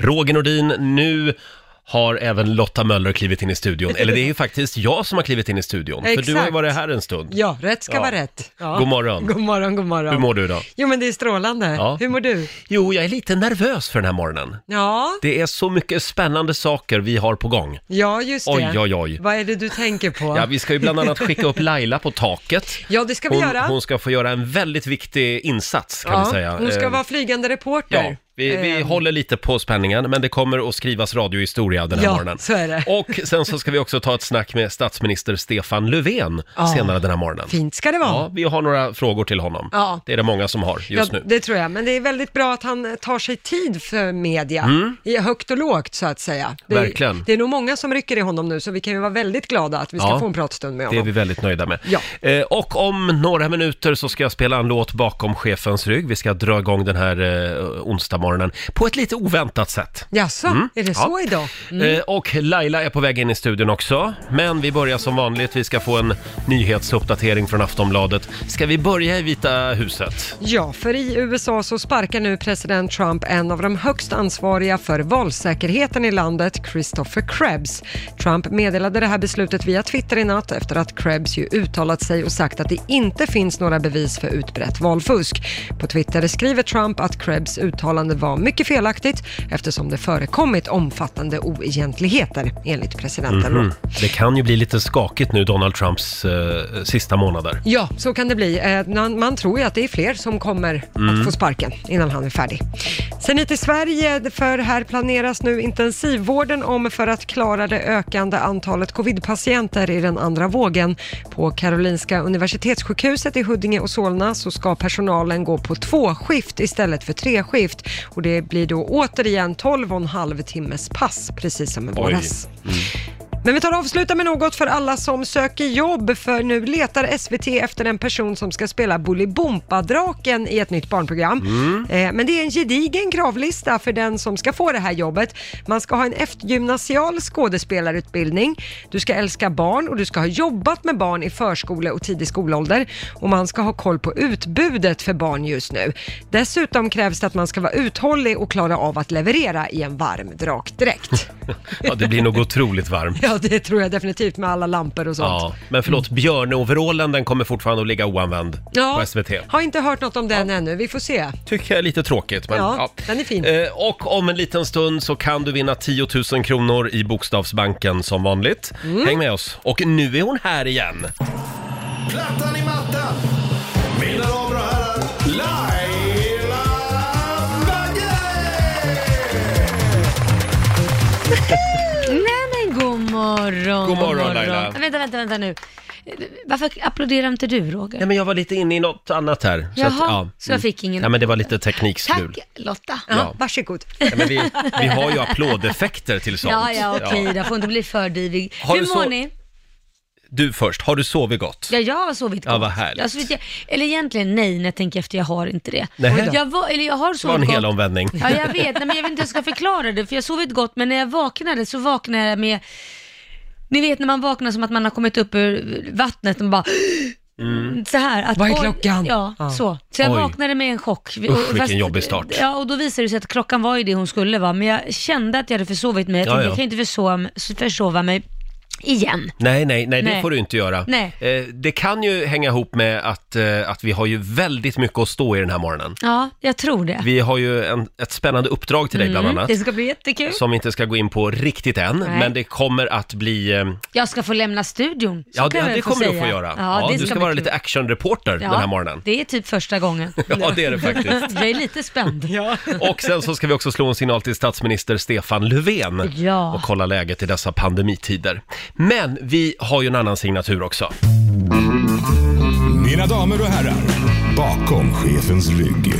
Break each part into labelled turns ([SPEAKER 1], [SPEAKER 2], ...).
[SPEAKER 1] Roger Nordin, nu har även Lotta Möller klivit in i studion. Eller det är ju faktiskt jag som har klivit in i studion, för du har ju
[SPEAKER 2] Exakt.
[SPEAKER 1] varit här en stund.
[SPEAKER 2] Ja, rätt ska
[SPEAKER 1] Ja.
[SPEAKER 2] vara rätt. Ja.
[SPEAKER 1] God morgon.
[SPEAKER 2] God morgon, god morgon.
[SPEAKER 1] Hur mår du idag?
[SPEAKER 2] Jo, men det är strålande.
[SPEAKER 1] Ja.
[SPEAKER 2] Hur mår du?
[SPEAKER 1] Jo, jag är lite nervös för den här morgonen.
[SPEAKER 2] Ja,
[SPEAKER 1] Det är så mycket spännande saker vi har på gång.
[SPEAKER 2] ja just det.
[SPEAKER 1] Oj, oj, oj.
[SPEAKER 2] Vad är det du tänker på?
[SPEAKER 1] Ja, vi ska ju bland annat skicka upp Laila på taket.
[SPEAKER 2] Ja, det ska vi
[SPEAKER 1] Hon,
[SPEAKER 2] göra.
[SPEAKER 1] hon ska få göra en väldigt viktig insats kan
[SPEAKER 2] ja,
[SPEAKER 1] vi säga.
[SPEAKER 2] hon ska
[SPEAKER 1] Eh,
[SPEAKER 2] vara flygande reporter.
[SPEAKER 1] Ja, vi, vi
[SPEAKER 2] Eh,
[SPEAKER 1] håller lite på spänningen, men det kommer att skrivas radiohistoria den här
[SPEAKER 2] Ja,
[SPEAKER 1] morgonen.
[SPEAKER 2] så är det.
[SPEAKER 1] Och sen så ska vi också ta ett snack med statsminister Stefan Löfven
[SPEAKER 2] Ja.
[SPEAKER 1] senare den här morgonen.
[SPEAKER 2] Fint ska det vara.
[SPEAKER 1] Ja, vi har några frågor till honom.
[SPEAKER 2] Ja.
[SPEAKER 1] Det är det många som har just
[SPEAKER 2] ja,
[SPEAKER 1] nu.
[SPEAKER 2] det tror jag, men det är väldigt bra att han tar sig tid för media, i högt och lågt så att säga. Det,
[SPEAKER 1] Mm. Verkligen.
[SPEAKER 2] Det är nog många som rycker i honom nu, så vi kan ju vara väldigt glada att vi ska
[SPEAKER 1] Ja.
[SPEAKER 2] få en pratstund med
[SPEAKER 1] Det är
[SPEAKER 2] honom.
[SPEAKER 1] vi väldigt nöjda med.
[SPEAKER 2] Ja.
[SPEAKER 1] Eh, och om några minuter så ska jag spela en låt bakom chefens rygg. Vi ska dra igång den här eh, onsdagmorgonen på ett lite oväntat sätt.
[SPEAKER 2] Jaså, är det
[SPEAKER 1] Mm. ja.
[SPEAKER 2] så idag?
[SPEAKER 1] Eh, och Laila är på väg in i studion också. Men vi börjar som vanligt. Vi ska få en nyhetsuppdatering från Aftonbladet. Ska vi börja i Vita huset?
[SPEAKER 2] Ja, för i USA så sparkar nu president Trump en av de högst ansvariga för valsäkerheten i landet, Christopher Krebs. Trump meddelade det här beslutet via Twitter i natt efter att Krebs ju uttalat sig och sagt att det inte finns några bevis för utbrett valfusk. På Twitter skriver Trump att Krebs uttalande var mycket felaktigt eftersom det förekommit omfattande oegentligheter, enligt presidenten. då.
[SPEAKER 1] Mm. Det kan ju bli lite skakigt nu, Donald Trumps eh, sista månader.
[SPEAKER 2] Ja, så kan det bli. Eh, Man, man tror ju att det är fler som kommer att få sparken innan han är färdig. Sen hit till Sverige, för här planeras nu intensivvården om för att klara det ökande antalet covidpatienter i den andra vågen. På Karolinska Universitetssjukhuset i Huddinge och Solna så ska personalen gå på två skift istället för tre skift och det blir då återigen 12 och en halv timmes pass, precis som i våras. Men vi tar och avslutar med något för alla som söker jobb, för nu letar SVT efter en person som ska spela Bolibompa-draken i ett nytt barnprogram. Eh, Men det är en gedigen kravlista för den som ska få det här jobbet. Man ska ha en eftergymnasial skådespelarutbildning, du ska älska barn och du ska ha jobbat med barn i förskole och tidig skolålder och man ska ha koll på utbudet för barn just nu. Dessutom krävs det att man ska vara uthållig och klara av att leverera i en varm drakdräkt.
[SPEAKER 1] Ja, det blir nog otroligt varmt.
[SPEAKER 2] Ja, det tror jag definitivt med alla lampor och sånt.
[SPEAKER 1] Ja, men förlåt, björneoverallen den kommer fortfarande att ligga oanvänd
[SPEAKER 2] Mm. Ja.
[SPEAKER 1] på SVT.
[SPEAKER 2] Har inte hört något om den ännu, vi får se.
[SPEAKER 1] Tycker jag är lite tråkigt. Men,
[SPEAKER 2] Ja, den är fin.
[SPEAKER 1] Eh, och om en liten stund så kan du vinna 10 000 kronor i Bokstavsbanken som vanligt.
[SPEAKER 2] Mm.
[SPEAKER 1] Häng med oss. Och nu är hon här igen.
[SPEAKER 3] Plattan i mattan. Mina damer och herrar, Laila Bagge!
[SPEAKER 4] Nej men god morgon.
[SPEAKER 1] God morgon, Laila.
[SPEAKER 4] Men Vänta, vänta, vänta nu. Varför applåderar inte du Roger?
[SPEAKER 1] Nej, men jag var lite inne i något annat här.
[SPEAKER 4] Jaha, så jag fick ingen.
[SPEAKER 1] Ja, men det var lite teknikstrul.
[SPEAKER 4] Tack Lotta.
[SPEAKER 2] Ja,
[SPEAKER 1] Ja.
[SPEAKER 2] Varsågod.
[SPEAKER 1] Ja, men vi, vi har ju applådeffekter till sånt.
[SPEAKER 4] Ja, ja, okej då. Får inte bli för divig.
[SPEAKER 1] Har du
[SPEAKER 4] Hur mår
[SPEAKER 1] så-
[SPEAKER 4] ni?
[SPEAKER 1] Du först, har du sovit gott?
[SPEAKER 4] Ja, jag har sovit
[SPEAKER 1] Ja,
[SPEAKER 4] gott.
[SPEAKER 1] vad härligt.
[SPEAKER 4] Jag har sovit, eller egentligen nej, när jag tänker efter, jag har inte det.
[SPEAKER 1] Nej.
[SPEAKER 4] Oj då. Jag var, eller jag har
[SPEAKER 1] Det var en
[SPEAKER 4] sovit
[SPEAKER 1] hel
[SPEAKER 4] gott.
[SPEAKER 1] omvändning.
[SPEAKER 4] Ja, jag vet. Nej, men jag vet inte hur jag ska förklara det, för jag har sovit gott, men när jag vaknade så vaknade jag med... Ni vet när man vaknar som att man har kommit upp ur vattnet och bara... Så här, att,
[SPEAKER 2] Vad är
[SPEAKER 4] oj,
[SPEAKER 2] klockan?
[SPEAKER 4] Ja,
[SPEAKER 2] Ja.
[SPEAKER 4] så. Så jag
[SPEAKER 1] Mm. Oj.
[SPEAKER 4] vaknade med en chock. Och-
[SPEAKER 1] Usch,
[SPEAKER 4] och
[SPEAKER 1] vilken jobbig start.
[SPEAKER 4] Ja, och då visade det sig att klockan var ju det hon skulle vara, men jag kände att jag hade försovit mig. Jag
[SPEAKER 1] Ja,
[SPEAKER 4] tänkte,
[SPEAKER 1] ja.
[SPEAKER 4] jag kan inte försova, försova mig igen.
[SPEAKER 1] Nej, nej, nej, det
[SPEAKER 4] Nej.
[SPEAKER 1] får du inte göra.
[SPEAKER 4] Nej.
[SPEAKER 1] Eh, det kan ju hänga ihop med att, eh, att vi har ju väldigt mycket att stå i den här morgonen.
[SPEAKER 4] Ja, jag tror det.
[SPEAKER 1] Vi har ju en, ett spännande uppdrag till dig bland annat.
[SPEAKER 4] Mm, Det ska bli jättekul.
[SPEAKER 1] Som vi inte ska gå in på riktigt än,
[SPEAKER 4] Nej.
[SPEAKER 1] men det kommer att bli... eh,
[SPEAKER 4] Jag ska få lämna studion. Så
[SPEAKER 1] Ja,
[SPEAKER 4] kan jag
[SPEAKER 1] det,
[SPEAKER 4] väl
[SPEAKER 1] det kommer du att
[SPEAKER 4] säga.
[SPEAKER 1] få göra.
[SPEAKER 4] Ja,
[SPEAKER 1] Ja,
[SPEAKER 4] det
[SPEAKER 1] du ska
[SPEAKER 4] bli
[SPEAKER 1] vara
[SPEAKER 4] kul.
[SPEAKER 1] lite actionreporter
[SPEAKER 4] Ja,
[SPEAKER 1] den här morgonen.
[SPEAKER 4] Det är typ första gången.
[SPEAKER 1] Ja, det är det faktiskt.
[SPEAKER 4] Jag är lite spänd.
[SPEAKER 1] Och sen så ska vi också slå en signal till statsminister Stefan Löfven
[SPEAKER 4] Ja.
[SPEAKER 1] och kolla läget i dessa pandemitider. Men vi har ju en annan signatur också.
[SPEAKER 3] Mina damer och herrar, bakom chefens rygg.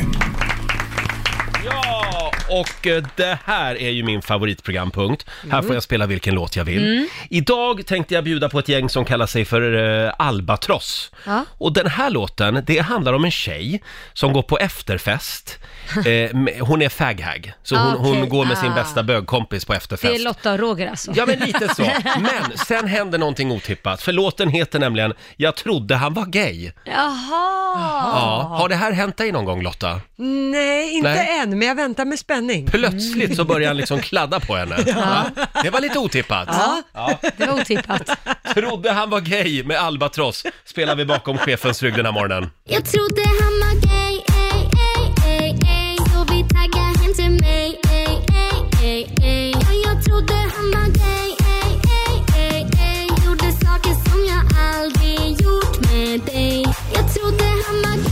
[SPEAKER 1] Ja, och eh, det här är ju min favoritprogrampunkt. Här
[SPEAKER 4] Mm.
[SPEAKER 1] får jag spela vilken låt jag vill. Idag tänkte jag bjuda på ett gäng som kallar sig för eh, Albatross.
[SPEAKER 4] Ja.
[SPEAKER 1] Och den här låten, det handlar om en tjej som går på efterfest. Eh, med- hon är faghag, så hon, hon
[SPEAKER 4] Okej,
[SPEAKER 1] går med sin
[SPEAKER 4] ah.
[SPEAKER 1] bästa bögkompis på efterfest.
[SPEAKER 4] Det är Lotta och Roger alltså.
[SPEAKER 1] Ja, men lite så. Men sen händer någonting otippat, för låten heter nämligen “Jag trodde han var gay”.
[SPEAKER 4] Jaha.
[SPEAKER 1] Ja. Har det här hänt dig någon gång Lotta?
[SPEAKER 2] Nej, inte
[SPEAKER 1] Nej.
[SPEAKER 2] än, men jag väntar med spänning.
[SPEAKER 1] Plötsligt så började han liksom kladda på henne. Ja. Det var lite otippat.
[SPEAKER 4] Ja, det var otippat.
[SPEAKER 1] Trodde han var gay med albatross spelar vi bakom chefens rygg den här morgonen.
[SPEAKER 5] Jag trodde han var gay, ey, ey, ey, ey. Så vi taggade hem till mig, ey, ey, ey, ey. Ja, jag trodde han var gay, ey, ey, ey, ey. Gjorde saker som jag aldrig gjort med dig. Jag trodde han var gay.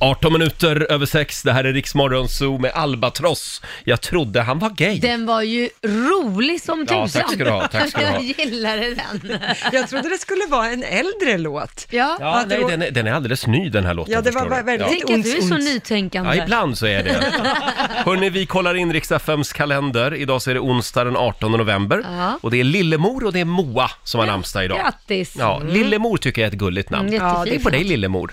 [SPEAKER 1] 18 minuter över sex. det här är Riksmorgon Zoo med albatross. Jag trodde han var gay.
[SPEAKER 4] Den var ju rolig som
[SPEAKER 1] Ja,
[SPEAKER 4] tusan.
[SPEAKER 1] tack ska du ha, tack ska du ha.
[SPEAKER 4] Jag gillade den.
[SPEAKER 2] Jag trodde det skulle vara en äldre låt.
[SPEAKER 4] Ja.
[SPEAKER 1] Ja,
[SPEAKER 2] att
[SPEAKER 1] nej,
[SPEAKER 2] det var-
[SPEAKER 1] den är, den är alldeles ny den här låten.
[SPEAKER 2] Ja, det
[SPEAKER 1] förstår
[SPEAKER 2] var
[SPEAKER 1] du.
[SPEAKER 2] väldigt
[SPEAKER 4] Tänk att du är så
[SPEAKER 2] Ons, ons.
[SPEAKER 4] nytänkande.
[SPEAKER 1] Ja, ibland så är det. Hörni, vi kollar in Riks-FMs kalender. Idag så är det onsdag den 18 november.
[SPEAKER 4] Ja.
[SPEAKER 1] Och det är Lillemor och det är Moa som har namnsdag idag.
[SPEAKER 4] Grattis.
[SPEAKER 1] Ja, Lillemor tycker jag är ett gulligt namn.
[SPEAKER 4] Mm, jättefint.
[SPEAKER 1] ja, det är på dig Lillemor.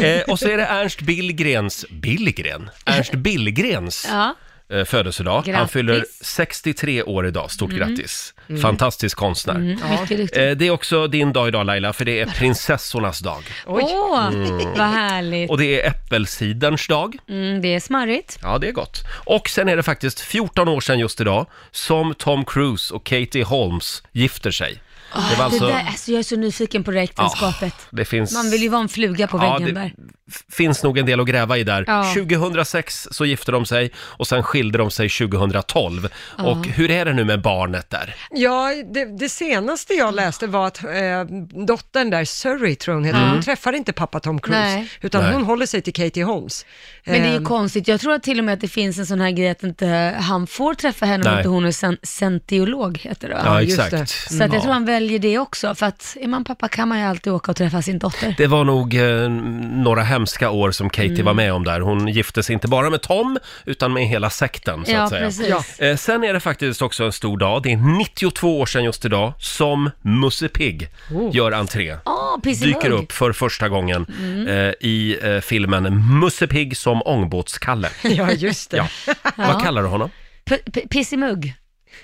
[SPEAKER 1] Eh, och så är det Ernst Billgrens, Billgren? Ernst Billgrens
[SPEAKER 4] Ja.
[SPEAKER 1] eh, födelsedag. Han
[SPEAKER 4] Grattis. Mm.
[SPEAKER 1] fyller 63 år idag, stort grattis. Fantastisk konstnär.
[SPEAKER 4] Mycket duktig.
[SPEAKER 1] Eh, det är också din dag idag Laila, för det är prinsessornas dag.
[SPEAKER 4] Åh, vad härligt.
[SPEAKER 1] Mm. Och det är äppelciderns dag.
[SPEAKER 4] Mm, det är smarrigt.
[SPEAKER 1] Ja, det är gott. Och sen är det faktiskt 14 år sedan just idag som Tom Cruise och Katie Holmes gifter sig. det var
[SPEAKER 4] Det där, alltså jag är så nyfiken på det äktenskapet.
[SPEAKER 1] Ja, det finns...
[SPEAKER 4] Man vill ju vara en fluga på
[SPEAKER 1] Ja,
[SPEAKER 4] väggen
[SPEAKER 1] det
[SPEAKER 4] där.
[SPEAKER 1] f- finns nog en del att gräva i där.
[SPEAKER 4] Ja.
[SPEAKER 1] 2006 så gifte de sig och sen skilde de sig 2012. Och hur är det nu med barnet där?
[SPEAKER 2] Ja, det, det senaste jag läste var att eh, dottern där, Surrey tror jag hon heter, hon träffar inte pappa Tom Cruise,
[SPEAKER 4] Nej.
[SPEAKER 2] utan
[SPEAKER 1] Mm. Nej.
[SPEAKER 2] hon håller sig till Katie Holmes.
[SPEAKER 4] Men det är
[SPEAKER 2] Eh,
[SPEAKER 1] Ehm.
[SPEAKER 4] ju konstigt. Jag tror att till och med att det finns en sån här grej att inte han får träffa henne
[SPEAKER 1] Nej.
[SPEAKER 4] om inte hon är sen- sentiolog, heter det va?
[SPEAKER 1] Ja,
[SPEAKER 2] just
[SPEAKER 1] exakt.
[SPEAKER 2] det.
[SPEAKER 4] Så att jag
[SPEAKER 1] Ja.
[SPEAKER 4] tror han väljer det också, för att är man pappa kan man ju alltid åka och träffa sin dotter.
[SPEAKER 1] Det var nog eh, några hemska år som Katie
[SPEAKER 4] Mm.
[SPEAKER 1] var med om där. Hon gifte sig inte bara med Tom, utan med hela sekten så
[SPEAKER 4] ja,
[SPEAKER 1] att säga.
[SPEAKER 4] precis.
[SPEAKER 2] Ja.
[SPEAKER 1] Eh, sen är det faktiskt också en stor dag. Det är 92 år sedan just idag som Musse Pigg gör entré.
[SPEAKER 4] Ah, Pissimugg.
[SPEAKER 1] Dyker upp för första gången eh, i eh, filmen Musse Pigg som ångbåtskalle.
[SPEAKER 2] Ja, just det.
[SPEAKER 1] Ja. Vad kallar du honom?
[SPEAKER 4] P- p- Pissimugg.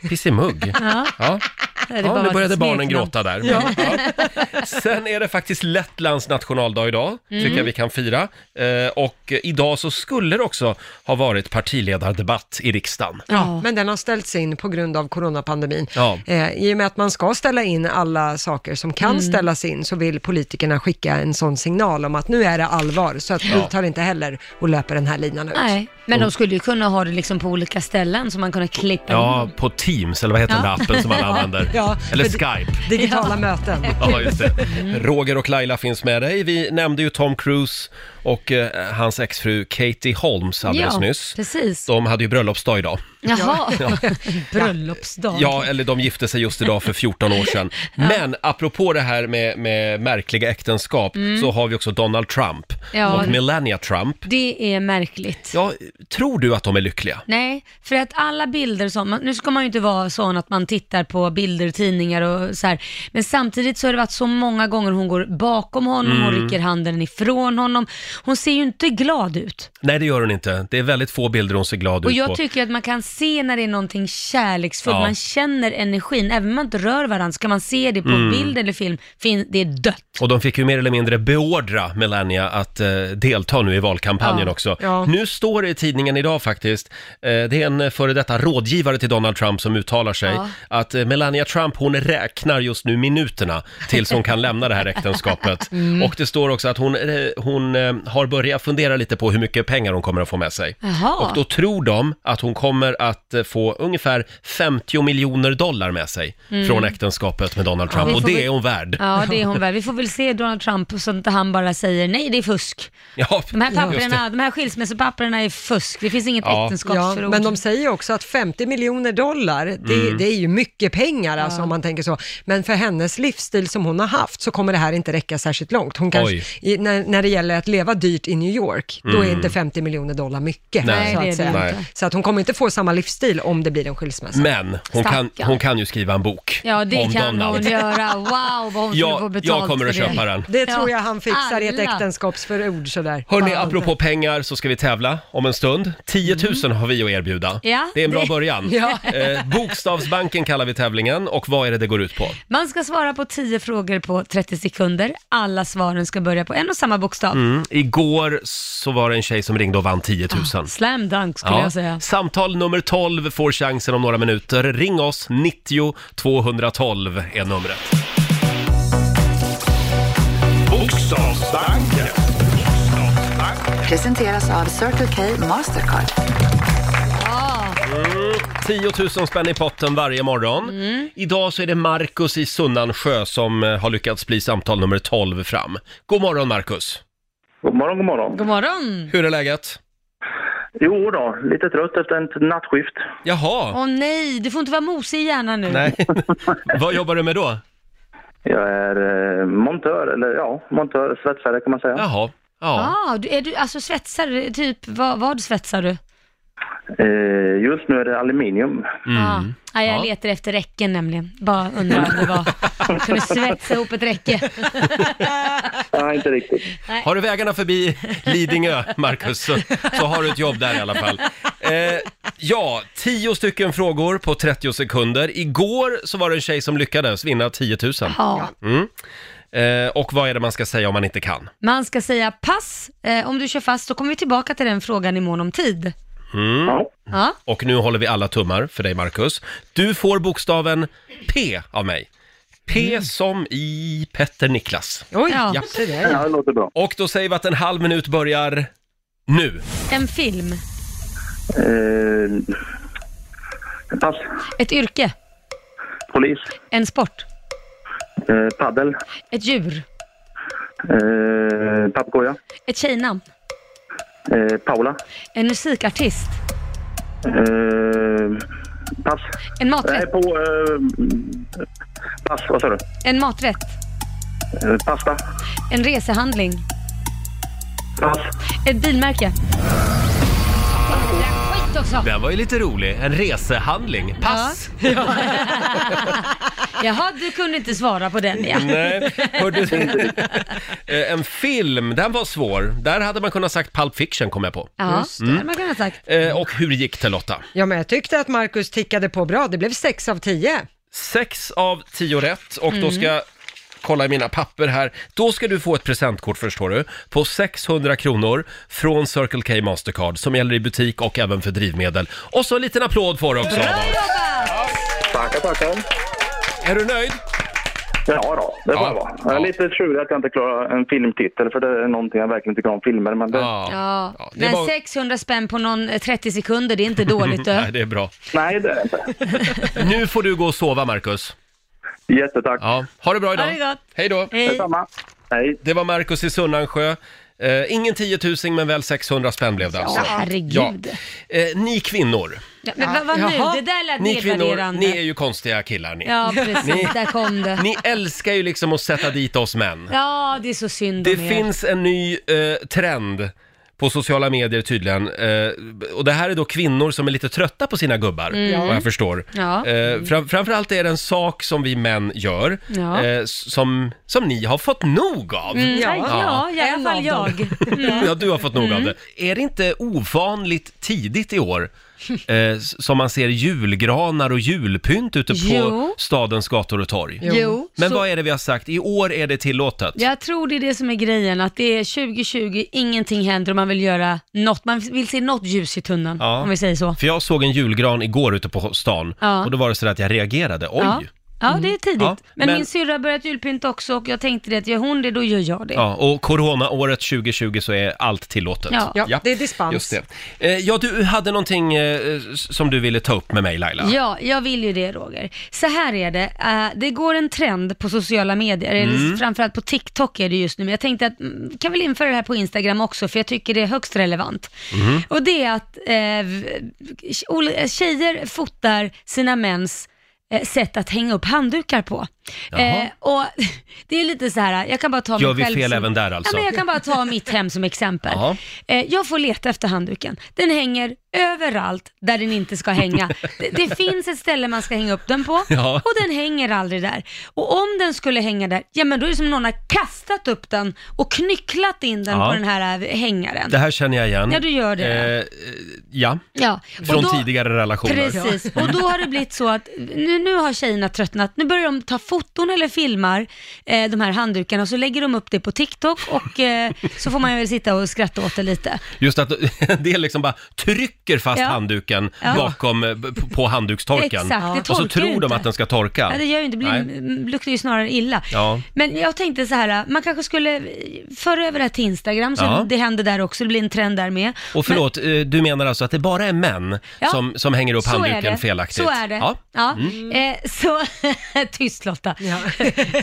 [SPEAKER 1] Pissimugg? Ja. ja.
[SPEAKER 4] Det är
[SPEAKER 1] ja,
[SPEAKER 4] bara
[SPEAKER 1] nu
[SPEAKER 4] ett
[SPEAKER 1] började barnen
[SPEAKER 4] smeknamn.
[SPEAKER 1] gråta där. Ja. Sen är det faktiskt Lettlands nationaldag idag, tycker jag vi kan fira. Eh, och idag så skulle det också ha varit partiledardebatt i riksdagen.
[SPEAKER 4] Ja.
[SPEAKER 2] Men den har ställts in på grund av coronapandemin.
[SPEAKER 1] Ja.
[SPEAKER 2] Eh, I och med att man ska ställa in alla saker som kan ställas in så vill politikerna skicka en sån signal om att nu är det allvar, så att vi tar inte heller och löper den här linan ut.
[SPEAKER 4] Nej, men de skulle ju kunna ha det liksom på olika ställen så man kunde klippa
[SPEAKER 1] Ja, på Teams, eller vad heter den där appen som alla använder?
[SPEAKER 2] Ja,
[SPEAKER 1] Eller
[SPEAKER 2] för-
[SPEAKER 1] Skype.
[SPEAKER 2] Digitala möten.
[SPEAKER 1] Ja, just det.
[SPEAKER 4] Mm.
[SPEAKER 1] Roger och Laila finns med dig. Vi nämnde ju Tom Cruise och eh, hans exfru Katie Holmes alldeles
[SPEAKER 4] ja,
[SPEAKER 1] nyss.
[SPEAKER 4] precis.
[SPEAKER 1] De hade ju bröllopsdag idag.
[SPEAKER 4] Jaha, bröllopsdag.
[SPEAKER 1] Ja, eller de gifte sig just idag för 14 år sedan. Men apropå det här med, med märkliga äktenskap så har vi också Donald Trump
[SPEAKER 4] Mm. Ja.
[SPEAKER 1] och Melania Trump.
[SPEAKER 4] Det är märkligt.
[SPEAKER 1] Ja, tror du att de är lyckliga?
[SPEAKER 4] Nej, för att alla bilder som, nu ska man ju inte vara sån att man tittar på bilder i tidningar och så här, men samtidigt så har det varit så många gånger hon går bakom honom, hon
[SPEAKER 1] Mm.
[SPEAKER 4] rycker handen ifrån honom. Hon ser ju inte glad ut.
[SPEAKER 1] Nej, det gör hon inte. Det är väldigt få bilder hon ser glad
[SPEAKER 4] Och
[SPEAKER 1] ut på.
[SPEAKER 4] jag tycker att man kan se när det är någonting kärleksfullt,
[SPEAKER 1] Ja.
[SPEAKER 4] man känner energin, även om man inte rör varandra, ska man se det på
[SPEAKER 1] Mm.
[SPEAKER 4] bild eller film, fin- det är dött.
[SPEAKER 1] Och de fick ju mer eller mindre beordra Melania att eh, delta nu i valkampanjen
[SPEAKER 4] Ja,
[SPEAKER 1] också.
[SPEAKER 2] ja.
[SPEAKER 1] Nu står det i tidningen idag faktiskt, eh, det är en före detta rådgivare till Donald Trump som uttalar sig,
[SPEAKER 4] Ja.
[SPEAKER 1] att eh, Melania Trump hon räknar just nu minuterna tills hon kan lämna det här äktenskapet.
[SPEAKER 4] Mm.
[SPEAKER 1] Och det står också att hon, eh, hon eh, har börjat fundera lite på hur mycket pengar hon kommer att få med sig.
[SPEAKER 4] Jaha.
[SPEAKER 1] Och då tror de att hon kommer att eh, få ungefär 50 miljoner dollar med sig från äktenskapet med Donald Trump.
[SPEAKER 4] Mm. vi
[SPEAKER 1] Och
[SPEAKER 4] får
[SPEAKER 1] det
[SPEAKER 4] väl-
[SPEAKER 1] är hon värd.
[SPEAKER 4] Ja, det är hon väl. Vi får väl se Donald Trump så att inte han bara säger nej, det är fusk.
[SPEAKER 1] Ja,
[SPEAKER 4] De här,
[SPEAKER 1] just det.
[SPEAKER 4] papperna, de här skilsmässopapperna är fusk. Det finns inget
[SPEAKER 1] Ja.
[SPEAKER 2] Ja,
[SPEAKER 4] äktenskapsförord.
[SPEAKER 2] men de säger ju också att 50 miljoner dollar, det,
[SPEAKER 1] Mm.
[SPEAKER 2] det är ju mycket pengar alltså, om man tänker så. Men för hennes livsstil som hon har haft så kommer det här inte räcka särskilt långt. Hon kanske,
[SPEAKER 1] Oj. Mm.
[SPEAKER 2] i, när, när det gäller att leva dyrt i New York, då är inte 50 miljoner dollar mycket.
[SPEAKER 1] Nej.
[SPEAKER 2] så,
[SPEAKER 4] Nej,
[SPEAKER 2] att
[SPEAKER 4] det är det
[SPEAKER 2] säga.
[SPEAKER 1] inte. Nej.
[SPEAKER 2] så att hon kommer inte få samma livsstil om det blir en skilsmässa.
[SPEAKER 1] Men hon kan,
[SPEAKER 4] Stackarn.
[SPEAKER 1] hon kan ju skriva en bok
[SPEAKER 4] Ja, det
[SPEAKER 1] om
[SPEAKER 4] kan
[SPEAKER 1] Donald.
[SPEAKER 4] hon göra. Wow, vad hon skulle få
[SPEAKER 1] jag,
[SPEAKER 4] betalt
[SPEAKER 1] jag kommer att
[SPEAKER 4] för det.
[SPEAKER 1] köpa den.
[SPEAKER 2] Det tror
[SPEAKER 4] Ja,
[SPEAKER 2] jag han fixar i ett
[SPEAKER 4] alla.
[SPEAKER 2] äktenskapsförord sådär.
[SPEAKER 1] Hörni,
[SPEAKER 2] Bara.
[SPEAKER 1] apropå pengar så ska vi tävla om en stund. 10 000 har vi att erbjuda.
[SPEAKER 4] Mm. Ja,
[SPEAKER 1] det är en bra
[SPEAKER 4] det-
[SPEAKER 1] början. Eh, Bokstavsbanken kallar vi tävlingen och vad är det det går ut på?
[SPEAKER 4] Man ska svara på 10 frågor på 30 sekunder. Alla svaren ska börja på en och samma bokstav.
[SPEAKER 1] Mm. Igår så var det en tjej som ringde och vann 10 000.
[SPEAKER 4] Slam dunk Ah, skulle jag säga.
[SPEAKER 1] Samtal nummer 12 får chansen om några minuter. Ring oss, 90 212 är numret.
[SPEAKER 3] Bokstavsbanken.
[SPEAKER 6] Presenteras av Circle K Mastercard.
[SPEAKER 1] 10 000 spänn i potten varje morgon. Idag så är det Markus i Sunnansjö som eh, har lyckats bli samtal nummer 12 fram. God morgon Markus!
[SPEAKER 7] God morgon, god morgon.
[SPEAKER 4] God morgon!
[SPEAKER 1] Hur är läget?
[SPEAKER 7] Jo då, lite trött efter ett nattskift.
[SPEAKER 1] Jaha!
[SPEAKER 4] Åh nej, du får inte vara mosig i hjärnan nu.
[SPEAKER 1] Nej. vad jobbar du med då?
[SPEAKER 7] Jag är eh, montör, eller ja, montör, svetsare kan man säga.
[SPEAKER 1] Jaha. Ja.
[SPEAKER 4] Ah, du, är du alltså svetsar, typ vad, vad svetsar du?
[SPEAKER 7] Eh, just nu är det aluminium.
[SPEAKER 4] Ah. Ah, jag
[SPEAKER 1] Mm. Ja.
[SPEAKER 4] letar efter räcken nämligen. Bara undrar om det var... Jag kunde svetsa ihop ett räcke.
[SPEAKER 7] Nej, inte riktigt.
[SPEAKER 1] Har du vägarna förbi Lidingö, Markus, så, så har du ett jobb där i alla fall. Eh, ja, 10 stycken frågor på 30 sekunder. Igår så var det en tjej som lyckades vinna 10 000.
[SPEAKER 4] Ja.
[SPEAKER 1] Eh, och vad är det man ska säga om man inte kan?
[SPEAKER 4] Man ska säga pass. Eh, om du kör fast, då kommer vi tillbaka till den frågan i mån om tid.
[SPEAKER 7] Ja.
[SPEAKER 4] Ja.
[SPEAKER 1] Och nu håller vi alla tummar för dig, Marcus. Du får bokstaven P av mig. P som i Petter Niklas.
[SPEAKER 2] Oj,
[SPEAKER 4] Ja.
[SPEAKER 1] Ja.
[SPEAKER 2] se där.
[SPEAKER 7] ja, det låter bra.
[SPEAKER 1] Och då säger vi att en halv minut börjar nu.
[SPEAKER 4] En film.
[SPEAKER 7] Eh, pass,
[SPEAKER 4] Ett yrke.
[SPEAKER 7] polis,
[SPEAKER 4] En sport.
[SPEAKER 7] eh, paddel,
[SPEAKER 4] Ett djur.
[SPEAKER 7] eh, papegoja,
[SPEAKER 4] Ett tjejnamn.
[SPEAKER 7] eh, Paula,
[SPEAKER 4] En musikartist.
[SPEAKER 7] eh, pass.
[SPEAKER 4] En
[SPEAKER 7] Nej,
[SPEAKER 4] maträtt.
[SPEAKER 7] på... Eh, pass, vad sa du?
[SPEAKER 4] En maträtt.
[SPEAKER 7] Eh, pasta,
[SPEAKER 4] En resehandling.
[SPEAKER 7] pass.
[SPEAKER 4] Ett bilmärke. Skit också!
[SPEAKER 1] Den var ju lite rolig. En resehandling. Pass!
[SPEAKER 4] Jaha, du kunde inte svara på den ja.
[SPEAKER 1] Nej, hörde du? Eh, en film, den var svår. Där hade man kunnat sagt Pulp Fiction, kom jag på.
[SPEAKER 4] Ja, det hade man kunnat sagt.
[SPEAKER 1] Eh, och hur gick det Lotta?
[SPEAKER 2] Ja, men jag tyckte att Markus tickade på bra. Det blev sex av tio.
[SPEAKER 1] Sex av tio rätt och då ska
[SPEAKER 4] Mm.
[SPEAKER 1] jag kolla i mina papper här. Då ska du få ett presentkort förstår du, på 600 kronor från Circle K Mastercard som gäller i butik och även för drivmedel. Och så en liten applåd får du också av
[SPEAKER 4] Bra
[SPEAKER 1] oss.
[SPEAKER 4] jobbat!
[SPEAKER 7] Tackar, tackar.
[SPEAKER 1] Är du nöjd?
[SPEAKER 7] Ja då, det var
[SPEAKER 1] Ja.
[SPEAKER 7] bra. Jag är
[SPEAKER 1] Ja.
[SPEAKER 7] lite tjurig att jag inte klarar en filmtitel för det är någonting jag verkligen tycker om filmer. Men det,
[SPEAKER 4] Ja,
[SPEAKER 1] Ja, det
[SPEAKER 4] men
[SPEAKER 1] var-
[SPEAKER 4] 600 spänn på någon eh, 30 sekunder, det är inte dåligt du.
[SPEAKER 1] Nej, det är bra.
[SPEAKER 7] Nej, det är det inte.
[SPEAKER 1] Nu får du gå och sova Marcus.
[SPEAKER 7] Jättetack.
[SPEAKER 1] Ja, ha det bra idag.
[SPEAKER 4] Ha det gott.
[SPEAKER 1] Hej då.
[SPEAKER 4] Hej.
[SPEAKER 7] Detsamma. Hej.
[SPEAKER 1] Det var Marcus i Sunnansjö. Eh, ingen 10 000 men väl 600 spänn blev det alltså.
[SPEAKER 4] Herregud.
[SPEAKER 1] Eh, ni kvinnor,
[SPEAKER 4] Ja, men vad, vad
[SPEAKER 2] Jaha.
[SPEAKER 4] nu? Det där lät
[SPEAKER 1] ni kvinnor,
[SPEAKER 4] nedvärderande.
[SPEAKER 1] ni är ju konstiga killar ni.
[SPEAKER 4] Ja,
[SPEAKER 1] Ni-
[SPEAKER 4] precis. Där kom det.
[SPEAKER 1] Ni älskar ju liksom att sätta dit oss män.
[SPEAKER 4] Ja, det är så synd
[SPEAKER 1] Det
[SPEAKER 4] om er.
[SPEAKER 1] finns en ny eh, trend på sociala medier tydligen. Eh, och det här är då kvinnor som är lite trötta på sina gubbar, vad jag förstår.
[SPEAKER 4] Mm. Ja.
[SPEAKER 1] Eh, fram, framförallt är det en sak som vi män gör,
[SPEAKER 4] Ja.
[SPEAKER 1] eh, s- som, som ni har fått nog av.
[SPEAKER 4] Mm, ja, ja, i alla
[SPEAKER 2] En
[SPEAKER 4] fall
[SPEAKER 2] av
[SPEAKER 4] jag. Mm.
[SPEAKER 1] Ja, du har fått nog av det. Är det inte ovanligt tidigt i år eh, s- som man ser julgranar och julpynt ute på
[SPEAKER 4] Jo.
[SPEAKER 1] stadens gator och torg?
[SPEAKER 4] Jo,
[SPEAKER 1] Men
[SPEAKER 4] så
[SPEAKER 1] vad är det vi har sagt? I år är det tillåtet.
[SPEAKER 4] jag tror det är det som är grejen, att det är 2020, ingenting händer och man vill göra något, man vill se något ljus i tunneln,
[SPEAKER 1] Ja.
[SPEAKER 4] om vi säger så.
[SPEAKER 1] För jag såg en julgran igår ute på stan
[SPEAKER 4] Ja.
[SPEAKER 1] och då var det så där att jag reagerade. Oj!
[SPEAKER 4] Ja.
[SPEAKER 1] Ja.
[SPEAKER 4] Ja, det är
[SPEAKER 1] Mm.
[SPEAKER 4] tidigt.
[SPEAKER 1] Ja,
[SPEAKER 4] men,
[SPEAKER 1] men-
[SPEAKER 4] min syrra har börjat julpynta också och jag tänkte det att gör hon det, då gör jag det.
[SPEAKER 1] och coronaåret 2020 så är allt tillåtet.
[SPEAKER 4] Ja.
[SPEAKER 2] Ja, det är dispens.
[SPEAKER 1] Just det. Eh, ja, du hade någonting eh, s- som du ville ta upp med mig Laila.
[SPEAKER 4] Ja, jag vill ju det Roger. Så här är det, eh, det går en trend på sociala medier,
[SPEAKER 1] Mm.
[SPEAKER 4] eller framförallt på TikTok är det just nu, men jag tänkte att mm, kan väl införa det här på Instagram också, för jag tycker det är högst relevant.
[SPEAKER 1] Mm.
[SPEAKER 4] Och det är att eh, v- ol- eh, tjejer fotar sina mäns eh, sätt att hänga upp handdukar på. Eh, och det är lite så här, jag kan bara ta
[SPEAKER 1] Gör
[SPEAKER 4] mig
[SPEAKER 1] vi
[SPEAKER 4] själv
[SPEAKER 1] fel
[SPEAKER 4] som-
[SPEAKER 1] även där alltså?
[SPEAKER 4] Ja, men jag kan bara ta mitt hem som exempel.
[SPEAKER 1] Ja.
[SPEAKER 4] Eh, jag får leta efter handduken. Den hänger överallt där den inte ska hänga. Det, det finns ett ställe man ska hänga upp den på
[SPEAKER 1] Ja.
[SPEAKER 4] och den hänger aldrig där. Och om den skulle hänga där, ja men då är det som någon har kastat upp den och knycklat in den
[SPEAKER 1] Ja.
[SPEAKER 4] på den här äh, hängaren.
[SPEAKER 1] Det här känner jag igen.
[SPEAKER 4] Ja, du gör det.
[SPEAKER 1] Eh, Eh, ja,
[SPEAKER 4] Ja. och
[SPEAKER 1] från
[SPEAKER 4] då-
[SPEAKER 1] tidigare relationer.
[SPEAKER 4] Precis, och då har det blivit så att nu, nu har tjejerna tröttnat. Nu börjar de ta foton eller filmar eh, de här handdukarna och så lägger de upp det på TikTok och eh, så får man väl sitta och skratta åt det lite.
[SPEAKER 1] Just att en del liksom bara trycker fast
[SPEAKER 4] Ja.
[SPEAKER 1] handduken
[SPEAKER 4] Ja.
[SPEAKER 1] bakom, eh, p- på handdukstorken.
[SPEAKER 4] Exakt, det
[SPEAKER 1] och så
[SPEAKER 4] torkar ju
[SPEAKER 1] tror de
[SPEAKER 4] inte.
[SPEAKER 1] att den ska torka.
[SPEAKER 4] Ja, det gör ju inte, det blir,
[SPEAKER 1] Nej.
[SPEAKER 4] m- luktar ju snarare illa.
[SPEAKER 1] Ja.
[SPEAKER 4] Men jag tänkte så här, man kanske skulle eh, föra över det här till Instagram så
[SPEAKER 1] Ja.
[SPEAKER 4] det händer där också, det blir en trend där med.
[SPEAKER 1] Och förlåt, eh, du menar alltså att det bara är män
[SPEAKER 4] Ja.
[SPEAKER 1] som, som hänger upp
[SPEAKER 4] så är
[SPEAKER 1] handduken
[SPEAKER 4] det.
[SPEAKER 1] felaktigt?
[SPEAKER 4] Så är det.
[SPEAKER 1] Ja.
[SPEAKER 4] Ja.
[SPEAKER 1] Mm.
[SPEAKER 4] Eh, så, tyst Lotta.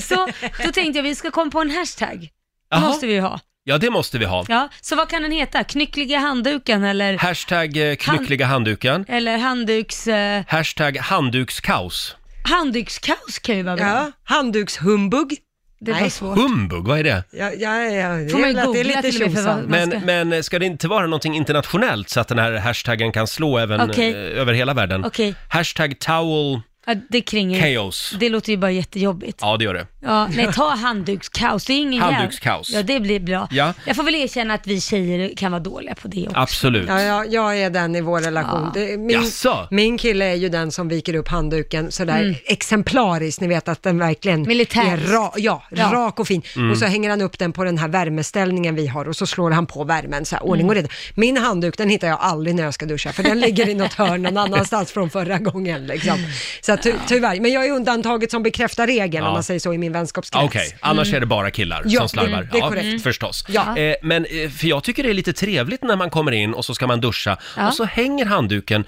[SPEAKER 4] så då tänkte jag vi ska komma på en hashtag. Det
[SPEAKER 1] Jaha.
[SPEAKER 4] måste vi ju ha.
[SPEAKER 1] ja, det måste vi ha.
[SPEAKER 4] Ja, så vad kan den heta? Knyckliga handduken eller,
[SPEAKER 1] Hashtag eh, knyckliga handduken.
[SPEAKER 4] eller handduks... Eh,
[SPEAKER 1] Hashtag handdukskaos.
[SPEAKER 4] handdukskaos kan ju vara bra.
[SPEAKER 2] Ja, handdukshumbug.
[SPEAKER 4] Det var
[SPEAKER 2] Nej.
[SPEAKER 4] svårt.
[SPEAKER 1] Humbug, vad är det?
[SPEAKER 2] Ja, ja, ja, det,
[SPEAKER 4] Får man
[SPEAKER 2] är
[SPEAKER 4] ju
[SPEAKER 2] väl att det är
[SPEAKER 4] googla
[SPEAKER 2] lite
[SPEAKER 4] till och med för vad-
[SPEAKER 2] tjosan.
[SPEAKER 1] Men,
[SPEAKER 4] ska-
[SPEAKER 1] men eh, ska det inte vara någonting internationellt så att den här hashtaggen kan slå även
[SPEAKER 4] Okej.
[SPEAKER 1] eh, över hela världen?
[SPEAKER 4] Okej.
[SPEAKER 1] Hashtag towel
[SPEAKER 4] Ja, det kringar ju.
[SPEAKER 1] chaos.
[SPEAKER 4] Det låter ju bara jättejobbigt. Ja.
[SPEAKER 1] Ja, det gör det.
[SPEAKER 4] nej, ta handdukskaos. Det är ingen jäv-
[SPEAKER 1] Handdukskaos.
[SPEAKER 4] Ja, det blir bra.
[SPEAKER 1] Ja.
[SPEAKER 4] Jag får väl erkänna att vi tjejer kan vara dåliga på det också.
[SPEAKER 1] Absolut.
[SPEAKER 2] Ja, ja, jag är den i vår relation.
[SPEAKER 4] Ja.
[SPEAKER 2] Det, min,
[SPEAKER 1] Ah. Jaså?
[SPEAKER 2] min kille är ju den som viker upp handduken sådär
[SPEAKER 4] Mm.
[SPEAKER 2] exemplariskt, ni vet att den verkligen är
[SPEAKER 4] Militäriskt.
[SPEAKER 2] ra, ja,
[SPEAKER 4] Ja.
[SPEAKER 2] rak och fin.
[SPEAKER 1] Mm.
[SPEAKER 2] Och så hänger han upp den på den här värmeställningen vi har och så slår han på värmen så här, ordning och
[SPEAKER 4] Mm.
[SPEAKER 2] reda. Min handduk den hittar jag aldrig när jag ska duscha för den ligger i något hörn någon annanstans från förra gången. Liksom. Så att, ty, tyvärr, men jag är undantaget som bekräftar regeln
[SPEAKER 1] Ja.
[SPEAKER 2] om man säger så i min vänskapskrets.
[SPEAKER 1] Okej, annars är det bara killar
[SPEAKER 2] Ja,
[SPEAKER 1] som slarvar.
[SPEAKER 2] mm, det är korrekt.
[SPEAKER 1] Ja, förstås.
[SPEAKER 2] Ja.
[SPEAKER 1] Eh, men eh, för jag tycker det är lite trevligt när man kommer in och så ska man duscha
[SPEAKER 4] Ja.
[SPEAKER 1] och så hänger handduken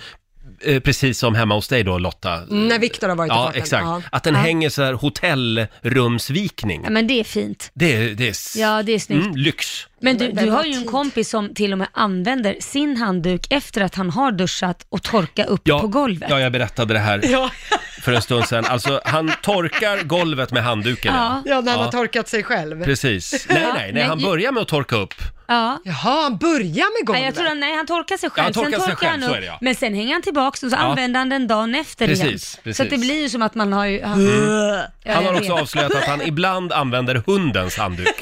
[SPEAKER 1] eh, Precis som hemma hos dig då Lotta.
[SPEAKER 2] När Viktor har varit i
[SPEAKER 1] Ja,
[SPEAKER 2] farten.
[SPEAKER 1] exakt.
[SPEAKER 2] Ja.
[SPEAKER 1] Att den hänger så här hotellrumsvikning.
[SPEAKER 4] Ja, men det är fint.
[SPEAKER 1] Det är, det är, s-
[SPEAKER 4] Mm. Ja, det är snyggt.
[SPEAKER 1] mm, lyx.
[SPEAKER 4] Men du,
[SPEAKER 2] Men vem
[SPEAKER 4] du har
[SPEAKER 2] har
[SPEAKER 4] ju en
[SPEAKER 2] tid?
[SPEAKER 4] kompis som till och med använder sin handduk efter att han har duschat och torkar upp
[SPEAKER 1] Ja,
[SPEAKER 4] på golvet.
[SPEAKER 1] Ja, jag berättade det här för en stund sedan. Alltså, han torkar golvet med handduken. Ja.
[SPEAKER 4] Ja.
[SPEAKER 2] Ja, när han
[SPEAKER 1] Ja.
[SPEAKER 2] har torkat sig själv.
[SPEAKER 1] Precis. Nej, nej,
[SPEAKER 4] Ja,
[SPEAKER 1] nej,
[SPEAKER 4] men
[SPEAKER 1] han
[SPEAKER 4] ju-
[SPEAKER 1] börjar med att torka upp.
[SPEAKER 4] ja.
[SPEAKER 2] Jaha, han börjar med golvet.
[SPEAKER 4] Nej, jag tror han, nej, han torkar sig själv,
[SPEAKER 1] han torkar
[SPEAKER 4] sen
[SPEAKER 1] sig
[SPEAKER 4] torkar
[SPEAKER 1] själv,
[SPEAKER 4] han
[SPEAKER 1] så
[SPEAKER 4] upp,
[SPEAKER 1] är det, ja.
[SPEAKER 4] men sen hänger han tillbaks och så använder han den dagen efter
[SPEAKER 1] Precis,
[SPEAKER 4] igen. Så
[SPEAKER 1] precis. Mm.
[SPEAKER 4] att det blir ju som att man har ju... Han, Ja,
[SPEAKER 1] Han
[SPEAKER 4] jag
[SPEAKER 1] har
[SPEAKER 4] vet.
[SPEAKER 1] också avslöjat att han ibland använder hundens handduk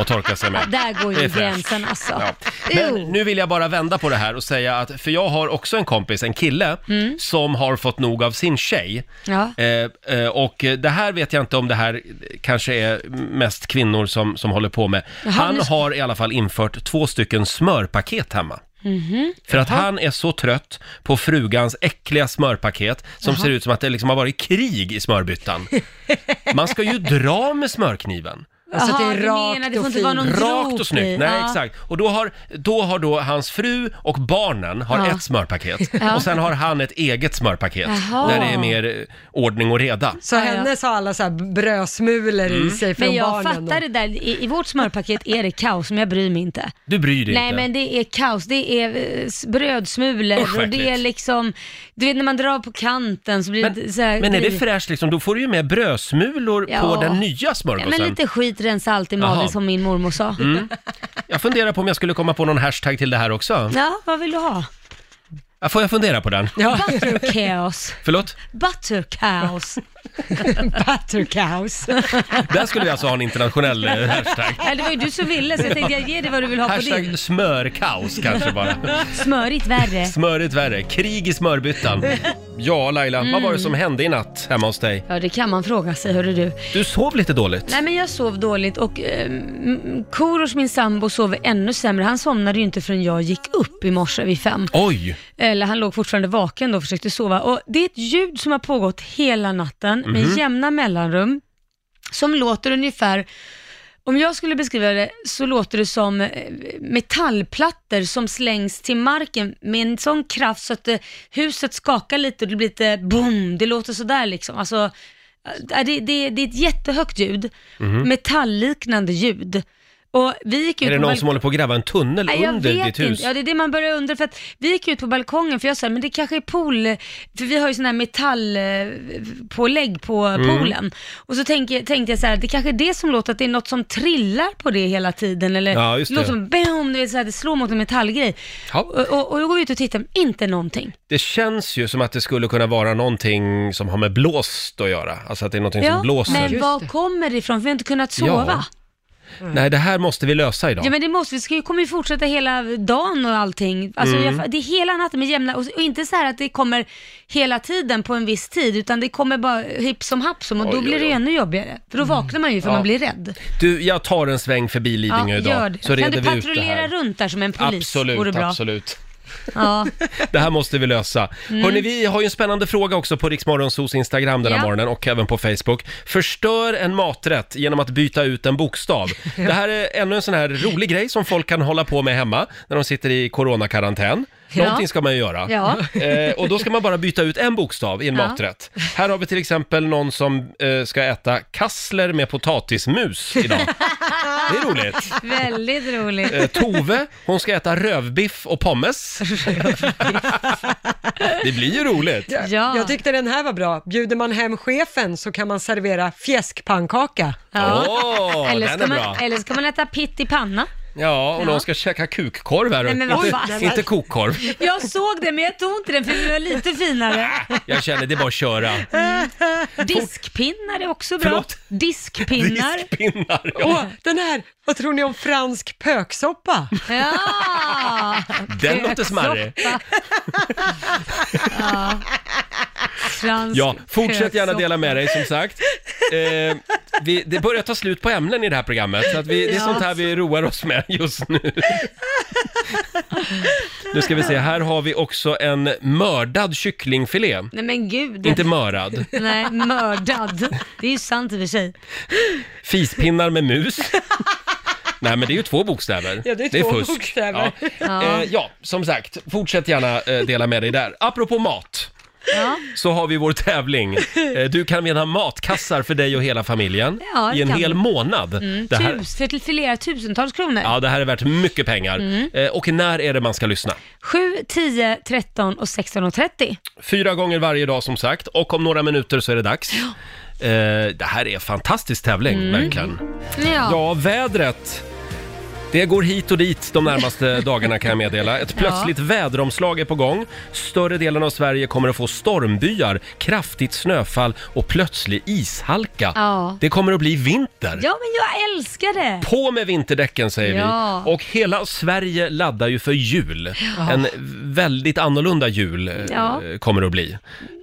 [SPEAKER 1] och torkar sig med.
[SPEAKER 4] Där går
[SPEAKER 1] Det
[SPEAKER 4] ju
[SPEAKER 1] är fräscht.
[SPEAKER 4] gränsen alltså.
[SPEAKER 1] Ja. Men
[SPEAKER 4] Ew.
[SPEAKER 1] nu vill jag bara vända på det här och säga att, för jag har också en kompis, en kille,
[SPEAKER 4] Mm.
[SPEAKER 1] som har fått nog av sin tjej.
[SPEAKER 4] Ja.
[SPEAKER 1] Eh, eh, och det här vet jag inte om det här kanske är mest kvinnor som, som håller på med. han
[SPEAKER 4] nu ska-
[SPEAKER 1] har i alla fall infört två stycken smörpaket hemma.
[SPEAKER 4] Mhm.
[SPEAKER 1] För att han är så trött på frugans äckliga smörpaket som ser ut som att det liksom har varit krig i smörbyttan. Man ska ju dra med smörkniven.
[SPEAKER 2] Alltså
[SPEAKER 4] Jaha,
[SPEAKER 2] det är
[SPEAKER 4] du
[SPEAKER 2] rakt
[SPEAKER 4] menar, det får
[SPEAKER 2] och
[SPEAKER 4] inte vara
[SPEAKER 2] fint.
[SPEAKER 4] någon
[SPEAKER 1] Rakt
[SPEAKER 4] grop
[SPEAKER 1] och snyggt,
[SPEAKER 4] i.
[SPEAKER 1] nej
[SPEAKER 4] Ja.
[SPEAKER 1] exakt. Och då har, då har då hans fru och barnen har
[SPEAKER 4] Ja.
[SPEAKER 1] ett smörpaket. Och sen har han ett eget smörpaket
[SPEAKER 4] Jaha.
[SPEAKER 1] där det är mer eh, ordning och reda.
[SPEAKER 2] Så
[SPEAKER 4] Ja, ja.
[SPEAKER 2] hennes har alla så här brödsmulor
[SPEAKER 1] Mm.
[SPEAKER 2] i sig från
[SPEAKER 4] Men jag
[SPEAKER 2] barnen.
[SPEAKER 4] fattar det där, I, i vårt smörpaket är det kaos, men jag bryr mig inte.
[SPEAKER 1] Du bryr dig
[SPEAKER 4] Nej
[SPEAKER 1] inte.
[SPEAKER 4] men det är kaos, det är eh, s- brödsmulor
[SPEAKER 1] Usch, vad
[SPEAKER 4] och det är
[SPEAKER 1] äckligt.
[SPEAKER 4] liksom, du vet när man drar på kanten så blir det så här,
[SPEAKER 1] Men är det
[SPEAKER 4] blir-
[SPEAKER 1] fräscht liksom, då får du ju med brödsmulor på
[SPEAKER 4] Ja.
[SPEAKER 1] den nya
[SPEAKER 4] ja,
[SPEAKER 1] smörgåsen.
[SPEAKER 4] men lite skit rensa allt i
[SPEAKER 1] Jaha. Mm.
[SPEAKER 4] magen som min mormor sa.
[SPEAKER 1] Jag funderar på om jag skulle komma på någon hashtag till det här också.
[SPEAKER 4] Ja, vad vill du ha?
[SPEAKER 1] Ja, Får jag fundera på den?
[SPEAKER 2] Ja,
[SPEAKER 4] Butterkaos.
[SPEAKER 1] Förlåt?
[SPEAKER 4] Butterkaos.
[SPEAKER 2] buttercows.
[SPEAKER 1] Där skulle vi alltså ha en internationell eh, hashtag.
[SPEAKER 4] Ja, det var ju du som ville så jag tänkte jag ger dig vad du vill ha på din.
[SPEAKER 1] Hashtag smörkaos kanske bara.
[SPEAKER 4] Smörigt värre.
[SPEAKER 1] Smörigt värre. Krig i smörbyttan. Ja, Laila, vad
[SPEAKER 4] Mm.
[SPEAKER 1] var det som hände i natt hemma hos dig?
[SPEAKER 4] Ja, det kan man fråga sig, hörru du.
[SPEAKER 1] Du sov lite dåligt.
[SPEAKER 4] Nej, men jag sov dåligt och eh, m- Korosh, min sambo, sov ännu sämre. Han somnade ju inte förrän jag gick upp i morse vid fem.
[SPEAKER 1] Oj!
[SPEAKER 4] Eller han låg fortfarande vaken då och försökte sova. Och det är ett ljud som har pågått hela natten
[SPEAKER 1] Mhm.
[SPEAKER 4] med jämna mellanrum som låter ungefär om jag skulle beskriva det så låter det som eh, metallplattor som slängs till marken med en sån kraft så att eh, huset skakar lite och det blir lite boom, det låter sådär liksom. Alltså, eh, det, det, det är ett jättehögt ljud, metallliknande ljud. Och vi gick
[SPEAKER 1] Mhm.
[SPEAKER 4] ut
[SPEAKER 1] Är det
[SPEAKER 4] på
[SPEAKER 1] någon
[SPEAKER 4] balk-
[SPEAKER 1] som håller på att gräva en tunnel
[SPEAKER 4] Nej, jag
[SPEAKER 1] under
[SPEAKER 4] vet
[SPEAKER 1] ditt hus?
[SPEAKER 4] Inte. Ja, det är det man börjar undra. För att vi gick ut på balkongen för jag sa, men det kanske är pool, för vi har ju sån här metallpålägg på
[SPEAKER 1] Mm.
[SPEAKER 4] poolen. Och så tänk, tänkte jag så här, det kanske är det som låter, att det är något som trillar på det hela tiden. Eller
[SPEAKER 1] Ja, just det.
[SPEAKER 4] låter som bam, du vet, så här, det slår mot en metallgrej.
[SPEAKER 1] Ja.
[SPEAKER 4] Och, och, och då går vi ut och tittar, inte någonting.
[SPEAKER 1] Det känns ju som att det skulle kunna vara någonting som har med blåst att göra. Alltså att det är någonting som blåser.
[SPEAKER 4] men
[SPEAKER 2] Just
[SPEAKER 4] var
[SPEAKER 2] det.
[SPEAKER 4] kommer det ifrån? För vi har inte kunnat sova.
[SPEAKER 1] Nej, det här måste vi lösa idag.
[SPEAKER 4] Ja men det måste vi, ska ju, kommer ju fortsätta hela dagen och allting. Alltså,
[SPEAKER 1] Mm.
[SPEAKER 4] jag, det är hela natten med jämna, och, och inte så här att det kommer hela tiden på en viss tid, utan det kommer bara hipp som happ som och
[SPEAKER 1] Oj,
[SPEAKER 4] då blir
[SPEAKER 1] oj,
[SPEAKER 4] det
[SPEAKER 1] oj.
[SPEAKER 4] ännu jobbigare. För då vaknar man ju för
[SPEAKER 1] Ja.
[SPEAKER 4] man blir rädd.
[SPEAKER 1] Du, jag tar en sväng förbi Lidingö idag.
[SPEAKER 4] gör det.
[SPEAKER 1] Så
[SPEAKER 4] kan
[SPEAKER 1] reder
[SPEAKER 4] du
[SPEAKER 1] vi ut det
[SPEAKER 4] patrullera
[SPEAKER 1] här.
[SPEAKER 4] runt där som en polis? Vore
[SPEAKER 1] absolut,
[SPEAKER 4] bra.
[SPEAKER 1] absolut.
[SPEAKER 4] Ja.
[SPEAKER 1] Det här måste vi lösa. Hörni, vi har ju en spännande fråga också på Riksmorgonsos Instagram den här
[SPEAKER 4] Mm. Ja.
[SPEAKER 1] morgonen och även på Facebook. Förstör en maträtt genom att byta ut en bokstav. Det här är ännu en sån här rolig grej som folk kan hålla på med hemma när de sitter i coronakarantän.
[SPEAKER 4] Ja.
[SPEAKER 1] Någonting ska man ju göra.
[SPEAKER 4] Ja.
[SPEAKER 1] Eh, och då ska man bara byta ut en bokstav i en
[SPEAKER 4] Ja.
[SPEAKER 1] maträtt. Här har vi till exempel någon som eh, ska äta kassler med potatismus idag. Det är roligt.
[SPEAKER 4] Väldigt roligt.
[SPEAKER 1] Eh, Tove, hon ska äta rövbiff och pommes. det blir ju roligt.
[SPEAKER 4] Ja.
[SPEAKER 2] Jag tyckte den här var bra. Bjuder man hem chefen så kan man servera fjäskpannkaka.
[SPEAKER 4] Ja.
[SPEAKER 1] Åh,
[SPEAKER 4] eller,
[SPEAKER 1] den
[SPEAKER 4] ska
[SPEAKER 1] är
[SPEAKER 4] man,
[SPEAKER 1] bra.
[SPEAKER 4] eller ska man äta pitt i panna?
[SPEAKER 1] Ja, och någon
[SPEAKER 4] Ja.
[SPEAKER 1] ska käka kukkorv här.
[SPEAKER 4] Nej, men vad
[SPEAKER 1] inte,
[SPEAKER 4] fan.
[SPEAKER 1] inte kokkorv.
[SPEAKER 4] Jag såg det men jag tog inte den för vi var lite finare.
[SPEAKER 1] Jag känner, det är bara att köra.
[SPEAKER 4] Diskpinnar är också bra.
[SPEAKER 1] Förlåt?
[SPEAKER 4] Diskpinnar.
[SPEAKER 1] Diskpinnar.
[SPEAKER 2] Åh,
[SPEAKER 1] Ja.
[SPEAKER 2] den här! Vad tror ni om fransk pöksoppa?
[SPEAKER 4] Ja!
[SPEAKER 1] Den låter smarrig.
[SPEAKER 4] Pöksoppa. Ja. Fransk
[SPEAKER 1] Ja, fortsätt gärna
[SPEAKER 4] pöksoppa.
[SPEAKER 1] dela med dig som sagt. Eh, vi, det börjar ta slut på ämnen i det här programmet, så att vi, det är
[SPEAKER 4] Ja.
[SPEAKER 1] sånt här vi roar oss med just nu. Nu ska vi se, här har vi också en mördad kycklingfilé.
[SPEAKER 4] Nej men gud.
[SPEAKER 1] Inte mörad.
[SPEAKER 4] Nej, mördad. Det är ju sant i och för sig.
[SPEAKER 1] Fispinnar med mus. Nej, men det är ju två bokstäver.
[SPEAKER 2] Ja, det är två bokstäver.
[SPEAKER 1] Ja.
[SPEAKER 4] Ja.
[SPEAKER 1] Eh, ja, som sagt, fortsätt gärna eh, dela med dig där. Apropå mat,
[SPEAKER 4] Ja.
[SPEAKER 1] så har vi vår tävling. Eh, du kan vinna matkassar för dig och hela familjen
[SPEAKER 4] Ja, det
[SPEAKER 1] i en
[SPEAKER 4] kan
[SPEAKER 1] hel
[SPEAKER 4] vi. Mm,
[SPEAKER 1] månad. Det här,
[SPEAKER 4] Tus, för, för flera tusentals kronor.
[SPEAKER 1] ja, det här är värt mycket pengar.
[SPEAKER 4] Mm.
[SPEAKER 1] Eh, och när är det man ska lyssna?
[SPEAKER 4] 7, 10, 13 och 16.30.
[SPEAKER 1] Fyra gånger varje dag som sagt, och om några minuter så är det dags. Eh, det här är en fantastisk tävling,
[SPEAKER 4] Mm.
[SPEAKER 1] verkligen.
[SPEAKER 4] Ja.
[SPEAKER 1] Ja, vädret. Det går hit och dit de närmaste dagarna kan jag meddela. Ett plötsligt väderomslag är på gång. Större delen av Sverige kommer att få stormbyar, kraftigt snöfall och plötslig ishalka.
[SPEAKER 4] Ja.
[SPEAKER 1] Det kommer att bli vinter.
[SPEAKER 4] ja, men jag älskar det.
[SPEAKER 1] På med vinterdäcken säger
[SPEAKER 4] Ja.
[SPEAKER 1] vi. Och hela Sverige laddar ju för jul. En väldigt annorlunda jul eh,
[SPEAKER 4] Ja.
[SPEAKER 1] kommer det att bli.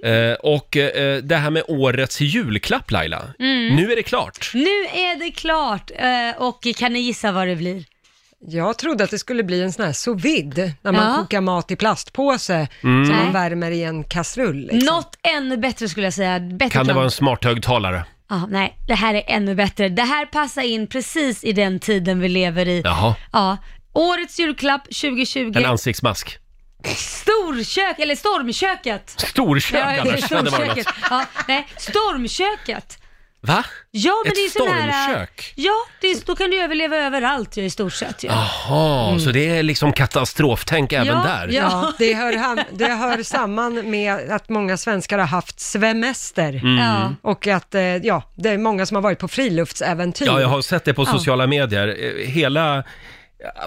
[SPEAKER 1] Eh, och eh, det här med årets julklapp Laila,
[SPEAKER 4] Mm.
[SPEAKER 1] nu är det klart.
[SPEAKER 4] Nu är det klart eh, och kan ni gissa vad det blir?
[SPEAKER 2] Jag trodde att det skulle bli en sån här sous vide, när man
[SPEAKER 4] Ja.
[SPEAKER 2] kokar mat i plastpåse
[SPEAKER 1] Mm.
[SPEAKER 2] som
[SPEAKER 4] Nej.
[SPEAKER 2] man värmer i en kastrull. Liksom.
[SPEAKER 4] Något ännu bättre skulle jag säga. Bättre
[SPEAKER 1] Kan det
[SPEAKER 4] plan.
[SPEAKER 1] vara en smart högtalare?
[SPEAKER 4] Ja, nej, det här är ännu bättre. Det här passar in precis i den tiden vi lever i.
[SPEAKER 1] Jaha.
[SPEAKER 4] Ja. Årets julklapp 2020,
[SPEAKER 1] En ansiktsmask.
[SPEAKER 4] storkök, eller stormköket.
[SPEAKER 1] Storkök
[SPEAKER 4] Ja, jag
[SPEAKER 1] annars
[SPEAKER 4] heter
[SPEAKER 1] hade varit något.
[SPEAKER 4] stormköket. Ja, nej, stormköket.
[SPEAKER 1] Va?
[SPEAKER 4] Ja, men
[SPEAKER 1] Ett
[SPEAKER 4] det är ju sån här, äh,
[SPEAKER 1] stormkök?
[SPEAKER 4] Ja, det är, då kan du överleva överallt ju, i stort sett. Ju.
[SPEAKER 1] Jaha, så det är liksom katastroftänk även
[SPEAKER 4] Mm. Ja,
[SPEAKER 1] där?
[SPEAKER 4] ja.
[SPEAKER 2] Ja, det hör, ham- det hör samman med att många svenskar har haft svemester.
[SPEAKER 1] Mm.
[SPEAKER 4] Ja.
[SPEAKER 2] Och att eh, ja, det är många som har varit på friluftsäventyr.
[SPEAKER 1] Ja, jag har sett det på sociala medier. Eh, Hela...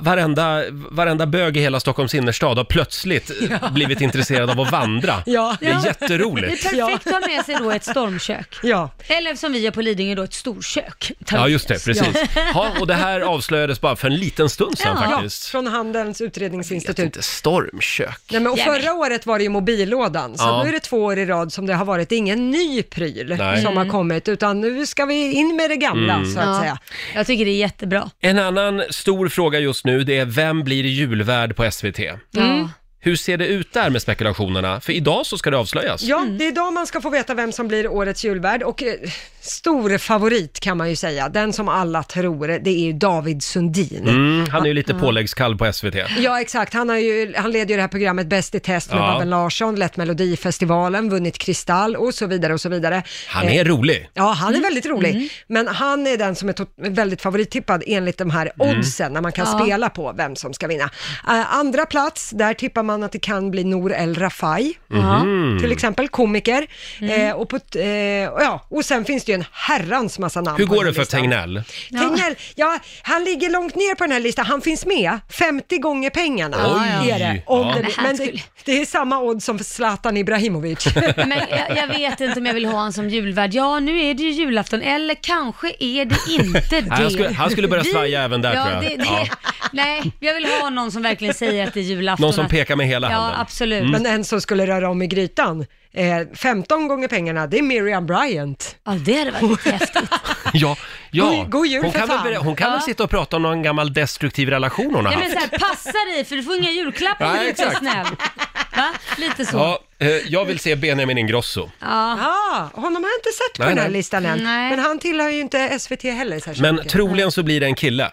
[SPEAKER 1] Varenda, varenda bög i hela Stockholms innerstad har plötsligt eh, blivit intresserad av att vandra.
[SPEAKER 2] Ja.
[SPEAKER 1] Det är
[SPEAKER 4] Ja. Det är
[SPEAKER 1] jätteroligt.
[SPEAKER 4] perfekt att ha med sig då ett stormkök.
[SPEAKER 2] Ja.
[SPEAKER 4] Eller som vi gör på Lidingö då, ett storkök.
[SPEAKER 1] Ja, just det, precis. Ja, och det här avslöjades bara för en liten stund sedan
[SPEAKER 4] Ja.
[SPEAKER 1] faktiskt.
[SPEAKER 2] Från Handelns
[SPEAKER 1] Jag vet
[SPEAKER 2] utredningsinstitut.
[SPEAKER 1] inte, stormkök.
[SPEAKER 2] Nej, men, och
[SPEAKER 4] Jävlar.
[SPEAKER 2] förra året var det ju mobillådan, så
[SPEAKER 1] Ja.
[SPEAKER 2] nu är det två år i rad som det har varit. Det är ingen ny pryl
[SPEAKER 1] Nej. Mm.
[SPEAKER 2] som har kommit, utan nu ska vi in med det gamla, så att
[SPEAKER 4] Ja.
[SPEAKER 2] säga.
[SPEAKER 4] Jag tycker det är jättebra.
[SPEAKER 1] En annan stor fråga just nu, det är vem blir julvärd på SVT?
[SPEAKER 4] Ja.
[SPEAKER 1] Hur ser det ut där med spekulationerna? För idag så ska det avslöjas.
[SPEAKER 2] Ja, det är idag man ska få veta vem som blir årets julvärd och eh, stor favorit kan man ju säga, den som alla tror, det är ju David Sundin.
[SPEAKER 1] Mm, han är ju lite påläggskall på SVT.
[SPEAKER 2] Ja, exakt. Han, har ju, han leder ju det här programmet Bäst i test med
[SPEAKER 1] Ja.
[SPEAKER 2] Babben Larsson, lett Melodifestivalen, vunnit Kristall och så vidare och så vidare.
[SPEAKER 1] Han
[SPEAKER 2] Eh,
[SPEAKER 1] är Mm. rolig.
[SPEAKER 2] Ja, han är väldigt rolig. Men han är den som är to- väldigt favorittippad enligt de här
[SPEAKER 1] Mm.
[SPEAKER 2] oddsen när man kan
[SPEAKER 4] Ja.
[SPEAKER 2] spela på vem som ska vinna. Eh, andra plats, där tippar man att det kan bli Nour El Rafai,
[SPEAKER 1] Mhm. Mm.
[SPEAKER 2] till exempel, komiker. Eh, och, på, t- eh, och ja, och sen finns det ju en herrans massa namn
[SPEAKER 1] Hur
[SPEAKER 2] på
[SPEAKER 1] går det
[SPEAKER 2] den
[SPEAKER 1] för
[SPEAKER 2] listan.
[SPEAKER 1] Tegnell?
[SPEAKER 2] Ja. Tegnell, ja, han ligger långt ner på den här listan. Han finns med 50 gånger pengarna.
[SPEAKER 1] Oj.
[SPEAKER 2] Är det, om
[SPEAKER 1] Ja.
[SPEAKER 2] det,
[SPEAKER 4] Men
[SPEAKER 2] blir-
[SPEAKER 4] han
[SPEAKER 2] men det,
[SPEAKER 4] skulle-
[SPEAKER 2] det är samma odds som för Zlatan Ibrahimovic.
[SPEAKER 1] Mm.
[SPEAKER 4] Men jag, jag vet inte om jag vill ha honom som julvärd. Ja, nu är det ju julafton, eller kanske är det inte det.
[SPEAKER 1] Nej, han skulle- han skulle börja svaja även där,
[SPEAKER 4] ja,
[SPEAKER 1] tror jag.
[SPEAKER 4] Det, det,
[SPEAKER 1] Ja.
[SPEAKER 4] Nej, jag vill ha någon som verkligen säger att det är julafton.
[SPEAKER 1] Någon som
[SPEAKER 4] att-
[SPEAKER 1] pekar med hela
[SPEAKER 4] Ja,
[SPEAKER 1] handen. Mm.
[SPEAKER 4] absolut.
[SPEAKER 2] Men en som skulle röra om i grytan, eh, 15 gånger pengarna, det är Miriam Bryant.
[SPEAKER 4] Ja, det hade varit lite häftigt.
[SPEAKER 1] Ja, ja.
[SPEAKER 2] God- god jul
[SPEAKER 1] hon
[SPEAKER 2] för
[SPEAKER 1] kan, väl,
[SPEAKER 2] fan.
[SPEAKER 1] berä- hon kan väl
[SPEAKER 4] Ja.
[SPEAKER 1] sitta och prata om någon gammal destruktiv relation hon har
[SPEAKER 4] Nej,
[SPEAKER 1] haft.
[SPEAKER 4] men så här, passa dig för du får inga julklappar om
[SPEAKER 1] Nej,
[SPEAKER 4] du inte är
[SPEAKER 1] exakt.
[SPEAKER 4] snäll. Va? Lite så.
[SPEAKER 1] Ja, eh, jag vill se Benjamin Ingrosso.
[SPEAKER 4] Ja.
[SPEAKER 2] Ah, honom har jag inte sett på
[SPEAKER 1] Nej,
[SPEAKER 2] den här
[SPEAKER 1] nej.
[SPEAKER 2] listan än.
[SPEAKER 4] Nej.
[SPEAKER 2] Men han tillhör ju inte SVT heller särskilt
[SPEAKER 1] Men
[SPEAKER 2] mycket.
[SPEAKER 1] troligen så blir det en kille.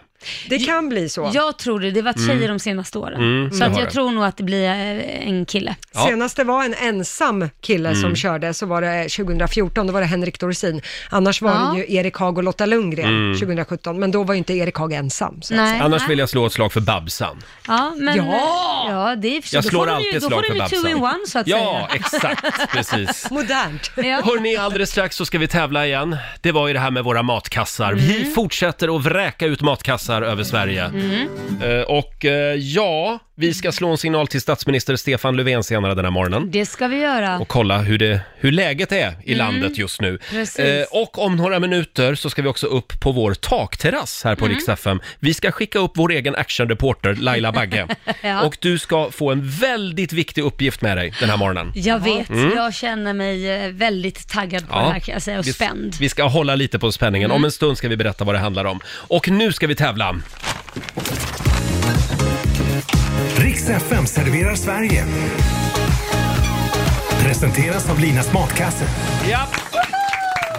[SPEAKER 2] Det kan bli så.
[SPEAKER 4] Jag tror det. Det var tjejer de senaste åren. så
[SPEAKER 1] Mm. det
[SPEAKER 4] att
[SPEAKER 1] har
[SPEAKER 4] jag
[SPEAKER 1] det.
[SPEAKER 4] tror nog att det blir eh, en kille.
[SPEAKER 1] Ja. Mm.
[SPEAKER 2] Senast det var en ensam kille som körde så var det 2014, då var det Henrik Dorsin. Annars var
[SPEAKER 4] Ja.
[SPEAKER 2] det ju Erik Haag och Lotta Lundgren
[SPEAKER 1] Mm.
[SPEAKER 2] 2017, men då var ju inte Erik Haag ensam. Så.
[SPEAKER 4] Nej.
[SPEAKER 1] Annars vill jag slå ett slag för Babsan.
[SPEAKER 4] Ja, men
[SPEAKER 2] Ja!
[SPEAKER 4] ja! ja det är för sig.
[SPEAKER 1] Jag
[SPEAKER 4] Då
[SPEAKER 1] slår
[SPEAKER 4] får de
[SPEAKER 1] alltid
[SPEAKER 4] ju,
[SPEAKER 1] ett slag för
[SPEAKER 4] Då får de ju two in
[SPEAKER 1] Babsan.
[SPEAKER 4] one så att
[SPEAKER 1] Ja,
[SPEAKER 4] säga.
[SPEAKER 1] exakt. Precis.
[SPEAKER 2] Modernt.
[SPEAKER 4] Ja.
[SPEAKER 1] Hörni, alldeles strax så ska vi tävla igen. Det var ju det här med våra matkassar.
[SPEAKER 4] Mm.
[SPEAKER 1] Vi fortsätter att vräka ut matkassar över Sverige. Eh, och eh, ja, vi ska slå en signal till statsminister Stefan Löfven senare den här morgonen
[SPEAKER 4] Det ska vi göra.
[SPEAKER 1] och kolla hur, det, hur läget är i landet just nu.
[SPEAKER 4] Mm.
[SPEAKER 1] Eh,
[SPEAKER 4] precis.
[SPEAKER 1] och om några minuter så ska vi också upp på vår takterrass här på
[SPEAKER 4] Mm.
[SPEAKER 1] Rix FM. Vi ska skicka upp vår egen actionreporter Laila Bagge.
[SPEAKER 4] Ja.
[SPEAKER 1] Och du ska få en väldigt viktig uppgift med dig den här morgonen.
[SPEAKER 4] Jag vet,
[SPEAKER 1] Mm.
[SPEAKER 4] jag känner mig eh, väldigt taggad på det här kan jag säga och
[SPEAKER 1] vi,
[SPEAKER 4] spänd. Mm.
[SPEAKER 1] Vi ska hålla lite på spänningen. Om en stund ska vi berätta vad det handlar om. Och nu ska vi tävla.
[SPEAKER 8] Riks FM serverar Sverige. Presenteras av Linas Matkasse.
[SPEAKER 1] Ja.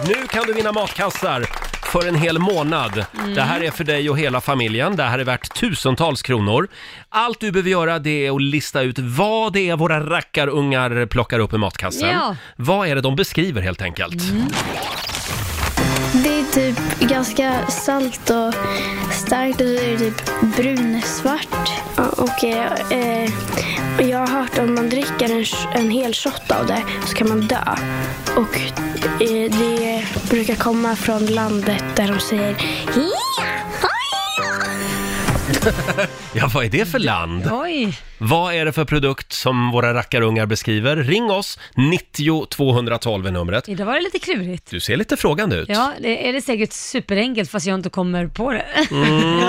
[SPEAKER 1] Nu kan du vinna matkassar för en hel månad. Det här är för dig och hela familjen. Det här är värt tusentals kronor. Allt du behöver göra det är att lista ut vad det är våra rackarungar plockar upp i matkassen.
[SPEAKER 4] Ja. Mm.
[SPEAKER 1] Vad är det de beskriver helt enkelt?
[SPEAKER 9] Det är typ ganska salt och starkt och så är det typ brunsvart. Och eh, eh, jag har hört om man dricker en, sh- en hel shot av det så kan man dö. Och eh, det brukar komma från landet där de säger
[SPEAKER 1] Ja, vad är det för land?
[SPEAKER 4] Oj,
[SPEAKER 1] Vad är det för produkt som våra rackarungar beskriver? Ring oss, 90 212 är numret.
[SPEAKER 4] idag var det lite klurigt.
[SPEAKER 1] Du ser lite frågande ut.
[SPEAKER 4] Ja, det är det säkert superenkelt fast jag inte kommer på det.
[SPEAKER 1] Mm.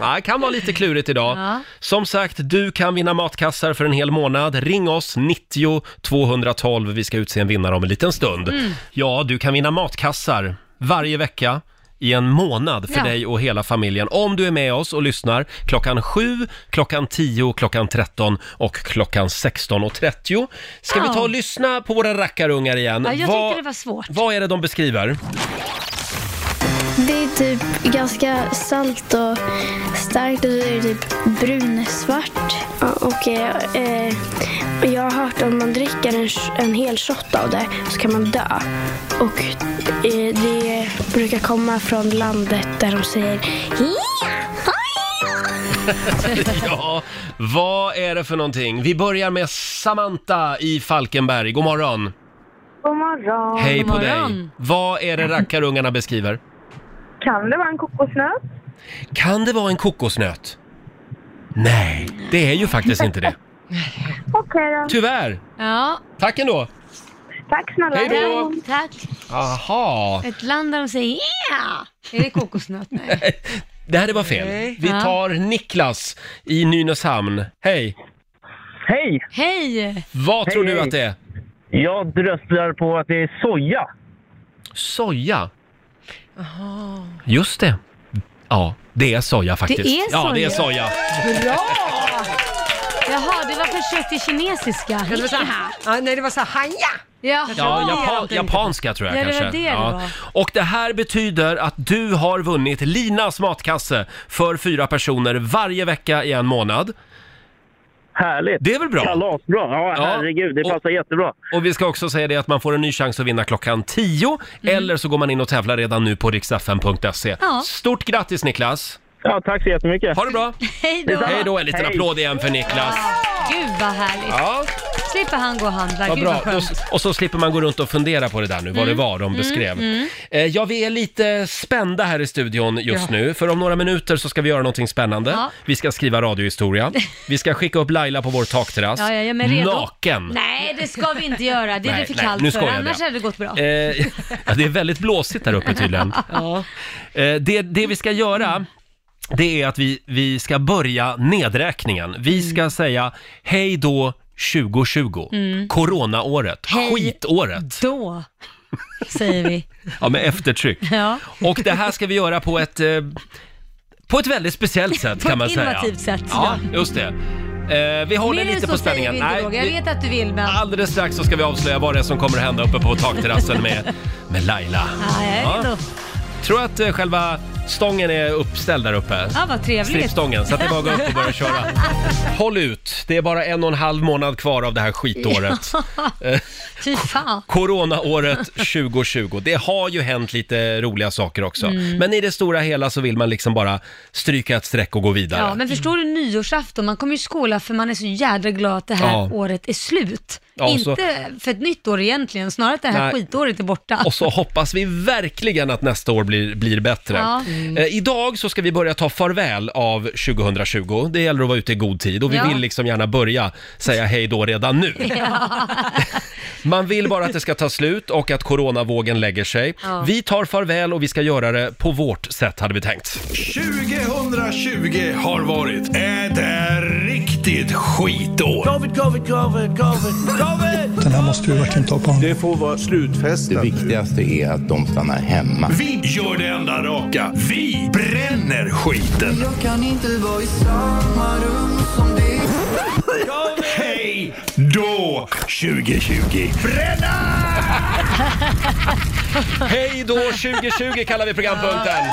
[SPEAKER 1] Ja, det kan vara lite klurigt idag.
[SPEAKER 4] Ja.
[SPEAKER 1] Som sagt, du kan vinna matkassar för en hel månad. Ring oss, 90 212. Vi ska utse en vinnare om en liten stund.
[SPEAKER 4] Mm.
[SPEAKER 1] Ja, du kan vinna matkassar varje vecka i en månad för
[SPEAKER 4] Ja.
[SPEAKER 1] dig och hela familjen. Om du är med oss och lyssnar klockan 7, klockan 10, klockan 13 och klockan 16.30. Ska vi
[SPEAKER 4] Ja.
[SPEAKER 1] ta och lyssna på våra rackarungar igen?
[SPEAKER 4] Ja, jag tyckte
[SPEAKER 1] Vad-
[SPEAKER 4] det var svårt.
[SPEAKER 1] Vad är det de beskriver?
[SPEAKER 9] Det är typ ganska salt och starkt och så är det typ brunsvart. Och eh, eh, jag har hört om man dricker en, sh- en hel shot av det så kan man dö. Och eh, det brukar komma från landet där de säger
[SPEAKER 1] Ja, vad är det för någonting? Vi börjar med Samantha i Falkenberg. God morgon!
[SPEAKER 10] God morgon.
[SPEAKER 1] Hej
[SPEAKER 4] God
[SPEAKER 1] på
[SPEAKER 4] morgon.
[SPEAKER 1] dig! Vad är det rackarungarna beskriver?
[SPEAKER 10] Kan det vara en kokosnöt?
[SPEAKER 1] Kan det vara en kokosnöt? Nej, det är ju faktiskt inte det.
[SPEAKER 10] Okej då.
[SPEAKER 1] Tyvärr!
[SPEAKER 4] Ja,
[SPEAKER 1] Tack ändå!
[SPEAKER 10] Tack snälla.
[SPEAKER 1] Hej då!
[SPEAKER 4] tack, tack.
[SPEAKER 1] Aha.
[SPEAKER 4] Ett land där de säger yeah! Är det kokosnöt? Nej.
[SPEAKER 1] Det här var fel.
[SPEAKER 2] Nej.
[SPEAKER 1] Vi tar Niklas i Nynäshamn. Hej!
[SPEAKER 11] Hej!
[SPEAKER 4] Hej!
[SPEAKER 1] Vad tror
[SPEAKER 11] Hej,
[SPEAKER 1] du
[SPEAKER 11] hej.
[SPEAKER 1] att det är?
[SPEAKER 11] Jag dröstar på att det är soja.
[SPEAKER 1] Soja. Just det. Ja, det är soja faktiskt.
[SPEAKER 4] är
[SPEAKER 1] Ja, det är
[SPEAKER 4] soja.
[SPEAKER 1] soja.
[SPEAKER 4] Bra! Jag Jaha, det var försök till kinesiska.
[SPEAKER 2] Ja, det var så här, ja, nej, det var så här, hanja!
[SPEAKER 4] Ja,
[SPEAKER 1] Ja, japa- japanska tror jag
[SPEAKER 4] Ja, det
[SPEAKER 1] kanske.
[SPEAKER 4] var det det var.
[SPEAKER 1] Och det här betyder att du har vunnit Linas matkasse för fyra personer varje vecka i en månad.
[SPEAKER 11] Härligt!
[SPEAKER 1] Det är väl bra?
[SPEAKER 11] Kalasbra! Ja, herregud, det passar jättebra.
[SPEAKER 1] Och vi ska också säga det att man får en ny chans att vinna klockan 10 eller så går man in och tävlar redan nu på riksfn.se.
[SPEAKER 4] Mm. Ja.
[SPEAKER 1] Stort grattis Niklas!
[SPEAKER 11] Ja, tack så jättemycket!
[SPEAKER 1] Ha det bra!
[SPEAKER 4] Hej då.
[SPEAKER 1] Hej då! En liten
[SPEAKER 4] Hej.
[SPEAKER 1] applåd igen för Niklas.
[SPEAKER 4] Gud vad härligt.
[SPEAKER 1] Ja.
[SPEAKER 4] Slipper han gå och handla.
[SPEAKER 1] Vad
[SPEAKER 4] Gud
[SPEAKER 1] bra.
[SPEAKER 4] vad skönt.
[SPEAKER 1] Och- Och så slipper man gå runt och fundera på det där nu, vad
[SPEAKER 4] Mm.
[SPEAKER 1] det var de
[SPEAKER 4] Mm,
[SPEAKER 1] beskrev.
[SPEAKER 4] mm.
[SPEAKER 1] Eh, Ja, vi är lite spända här i studion just
[SPEAKER 4] Ja.
[SPEAKER 1] nu, för om några minuter så ska vi göra någonting spännande.
[SPEAKER 4] Ja.
[SPEAKER 1] Vi ska skriva radiohistoria. Vi ska skicka upp Laila på vår takterrass.
[SPEAKER 4] Ja, ja, jag är redo.
[SPEAKER 1] Naken!
[SPEAKER 4] Nej, det ska vi inte göra. Det är
[SPEAKER 1] Nej,
[SPEAKER 4] det för
[SPEAKER 1] nej,
[SPEAKER 4] kallt
[SPEAKER 1] nu
[SPEAKER 4] för.
[SPEAKER 1] skojar jag
[SPEAKER 4] Annars
[SPEAKER 1] bara.
[SPEAKER 4] hade det gått bra.
[SPEAKER 1] Eh, ja, det är väldigt blåsigt där uppe tydligen.
[SPEAKER 4] Ja.
[SPEAKER 1] Eh, det, det vi ska göra, det är att vi, vi ska börja nedräkningen. Vi ska säga hej då 2020,
[SPEAKER 4] Mm.
[SPEAKER 1] coronaåret,
[SPEAKER 4] Hej
[SPEAKER 1] skitåret.
[SPEAKER 4] Då, säger vi.
[SPEAKER 1] Ja, med eftertryck.
[SPEAKER 4] Ja.
[SPEAKER 1] Och det här ska vi göra på ett, eh, på ett väldigt speciellt sätt
[SPEAKER 4] På
[SPEAKER 1] kan man
[SPEAKER 4] ett
[SPEAKER 1] säga.
[SPEAKER 4] innovativt sätt,
[SPEAKER 1] Ja,
[SPEAKER 4] ja.
[SPEAKER 1] just det. Eh, vi håller
[SPEAKER 4] Mer än
[SPEAKER 1] lite
[SPEAKER 4] så
[SPEAKER 1] på
[SPEAKER 4] säger
[SPEAKER 1] spänningen. Ah.
[SPEAKER 4] vi inte, Roger. Jag vet att du vill, men...
[SPEAKER 1] Alldeles strax så ska vi avslöja vad det är som kommer att hända uppe på takterrassen med, med Laila.
[SPEAKER 4] Ja, jag är redo.
[SPEAKER 1] Tror att eh, själva stången är uppställd där uppe.
[SPEAKER 4] Ja, vad trevligt.
[SPEAKER 1] Strippstången, så att det är bara att gå upp och börja köra. Håll ut, det är bara en och en halv månad kvar av det här skitåret. Eh,
[SPEAKER 4] Fy fan.
[SPEAKER 1] Coronaåret 2020. Det har ju hänt lite roliga saker också.
[SPEAKER 4] Mm.
[SPEAKER 1] Men i det stora hela så vill man liksom bara stryka ett streck och gå vidare.
[SPEAKER 4] Ja, men förstår du nyårsafton, man kommer ju skåla för man är så jädra glad att det här
[SPEAKER 1] Ja.
[SPEAKER 4] året är slut.
[SPEAKER 1] Ja,
[SPEAKER 4] Inte
[SPEAKER 1] så-
[SPEAKER 4] för ett nytt år egentligen, snarare att det här
[SPEAKER 1] Nej.
[SPEAKER 4] skitåret är borta.
[SPEAKER 1] Och så hoppas vi verkligen att nästa år blir, blir bättre.
[SPEAKER 4] Ja. Mm.
[SPEAKER 1] Eh, idag så ska vi börja ta farväl av 2020. Det gäller att vara ute i god tid och vi
[SPEAKER 4] Ja.
[SPEAKER 1] vill liksom gärna börja säga hej då redan nu.
[SPEAKER 4] Ja.
[SPEAKER 1] Man vill bara att det ska ta slut och att coronavågen lägger sig.
[SPEAKER 3] Ja.
[SPEAKER 1] Vi tar farväl och vi ska göra det på vårt sätt hade vi tänkt.
[SPEAKER 3] 2020 har varit ett riktigt skitår. Covid, covid, covid, covid, covid!
[SPEAKER 8] Den här måste vi verkligen ta på.
[SPEAKER 3] Det får vara slutfesten.
[SPEAKER 12] Det viktigaste är att de stannar hemma.
[SPEAKER 3] Vi gör det enda raka. Vi bränner skiten.
[SPEAKER 6] Jag kan inte vara i samma rum som dig.
[SPEAKER 3] Hej då 2020.
[SPEAKER 1] Hej då 2020 kallar vi programpunkten.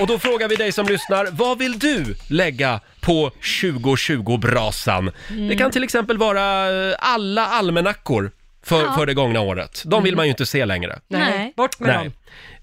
[SPEAKER 1] Och då frågar vi dig som lyssnar, vad vill du lägga på 2020-brasan?
[SPEAKER 4] Mm.
[SPEAKER 1] Det kan till exempel vara eh, alla almanackor för,
[SPEAKER 4] Ja. Mm.
[SPEAKER 1] för det gångna året. De vill man ju inte se längre.
[SPEAKER 2] Nej, bort med dem.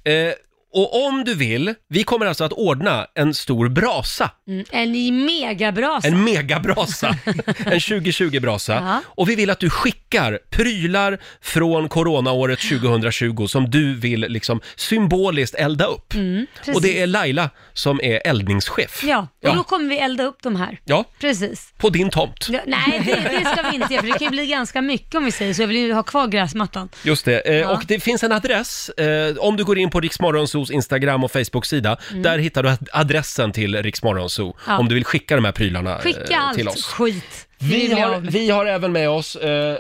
[SPEAKER 1] Eh, och om du vill, vi kommer alltså att ordna en stor brasa.
[SPEAKER 4] Mm, en megabrasa.
[SPEAKER 1] En megabrasa. En 2020-brasa.
[SPEAKER 4] Ja.
[SPEAKER 1] Och vi vill att du skickar prylar från coronaåret 2020 som du vill liksom symboliskt elda upp.
[SPEAKER 4] Mm, precis.
[SPEAKER 1] Och det är Laila som är eldningschef.
[SPEAKER 4] Ja, och
[SPEAKER 1] Ja.
[SPEAKER 4] då kommer vi elda upp de här.
[SPEAKER 1] Ja,
[SPEAKER 4] Precis.
[SPEAKER 1] på din tomt.
[SPEAKER 4] Ja, nej, det, det ska vi inte göra, för det kan ju bli ganska mycket om vi säger så. Jag vill ju ha kvar gräsmattan.
[SPEAKER 1] Just det. Eh,
[SPEAKER 4] Ja.
[SPEAKER 1] Och det finns en adress. Eh, om du går in på Riksmorgonsos Instagram och Facebook-sida,
[SPEAKER 4] Mm.
[SPEAKER 1] där hittar du ad- adressen till Riksmorgonso
[SPEAKER 4] Ja.
[SPEAKER 1] om du vill skicka de här prylarna eh,
[SPEAKER 4] Skicka allt
[SPEAKER 1] till oss.
[SPEAKER 4] skit.
[SPEAKER 1] Vi har, vi har även med oss eh,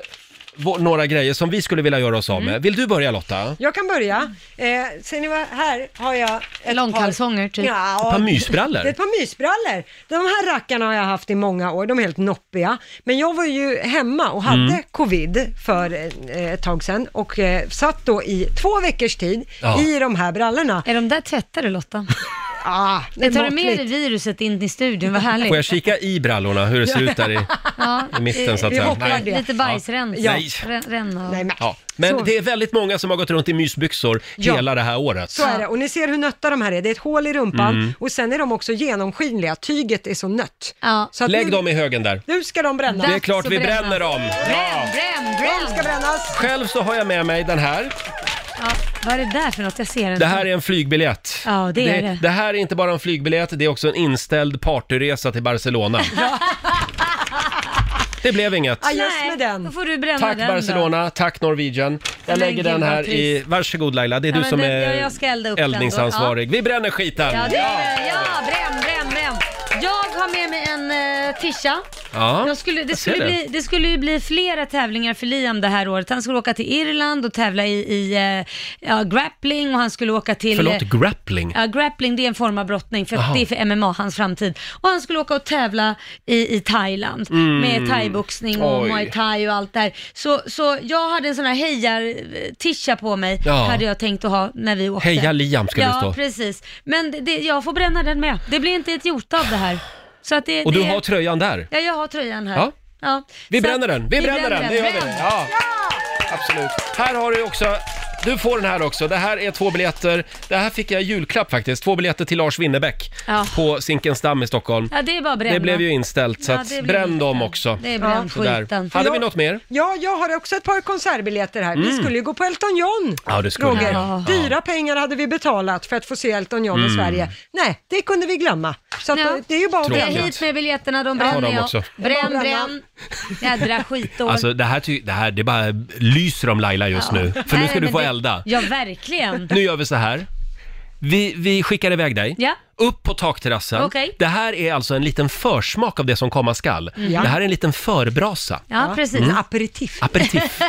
[SPEAKER 1] vå- några grejer som vi skulle vilja göra oss av med. Vill du börja Lotta?
[SPEAKER 2] Jag kan börja. Eh, ser ni vad, här har jag ett
[SPEAKER 4] Långkalsonger,
[SPEAKER 2] par...
[SPEAKER 4] typ.
[SPEAKER 2] Ja,
[SPEAKER 1] Ett par mysbrallor.
[SPEAKER 2] Det är ett par mysbrallor. De här rackarna har jag haft i många år, de är helt noppiga. Men jag var ju hemma och hade
[SPEAKER 13] Mm.
[SPEAKER 2] covid för eh, ett tag sedan och eh, satt då i två veckors tid
[SPEAKER 4] Ja.
[SPEAKER 2] i de här brallorna.
[SPEAKER 4] Är de där tvättade Lotta?
[SPEAKER 2] Ja, det är
[SPEAKER 4] Jag tar du med
[SPEAKER 2] måttligt.
[SPEAKER 4] dig viruset in i studion, vad härligt.
[SPEAKER 1] Får jag kika i brallorna hur det ser ut där i...
[SPEAKER 4] ja,
[SPEAKER 1] i mitten, så att
[SPEAKER 4] vi
[SPEAKER 1] säga.
[SPEAKER 4] hoppar
[SPEAKER 1] Nej.
[SPEAKER 4] det. Lite bajsrens.
[SPEAKER 1] Ja. Nej.
[SPEAKER 4] Ren- Renna. Nej,
[SPEAKER 2] men.
[SPEAKER 1] Ja. Men
[SPEAKER 2] Så.
[SPEAKER 1] det är väldigt många som har gått runt i mysbyxor
[SPEAKER 2] Ja.
[SPEAKER 1] hela det här året.
[SPEAKER 2] Så är det, och ni ser hur nötta de här är. Det är ett hål i rumpan
[SPEAKER 1] Mm.
[SPEAKER 2] och sen är de också genomskinliga, tyget är så nött. Så att
[SPEAKER 1] Lägg
[SPEAKER 2] nu,
[SPEAKER 1] dem i högen där.
[SPEAKER 2] Nu ska de brännas.
[SPEAKER 1] Det är klart vi bränner dem. Ja.
[SPEAKER 4] Bränn,
[SPEAKER 2] bränn! De ska brännas.
[SPEAKER 1] Själv så har jag med mig den här.
[SPEAKER 4] Ja, vad är det där för något? Jag ser inte.
[SPEAKER 1] Det här är en flygbiljett.
[SPEAKER 4] Ja, det är det.
[SPEAKER 1] här är inte bara en flygbiljett, det är också en inställd partyresa till Barcelona. Det blev inget.
[SPEAKER 2] Ja, just med den. Då
[SPEAKER 4] får du bränna
[SPEAKER 1] Tack
[SPEAKER 4] den
[SPEAKER 1] Barcelona, tack Norwegian. Jag
[SPEAKER 4] Men
[SPEAKER 1] lägger den
[SPEAKER 4] gud,
[SPEAKER 1] här
[SPEAKER 4] vad trist.
[SPEAKER 1] i... Varsågod Laila, det är
[SPEAKER 4] Ja,
[SPEAKER 1] du
[SPEAKER 4] men
[SPEAKER 1] som
[SPEAKER 4] den-
[SPEAKER 1] är
[SPEAKER 4] jag- jag ska elda upp den då.
[SPEAKER 1] eldningsansvarig. Vi bränner skiten!
[SPEAKER 4] Ja, det är det. Ja, bränn, bränn, bränn. Jag har med mig en eh, eh, Tisha.
[SPEAKER 1] Ja,
[SPEAKER 4] Jag skulle, det,
[SPEAKER 1] jag
[SPEAKER 4] skulle
[SPEAKER 1] ser det.
[SPEAKER 4] Bli, det skulle ju bli flera tävlingar för Liam det här året. Han skulle åka till Irland och tävla i, i eh, ja, grappling och han skulle åka till...
[SPEAKER 1] Förlåt,
[SPEAKER 4] eh,
[SPEAKER 1] grappling?
[SPEAKER 4] Ja, grappling det är en form av brottning, för
[SPEAKER 1] Aha.
[SPEAKER 4] det är för MMA, hans framtid. Och han skulle åka och tävla i, i Thailand
[SPEAKER 1] Mm.
[SPEAKER 4] med thaiboxning och
[SPEAKER 1] Oj.
[SPEAKER 4] muay thai och allt där. Så, så jag hade en sån här hejar-tisha på mig,
[SPEAKER 1] Ja.
[SPEAKER 4] hade jag tänkt att ha när vi åkte.
[SPEAKER 1] Heja Liam ska det
[SPEAKER 4] ja,
[SPEAKER 1] stå.
[SPEAKER 4] Ja, precis. Men det, det, jag får bränna den med. Det blir inte ett jota av det här. Så att det,
[SPEAKER 1] Och du
[SPEAKER 4] det,
[SPEAKER 1] har tröjan där?
[SPEAKER 4] Ja, jag har tröjan här.
[SPEAKER 1] Ja. Vi
[SPEAKER 4] Så
[SPEAKER 1] bränner
[SPEAKER 4] att-
[SPEAKER 1] den, vi bränner den, det gör vi.
[SPEAKER 4] Men-
[SPEAKER 1] Ja, absolut. Här har du också, du får den här också. Det här är två biljetter, det här fick jag i julklapp faktiskt, två biljetter till Lars Winnerbäck
[SPEAKER 4] Ja.
[SPEAKER 1] på Zinkensdamm i Stockholm.
[SPEAKER 4] Ja, det är bara att bränna.
[SPEAKER 1] Det blev ju inställt, så
[SPEAKER 4] Ja,
[SPEAKER 1] att
[SPEAKER 4] det blev
[SPEAKER 1] bränn
[SPEAKER 4] inställt.
[SPEAKER 1] dem också.
[SPEAKER 4] Det är bränt
[SPEAKER 1] Sådär.
[SPEAKER 4] skiten.
[SPEAKER 1] Hade vi
[SPEAKER 4] Jag-
[SPEAKER 1] något mer?
[SPEAKER 2] Ja, jag har också ett par konsertbiljetter här. Vi
[SPEAKER 1] Mm.
[SPEAKER 2] skulle ju gå på Elton John,
[SPEAKER 1] Ja, det skulle
[SPEAKER 2] Roger.
[SPEAKER 1] vi. Ja.
[SPEAKER 2] Dyra pengar hade vi betalat för att få se Elton John i
[SPEAKER 1] Mm.
[SPEAKER 2] Sverige. Nej, det kunde vi glömma. Så att eh, det är ju bara att
[SPEAKER 1] Tråkigt.
[SPEAKER 2] bränna.
[SPEAKER 4] Hit med biljetterna, de
[SPEAKER 1] Ja,
[SPEAKER 4] bränner
[SPEAKER 1] de
[SPEAKER 4] jag.
[SPEAKER 1] också.
[SPEAKER 4] Bränn,
[SPEAKER 2] Ja,
[SPEAKER 4] bränn. Jädra skitår.
[SPEAKER 1] Alltså det här, ty- det här, det bara lyser om Laila just
[SPEAKER 4] Ja.
[SPEAKER 1] nu. För nu
[SPEAKER 4] Nej,
[SPEAKER 1] ska du
[SPEAKER 4] men
[SPEAKER 1] få
[SPEAKER 4] det-
[SPEAKER 1] elda.
[SPEAKER 4] Ja, verkligen.
[SPEAKER 1] Nu gör vi så här. Vi, vi skickar iväg dig.
[SPEAKER 4] Ja.
[SPEAKER 1] Upp på takterrassen.
[SPEAKER 4] Okej.
[SPEAKER 1] Det här är alltså en liten försmak av det som komma skall.
[SPEAKER 4] Mm. Ja.
[SPEAKER 1] Det här är en liten förbrasa.
[SPEAKER 4] Ja, precis.
[SPEAKER 1] Mm.
[SPEAKER 2] Aperitif.
[SPEAKER 1] Aperitif.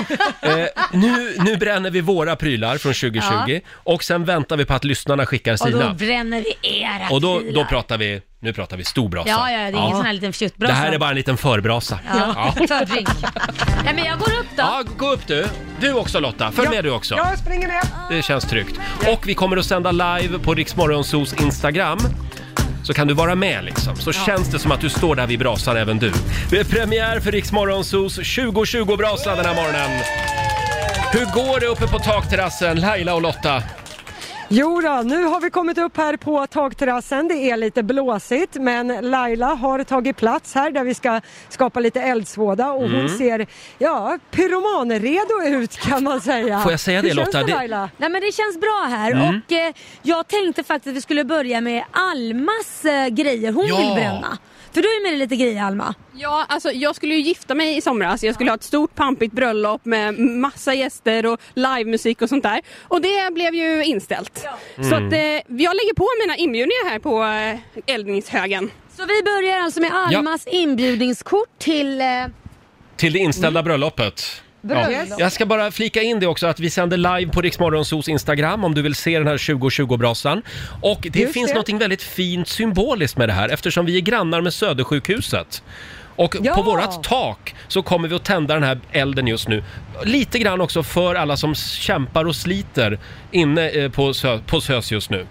[SPEAKER 1] eh, nu, nu bränner vi våra prylar från 2020
[SPEAKER 4] Ja.
[SPEAKER 1] och sen väntar vi på att lyssnarna skickar
[SPEAKER 4] Och
[SPEAKER 1] sina.
[SPEAKER 4] då bränner vi era
[SPEAKER 1] Och då,
[SPEAKER 4] bilar.
[SPEAKER 1] då pratar vi, nu pratar vi stor brasa.
[SPEAKER 4] Ja, ja, det är ingen sån här liten fjuttbrasa.
[SPEAKER 1] Det här är bara en liten förbrasa.
[SPEAKER 4] Ja,
[SPEAKER 1] Ja.
[SPEAKER 4] fördrink. Nej, men jag går upp då.
[SPEAKER 1] Ja, gå upp du. Du också Lotta, följ med du också.
[SPEAKER 2] Jag springer med.
[SPEAKER 1] Det känns tryggt. Och vi kommer att sända live på Riksmorgonsos Instagram. Så kan du vara med liksom, så känns det som att du står där vid brasan även du. Det är premiär för Riksmorgonsos 2020-brasa den här morgonen. Hur går det uppe på takterrassen, Laila och Lotta?
[SPEAKER 2] Jo då, nu har vi kommit upp här på takterrassen. Det är lite blåsigt men Laila har tagit plats här där vi ska skapa lite eldsvåda och hon
[SPEAKER 1] Mm.
[SPEAKER 2] ser, ja, pyromanredo ut kan man säga.
[SPEAKER 1] Får jag säga det,
[SPEAKER 2] Hur
[SPEAKER 1] Lotta?
[SPEAKER 2] Känns det,
[SPEAKER 1] Det-
[SPEAKER 2] Laila?
[SPEAKER 4] Nej men det känns bra här
[SPEAKER 1] Mm.
[SPEAKER 4] och eh, jag tänkte faktiskt att vi skulle börja med Almas eh, grejer hon
[SPEAKER 13] Ja.
[SPEAKER 4] vill bränna. För du är med dig lite grejer Alma.
[SPEAKER 13] Ja, alltså jag skulle ju gifta mig i somras. Jag skulle ha ett stort pampigt bröllop med massa gäster och livemusik och sånt där. Och det blev ju inställt. Så
[SPEAKER 14] Mm.
[SPEAKER 13] att, eh, jag lägger på mina inbjudningar här på eh, eldningshögen.
[SPEAKER 4] Så vi börjar alltså med Almas inbjudningskort till eh,
[SPEAKER 1] Till det inställda
[SPEAKER 2] Mm.
[SPEAKER 1] bröllopet.
[SPEAKER 4] Bröllop.
[SPEAKER 1] Ja. Jag ska bara flika in det också att vi sänder live på Riksmorgonsos Instagram om du vill se den här 2020-brasan. Och det
[SPEAKER 15] Just
[SPEAKER 1] finns
[SPEAKER 15] det.
[SPEAKER 1] något väldigt fint symboliskt med det här eftersom vi är grannar med Södersjukhuset. Och på vårat tak så kommer vi att tända den här elden just nu. Lite grann också för alla som kämpar och sliter inne eh, på, Sö- på SÖS just nu.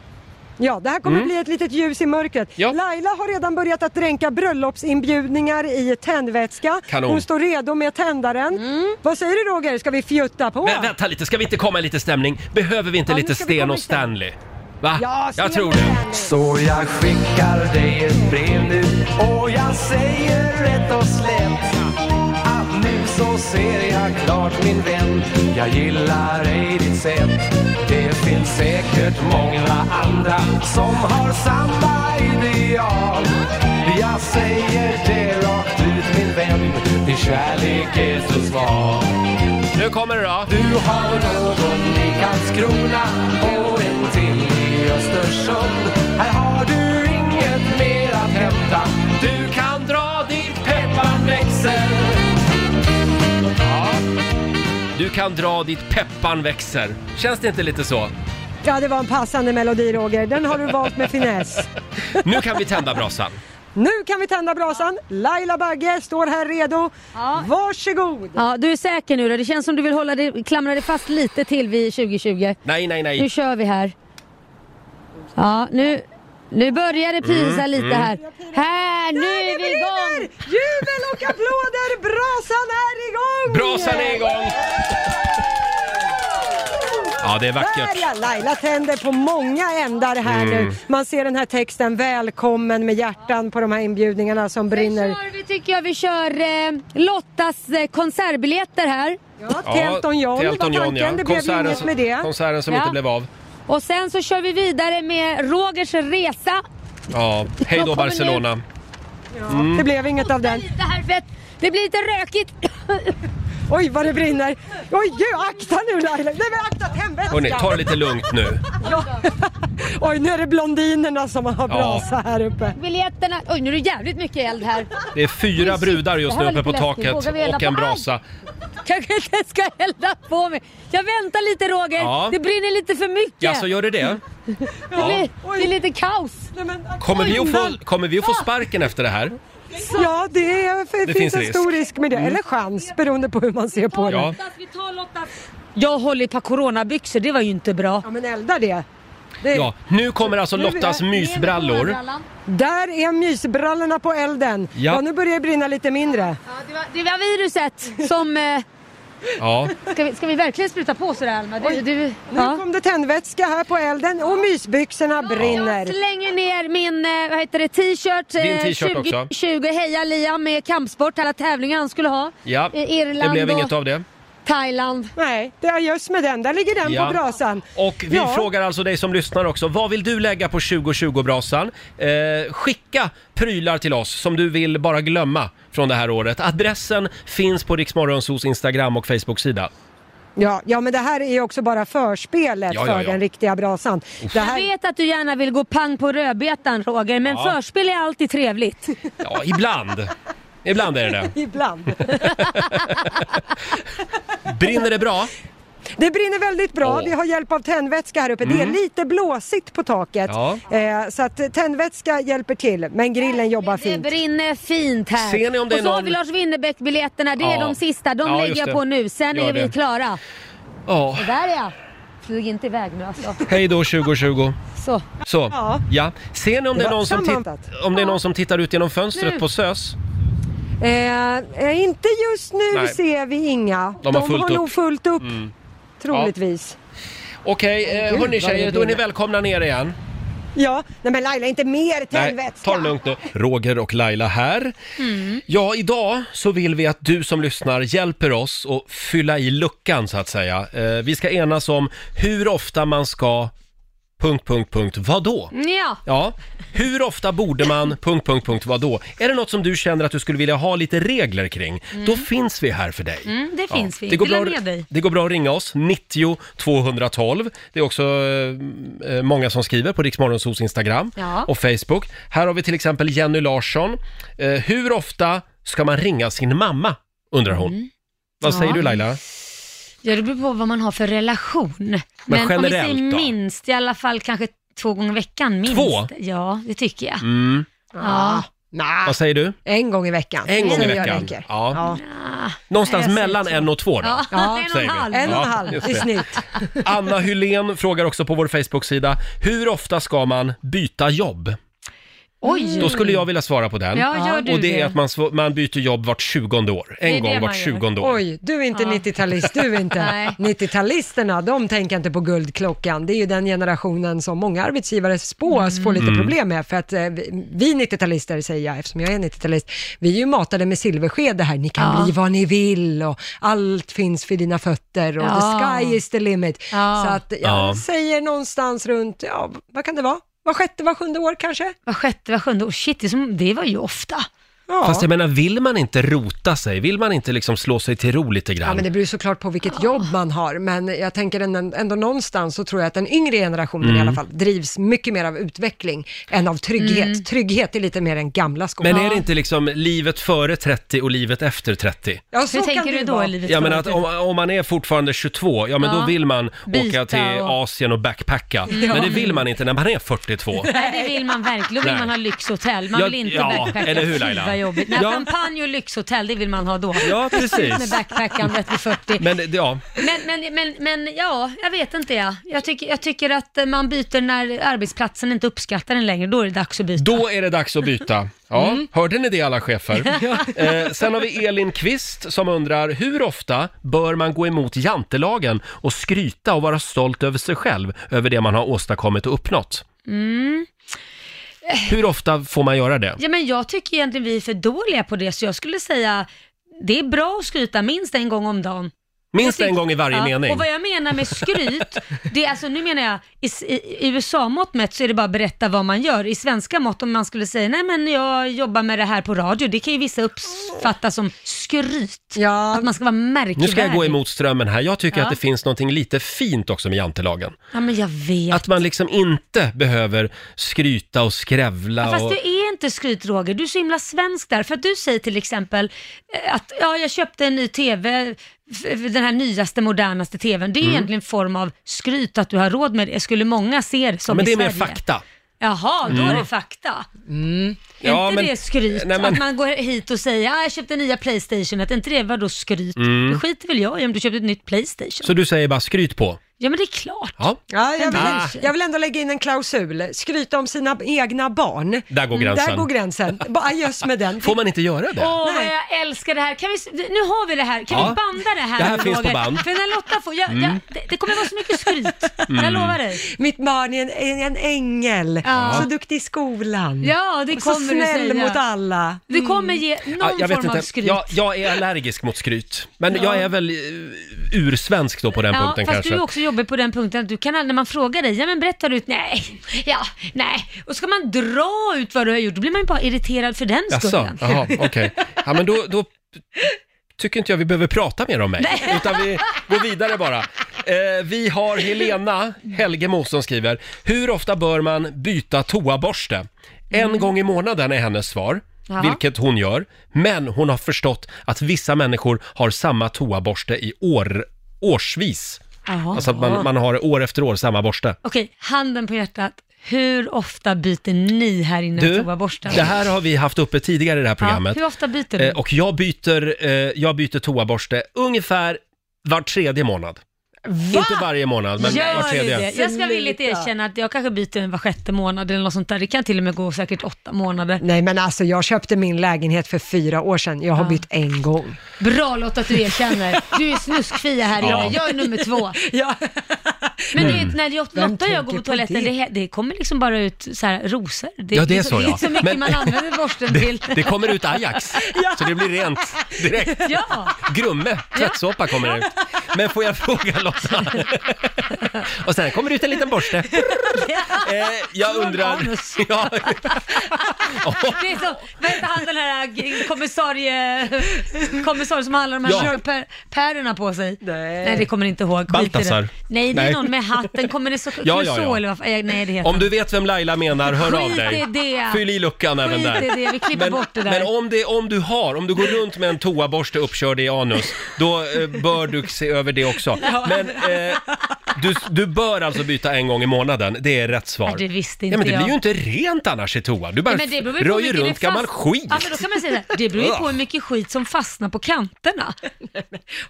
[SPEAKER 2] Ja, det här kommer
[SPEAKER 1] Mm.
[SPEAKER 2] bli ett litet ljus i mörkret. Laila har redan börjat att dränka bröllopsinbjudningar i tändvätska.
[SPEAKER 1] Kanon.
[SPEAKER 2] Hon står redo med tändaren. Vad säger du Roger, ska vi fjutta på?
[SPEAKER 1] Men vänta lite, ska vi inte komma i lite stämning? Behöver vi inte
[SPEAKER 2] Ja, nu
[SPEAKER 1] lite
[SPEAKER 2] ska vi
[SPEAKER 1] Sten
[SPEAKER 2] komma
[SPEAKER 1] och
[SPEAKER 2] i stämning.
[SPEAKER 1] Stanley? Va?
[SPEAKER 2] Ja,
[SPEAKER 1] Jag
[SPEAKER 2] Sten
[SPEAKER 1] tror
[SPEAKER 2] och
[SPEAKER 1] det.
[SPEAKER 6] Så jag skickar dig ett brev nu och jag säger rätt och slätt att nu så ser jag klart min vän. Jag gillar ej ditt sätt. Det finns säkert många andra som har samma ideal. Jag säger det rakt ut min vän, din kärlek är så sval.
[SPEAKER 1] Nu kommer det då.
[SPEAKER 6] Du har någon i Karlskrona och en till i Östersund. Här har du inget mer att hämta. Du kan dra din pepparväxel.
[SPEAKER 1] Ja. Du kan dra dit peppan växer. Känns det inte lite så?
[SPEAKER 2] Ja, det var en passande melodi Roger. Den har du valt med finess.
[SPEAKER 1] Nu kan vi tända brasan.
[SPEAKER 2] Nu kan vi tända brasan. Laila Bagge står här redo. Varsågod!
[SPEAKER 4] Ja, du är säker nu då? Det känns som du vill hålla dig, klamra dig fast lite till vid 2020.
[SPEAKER 1] Nej, nej, nej.
[SPEAKER 4] Nu kör vi här. Ja, nu, nu börjar det pysa
[SPEAKER 1] Mm,
[SPEAKER 4] lite
[SPEAKER 1] mm.
[SPEAKER 4] här. Här, nu är vi igång!
[SPEAKER 2] Jubel och applåder! Brasan är igång!
[SPEAKER 1] Brasan är igång! Ja, det är
[SPEAKER 2] Där
[SPEAKER 1] vackert.
[SPEAKER 2] ja, Laila tänder på många ändar här
[SPEAKER 1] Mm.
[SPEAKER 2] nu. Man ser den här texten, välkommen med hjärtan på de här inbjudningarna som brinner.
[SPEAKER 4] Vi tycker jag vi kör eh, Lottas eh, konsertbiljetter här.
[SPEAKER 1] Ja, till Elton John, ja. Konserten som- Konserten som
[SPEAKER 4] Ja.
[SPEAKER 1] inte blev av.
[SPEAKER 4] Och sen så kör vi vidare med Rogers resa.
[SPEAKER 1] Ja, hej då
[SPEAKER 4] kommer
[SPEAKER 1] Barcelona.
[SPEAKER 2] Det blev inget av den.
[SPEAKER 4] Det här för att det blir lite rökigt.
[SPEAKER 2] Oj, vad det brinner. Oj, gud, akta nu Laila. Nej, men akta tändvätskan.
[SPEAKER 1] Hörrni, ta det lite lugnt nu.
[SPEAKER 2] Ja. Oj, nu är det blondinerna som har brasa här uppe.
[SPEAKER 4] Biljetterna. Oj, nu är det jävligt mycket eld här.
[SPEAKER 1] Det är fyra brudar just nu uppe på taket och en brasa.
[SPEAKER 4] Kanske inte ska elda på mig. Jag väntar lite Roger.
[SPEAKER 1] Ja.
[SPEAKER 4] Det brinner lite för mycket.
[SPEAKER 1] Ja, så gör det
[SPEAKER 4] Mm.
[SPEAKER 1] det?
[SPEAKER 4] Det, blir, det är lite kaos.
[SPEAKER 1] Kommer vi, att
[SPEAKER 4] Oj,
[SPEAKER 1] få, kommer vi att få sparken efter det här?
[SPEAKER 2] Ja, det, är, för,
[SPEAKER 1] Det
[SPEAKER 2] det finns
[SPEAKER 1] finns
[SPEAKER 2] en
[SPEAKER 1] risk.
[SPEAKER 2] stor risk med det.
[SPEAKER 1] Mm.
[SPEAKER 2] Eller chans, beroende på hur man ser på
[SPEAKER 1] Ja.
[SPEAKER 2] det.
[SPEAKER 4] Vi tar Lotta. Jag håller ett par coronabyxor, det var ju inte bra.
[SPEAKER 2] Ja men elda det.
[SPEAKER 1] Ja, nu kommer alltså Lottas mysbrallor.
[SPEAKER 2] Där är mysbrallorna på elden.
[SPEAKER 1] Ja.
[SPEAKER 2] Ja. nu börjar det brinna lite mindre.
[SPEAKER 4] Det var, det var viruset som... Eh,
[SPEAKER 1] Ja.
[SPEAKER 4] ska, vi, ska vi verkligen spruta på sådär Alma? Du,
[SPEAKER 2] Oj,
[SPEAKER 4] du,
[SPEAKER 2] Nu kom det tändvätska här på elden och mysbyxorna brinner.
[SPEAKER 4] Jag slänger ner min eh, vad heter det, t-shirt. eh,
[SPEAKER 1] Din t-shirt
[SPEAKER 4] 20,
[SPEAKER 1] också.
[SPEAKER 4] 20 Heja Liam med kampsport, alla tävlingar han skulle ha.
[SPEAKER 1] Ja,
[SPEAKER 4] Eh,
[SPEAKER 1] det
[SPEAKER 4] Irland
[SPEAKER 1] blev
[SPEAKER 4] och
[SPEAKER 1] inget av det.
[SPEAKER 4] Thailand.
[SPEAKER 2] Nej, det är just med den. Där ligger den
[SPEAKER 1] Ja.
[SPEAKER 2] på brasan.
[SPEAKER 1] Och vi
[SPEAKER 2] Ja.
[SPEAKER 1] frågar alltså dig som lyssnar också, vad vill du lägga på 2020-brasan? Eh, skicka prylar till oss som du vill bara glömma från det här året. Adressen finns på Riksmorgonsos Instagram och Facebook-sida.
[SPEAKER 2] Ja, ja, men det här är ju också bara förspelet
[SPEAKER 1] Ja, ja,
[SPEAKER 2] för
[SPEAKER 1] ja.
[SPEAKER 2] den riktiga brasan. Det
[SPEAKER 4] Jag
[SPEAKER 2] här...
[SPEAKER 4] vet att du gärna vill gå pang på rödbetan Roger, men
[SPEAKER 1] Ja.
[SPEAKER 4] förspel är alltid trevligt.
[SPEAKER 1] Ja, ibland. Ibland är det det.
[SPEAKER 2] Ibland.
[SPEAKER 1] Brinner det bra?
[SPEAKER 2] Det brinner väldigt bra.
[SPEAKER 1] Åh.
[SPEAKER 2] Vi har hjälp av tändvätska här uppe. Det
[SPEAKER 1] Mm.
[SPEAKER 2] är lite blåsigt på taket.
[SPEAKER 1] Ja.
[SPEAKER 2] Eh, så att tändvätska hjälper till, men grillen jobbar
[SPEAKER 4] Det
[SPEAKER 2] fint.
[SPEAKER 4] brinner fint här.
[SPEAKER 1] Ser ni om det är
[SPEAKER 4] och så har
[SPEAKER 1] någon-
[SPEAKER 4] vi Lars Winnerbäck-biljetterna, det är
[SPEAKER 1] Ja.
[SPEAKER 4] de sista. De
[SPEAKER 1] Ja,
[SPEAKER 4] lägger
[SPEAKER 1] just
[SPEAKER 4] jag
[SPEAKER 1] det.
[SPEAKER 4] på nu, sen
[SPEAKER 1] Gör
[SPEAKER 4] är vi
[SPEAKER 1] det.
[SPEAKER 4] klara.
[SPEAKER 1] Ja.
[SPEAKER 4] Och där är jag. Flyg inte iväg nu alltså.
[SPEAKER 1] Hej då 2020.
[SPEAKER 4] Så.
[SPEAKER 1] Så, ja.
[SPEAKER 4] Ja.
[SPEAKER 1] Ser ni om det,
[SPEAKER 2] Det
[SPEAKER 1] är
[SPEAKER 2] var
[SPEAKER 1] någon som tittar,
[SPEAKER 2] sammanfattat.
[SPEAKER 1] om det är någon som tittar ut genom fönstret
[SPEAKER 2] Nu.
[SPEAKER 1] på SÖS?
[SPEAKER 2] Eh, eh, inte just nu
[SPEAKER 1] Nej.
[SPEAKER 2] ser vi inga.
[SPEAKER 1] De har fullt upp.
[SPEAKER 2] nog fullt upp,
[SPEAKER 1] Mm.
[SPEAKER 2] troligtvis.
[SPEAKER 1] Okej, eh,
[SPEAKER 2] Gud,
[SPEAKER 1] hörni
[SPEAKER 2] vad det
[SPEAKER 1] tjejer, då är ni
[SPEAKER 2] brinner.
[SPEAKER 1] välkomna ner igen.
[SPEAKER 2] Ja, nej men Laila, inte mer
[SPEAKER 1] Nej,
[SPEAKER 2] tändvätska.
[SPEAKER 1] ta det lugnt nu. Roger och Laila här. Ja, idag så vill vi att du som lyssnar hjälper oss att fylla i luckan så att säga. Eh, vi ska enas om hur ofta man ska... Punkt, punkt, punkt, vadå?
[SPEAKER 4] Ja.
[SPEAKER 1] Ja, hur ofta borde man... Punkt, punkt, punkt, vadå? Är det något som du känner att du skulle vilja ha lite regler kring? Då finns vi här för dig.
[SPEAKER 4] Mm, det
[SPEAKER 1] Ja,
[SPEAKER 4] finns vi.
[SPEAKER 1] Det går,
[SPEAKER 4] Dela
[SPEAKER 1] bra,
[SPEAKER 4] med dig.
[SPEAKER 1] det går bra att ringa oss, 90 212. Det är också eh, eh, många som skriver på Riksmorgonsos Instagram
[SPEAKER 4] Ja.
[SPEAKER 1] och Facebook. Här har vi till exempel Jenny Larsson. Eh, hur ofta ska man ringa sin mamma, undrar hon. Vad
[SPEAKER 4] Mm. Ja.
[SPEAKER 1] säger du Laila?
[SPEAKER 4] Ja, det beror på vad man har för relation. Men, om vi
[SPEAKER 1] generellt
[SPEAKER 4] säger
[SPEAKER 1] då?
[SPEAKER 4] minst, i alla fall kanske två gånger i veckan. Minst.
[SPEAKER 1] Två?
[SPEAKER 4] Ja, det tycker jag.
[SPEAKER 1] Mm.
[SPEAKER 2] Ah.
[SPEAKER 4] Ja.
[SPEAKER 1] Vad säger du?
[SPEAKER 2] En gång i veckan.
[SPEAKER 1] En gång i
[SPEAKER 2] Säger jag
[SPEAKER 1] veckan?
[SPEAKER 2] räcker.
[SPEAKER 1] Ja.
[SPEAKER 4] Ah.
[SPEAKER 1] Någonstans
[SPEAKER 4] Nej, jag
[SPEAKER 1] mellan
[SPEAKER 4] säger
[SPEAKER 1] en och två då?
[SPEAKER 4] Ja, en och en
[SPEAKER 1] säger vi.
[SPEAKER 4] halv.
[SPEAKER 2] En och en
[SPEAKER 1] Ja,
[SPEAKER 2] halv
[SPEAKER 1] just
[SPEAKER 2] i
[SPEAKER 1] det.
[SPEAKER 2] snitt.
[SPEAKER 1] Anna Hylén frågar också på vår Facebook-sida, hur ofta ska man byta jobb?
[SPEAKER 4] Oj.
[SPEAKER 1] Då skulle jag vilja svara på den.
[SPEAKER 4] Ja, gör du
[SPEAKER 1] och det är
[SPEAKER 4] det?
[SPEAKER 1] att man, sv- man byter jobb vart 20 år.
[SPEAKER 4] Det
[SPEAKER 1] En
[SPEAKER 4] är det
[SPEAKER 1] gång
[SPEAKER 4] man
[SPEAKER 1] vart
[SPEAKER 4] gör.
[SPEAKER 1] 20 år.
[SPEAKER 2] Oj, du är inte
[SPEAKER 4] Ja.
[SPEAKER 2] 90-talist, du är inte.
[SPEAKER 4] Nej.
[SPEAKER 2] 90-talisterna, de tänker inte på guldklockan. Det är ju den generationen som många arbetsgivare spås få lite
[SPEAKER 1] Mm.
[SPEAKER 2] problem med. För att eh, vi- vi 90-talister, säger jag eftersom jag är 90-talist, vi är ju matade med silversked det här. Ni kan
[SPEAKER 4] Ja.
[SPEAKER 2] bli vad ni vill och allt finns för dina fötter och
[SPEAKER 4] Ja.
[SPEAKER 2] the sky is the limit.
[SPEAKER 4] Ja.
[SPEAKER 2] Så att jag
[SPEAKER 4] Ja.
[SPEAKER 2] säger någonstans runt, ja, vad kan det vara? Var sjätte, var sjunde år kanske?
[SPEAKER 4] Var sjätte, var sjunde år. Shit, det, är som, det var ju ofta.
[SPEAKER 2] Ja.
[SPEAKER 1] Fast jag menar, vill man inte rota sig? Vill man inte liksom slå sig till ro lite grann?
[SPEAKER 2] Ja, men det beror ju såklart på vilket jobb
[SPEAKER 4] Ah.
[SPEAKER 2] man har, men jag tänker ändå, ändå någonstans så tror jag att den yngre generationen i
[SPEAKER 1] Mm.
[SPEAKER 2] alla fall drivs mycket mer av utveckling än av trygghet.
[SPEAKER 4] Mm.
[SPEAKER 2] Trygghet är lite mer den gamla skolan.
[SPEAKER 1] Men är det inte liksom livet före 30 och livet efter 30?
[SPEAKER 2] Ja, så
[SPEAKER 4] Hur
[SPEAKER 2] kan
[SPEAKER 4] tänker
[SPEAKER 2] det
[SPEAKER 4] du
[SPEAKER 2] ju
[SPEAKER 4] då
[SPEAKER 2] vara.
[SPEAKER 4] i Typ livet?
[SPEAKER 1] Jag menar att om, om man är fortfarande 22, ja men
[SPEAKER 4] Ja.
[SPEAKER 1] då vill man åka
[SPEAKER 4] Byta
[SPEAKER 1] till
[SPEAKER 4] och-
[SPEAKER 1] Asien och backpacka.
[SPEAKER 4] Mm.
[SPEAKER 1] Men det vill man inte när man är 42.
[SPEAKER 4] Nej, det vill man verkligen. Då vill
[SPEAKER 1] Nej.
[SPEAKER 4] man ha lyxhotell. Man
[SPEAKER 1] Ja,
[SPEAKER 4] vill inte
[SPEAKER 1] ja,
[SPEAKER 4] backpacka.
[SPEAKER 1] eller hur,
[SPEAKER 4] Fy,
[SPEAKER 1] Laila?
[SPEAKER 4] vad jobbigt. Nej,
[SPEAKER 1] Ja.
[SPEAKER 4] champagne och lyxhotell, det vill man ha då.
[SPEAKER 1] Ja, precis.
[SPEAKER 4] Slut med backpackandet vid 40.
[SPEAKER 1] Men det- ja,
[SPEAKER 4] Men, men, men, men ja, jag vet inte jag. Jag tycker, jag tycker att eh, man byter när arbetsplatsen inte uppskattar en längre. Då är det dags att byta.
[SPEAKER 1] Då är det dags att byta. Ja,
[SPEAKER 4] Mm.
[SPEAKER 1] hörde ni det alla chefer? eh, sen har vi Elin Kvist som undrar hur ofta bör man gå emot jantelagen och skryta och vara stolt över sig själv, över det man har åstadkommit och uppnått?
[SPEAKER 4] Mm.
[SPEAKER 1] Hur ofta får man göra det?
[SPEAKER 4] Ja, men jag tycker egentligen vi är för dåliga på det, så jag skulle säga det är bra att skryta minst en gång om dagen.
[SPEAKER 1] Minst
[SPEAKER 4] Jag tycker-
[SPEAKER 1] en gång i varje mening.
[SPEAKER 4] Och vad jag menar med skryt, det är alltså, nu menar jag, i, s- i, i USA-mått mätt så är det bara att berätta vad man gör. I svenska mått, om man skulle säga, nej men jag jobbar med det här på radio, det kan ju vissa uppfatta som skryt. Att man ska vara märkvärdig.
[SPEAKER 1] Nu ska jag gå emot strömmen här. Jag tycker
[SPEAKER 4] Ja.
[SPEAKER 1] att det finns någonting lite fint också med jantelagen.
[SPEAKER 4] Ja men jag vet.
[SPEAKER 1] Att man liksom inte behöver skryta och skrävla
[SPEAKER 4] Ja, fast
[SPEAKER 1] och...
[SPEAKER 4] du är inte skryt Roger, du är så himla svensk där. För att du säger till exempel eh, att ja, jag köpte en ny TV, f- den här nyaste modernaste TVn. Det är
[SPEAKER 1] Mm.
[SPEAKER 4] egentligen en form av skryt att du har råd med det. Skulle många se det
[SPEAKER 1] Ja,
[SPEAKER 4] som
[SPEAKER 1] men det
[SPEAKER 4] i
[SPEAKER 1] är mer
[SPEAKER 4] Sverige.
[SPEAKER 1] fakta.
[SPEAKER 4] Jaha, då är
[SPEAKER 1] Mm.
[SPEAKER 4] det fakta. Är
[SPEAKER 1] Ja,
[SPEAKER 4] inte
[SPEAKER 1] men-
[SPEAKER 4] det skryt?
[SPEAKER 1] Nej, men-
[SPEAKER 4] Att man går hit och säger ah, jag köpte nya Playstation, att inte det var då skryt?
[SPEAKER 1] Mm.
[SPEAKER 4] Det skiter väl jag i om du köpte ett nytt Playstation.
[SPEAKER 1] Så du säger bara skryt på?
[SPEAKER 4] Ja men det är klart.
[SPEAKER 1] Ja.
[SPEAKER 2] Ja, jag, vill,
[SPEAKER 1] Ah.
[SPEAKER 2] jag vill ändå lägga in en klausul. Skryta om sina egna barn.
[SPEAKER 1] Där går gränsen.
[SPEAKER 2] Där går gränsen. Bara adjöss med den.
[SPEAKER 1] Får man inte göra det?
[SPEAKER 4] Åh, vad jag älskar det här. Kan vi, s- nu har vi det här. Kan
[SPEAKER 1] Ja.
[SPEAKER 4] vi banda det här?
[SPEAKER 1] Det här
[SPEAKER 4] nu,
[SPEAKER 1] finns på
[SPEAKER 4] Roger?
[SPEAKER 1] band.
[SPEAKER 4] För när Lotta får, jag,
[SPEAKER 1] Mm.
[SPEAKER 4] jag, det, det kommer vara så mycket skryt. Jag
[SPEAKER 1] Mm.
[SPEAKER 4] lovar dig.
[SPEAKER 2] Mitt barn är en, är en ängel.
[SPEAKER 4] Ja.
[SPEAKER 2] Så duktig i skolan.
[SPEAKER 4] Ja, det
[SPEAKER 2] Och så
[SPEAKER 4] kommer du
[SPEAKER 2] snäll
[SPEAKER 4] säga.
[SPEAKER 2] mot alla.
[SPEAKER 4] Du kommer ge någon
[SPEAKER 1] Mm. Ja, jag
[SPEAKER 4] form
[SPEAKER 1] vet
[SPEAKER 4] av
[SPEAKER 1] inte.
[SPEAKER 4] skryt.
[SPEAKER 1] Jag, jag är allergisk mot skryt. Men
[SPEAKER 4] Ja.
[SPEAKER 1] jag är väl eh, ursvensk då på den
[SPEAKER 4] ja,
[SPEAKER 1] punkten
[SPEAKER 4] fast
[SPEAKER 1] kanske.
[SPEAKER 4] du är också jobbig på den punkten att du kan aldrig, när man frågar dig, ja men berättar du ut, nej, ja, nej. Och ska man dra ut vad du har gjort, då blir man ju bara irriterad för den
[SPEAKER 1] Jaså,
[SPEAKER 4] skullen.
[SPEAKER 1] jaha, okej. Ja, men då, då tycker inte jag vi behöver prata mer om mig, utan vi går vidare bara. Eh, vi har Helena Helgemo som skriver, hur ofta bör man byta toaborste? En
[SPEAKER 4] Mm.
[SPEAKER 1] gång i månaden är hennes svar,
[SPEAKER 16] Ja.
[SPEAKER 1] vilket hon gör, men hon har förstått att vissa människor har samma toaborste i år, årsvis.
[SPEAKER 4] Jaha.
[SPEAKER 1] Alltså att man, man har år efter år samma borste.
[SPEAKER 4] Okej, handen på hjärtat. Hur ofta byter ni här inne
[SPEAKER 1] Du,
[SPEAKER 4] toaborsten?
[SPEAKER 1] det här har vi haft uppe tidigare i det här programmet.
[SPEAKER 4] Ja, hur ofta byter du?
[SPEAKER 1] Eh, Och jag byter, eh, jag byter toaborste ungefär var tredje månad. Inte varje månad, men
[SPEAKER 4] Gör
[SPEAKER 1] var tredje.
[SPEAKER 4] det? Jag ska villigt erkänna att jag kanske byter en var sjätte månad eller något sånt där. Det kan till och med gå säkert åtta månader.
[SPEAKER 2] Nej men alltså jag köpte min lägenhet för fyra år sedan. Jag har
[SPEAKER 4] Ja.
[SPEAKER 2] bytt en gång.
[SPEAKER 4] Bra Lotta att du erkänner. Du är snuskfia här inne.
[SPEAKER 2] Ja.
[SPEAKER 4] Jag är nummer två.
[SPEAKER 2] Ja.
[SPEAKER 4] Men
[SPEAKER 1] Mm.
[SPEAKER 4] det, när jag,
[SPEAKER 2] Vem
[SPEAKER 4] Lotta och jag
[SPEAKER 2] tänker
[SPEAKER 4] går på
[SPEAKER 2] på
[SPEAKER 4] toaletten, det,
[SPEAKER 2] det?
[SPEAKER 4] det, kommer liksom bara ut så här rosor.
[SPEAKER 1] Ja, det är så,
[SPEAKER 4] det liksom
[SPEAKER 1] ja.
[SPEAKER 4] inte så mycket
[SPEAKER 1] Men-
[SPEAKER 4] man använder borsten till.
[SPEAKER 1] Det, det kommer ut Ajax, så det blir rent direkt.
[SPEAKER 4] Ja.
[SPEAKER 1] Grumme, tvättsåpa kommer ut. Men får jag fråga Lotta? Och sen kommer det ut en liten borste. Eh, jag undrar... Ja, oh.
[SPEAKER 4] Det är som, vad heter han den här g- kommissarie, kommissarie som har alla de här
[SPEAKER 1] Ja.
[SPEAKER 4] pärerna på sig? Nej. det kommer inte ihåg. Skit i det.
[SPEAKER 1] Baltasar.
[SPEAKER 4] Nej, det är
[SPEAKER 1] Nej.
[SPEAKER 4] någon med hatten. Kommer det så,
[SPEAKER 1] Ja, ja, ja.
[SPEAKER 4] Clouseau eller vad fan- eh, Nej, det heter
[SPEAKER 1] Om du vet vem Laila menar, hör av
[SPEAKER 4] Skit
[SPEAKER 1] dig.
[SPEAKER 4] i det.
[SPEAKER 1] Fyll i luckan även
[SPEAKER 4] Skit
[SPEAKER 1] där.
[SPEAKER 4] i det, vi klipper
[SPEAKER 1] men,
[SPEAKER 4] bort det där.
[SPEAKER 1] Men om, det, om du har, om du går runt med en toaborste uppkörd i anus, då eh, bör du se över det också.
[SPEAKER 4] Ja.
[SPEAKER 1] Men eh, du, du bör alltså byta en gång i månaden, det är rätt svar.
[SPEAKER 4] Ja, det visste
[SPEAKER 1] ja,
[SPEAKER 4] inte
[SPEAKER 1] men det
[SPEAKER 4] jag.
[SPEAKER 1] blir ju inte rent annars i toan. Du bara
[SPEAKER 4] Nej, men det beror ju på
[SPEAKER 1] rör ju
[SPEAKER 4] hur mycket
[SPEAKER 1] runt
[SPEAKER 4] det fast-
[SPEAKER 1] gammal skit.
[SPEAKER 4] Ja, men då kan man säga så här, det beror ju på hur mycket skit som fastnar på kanterna.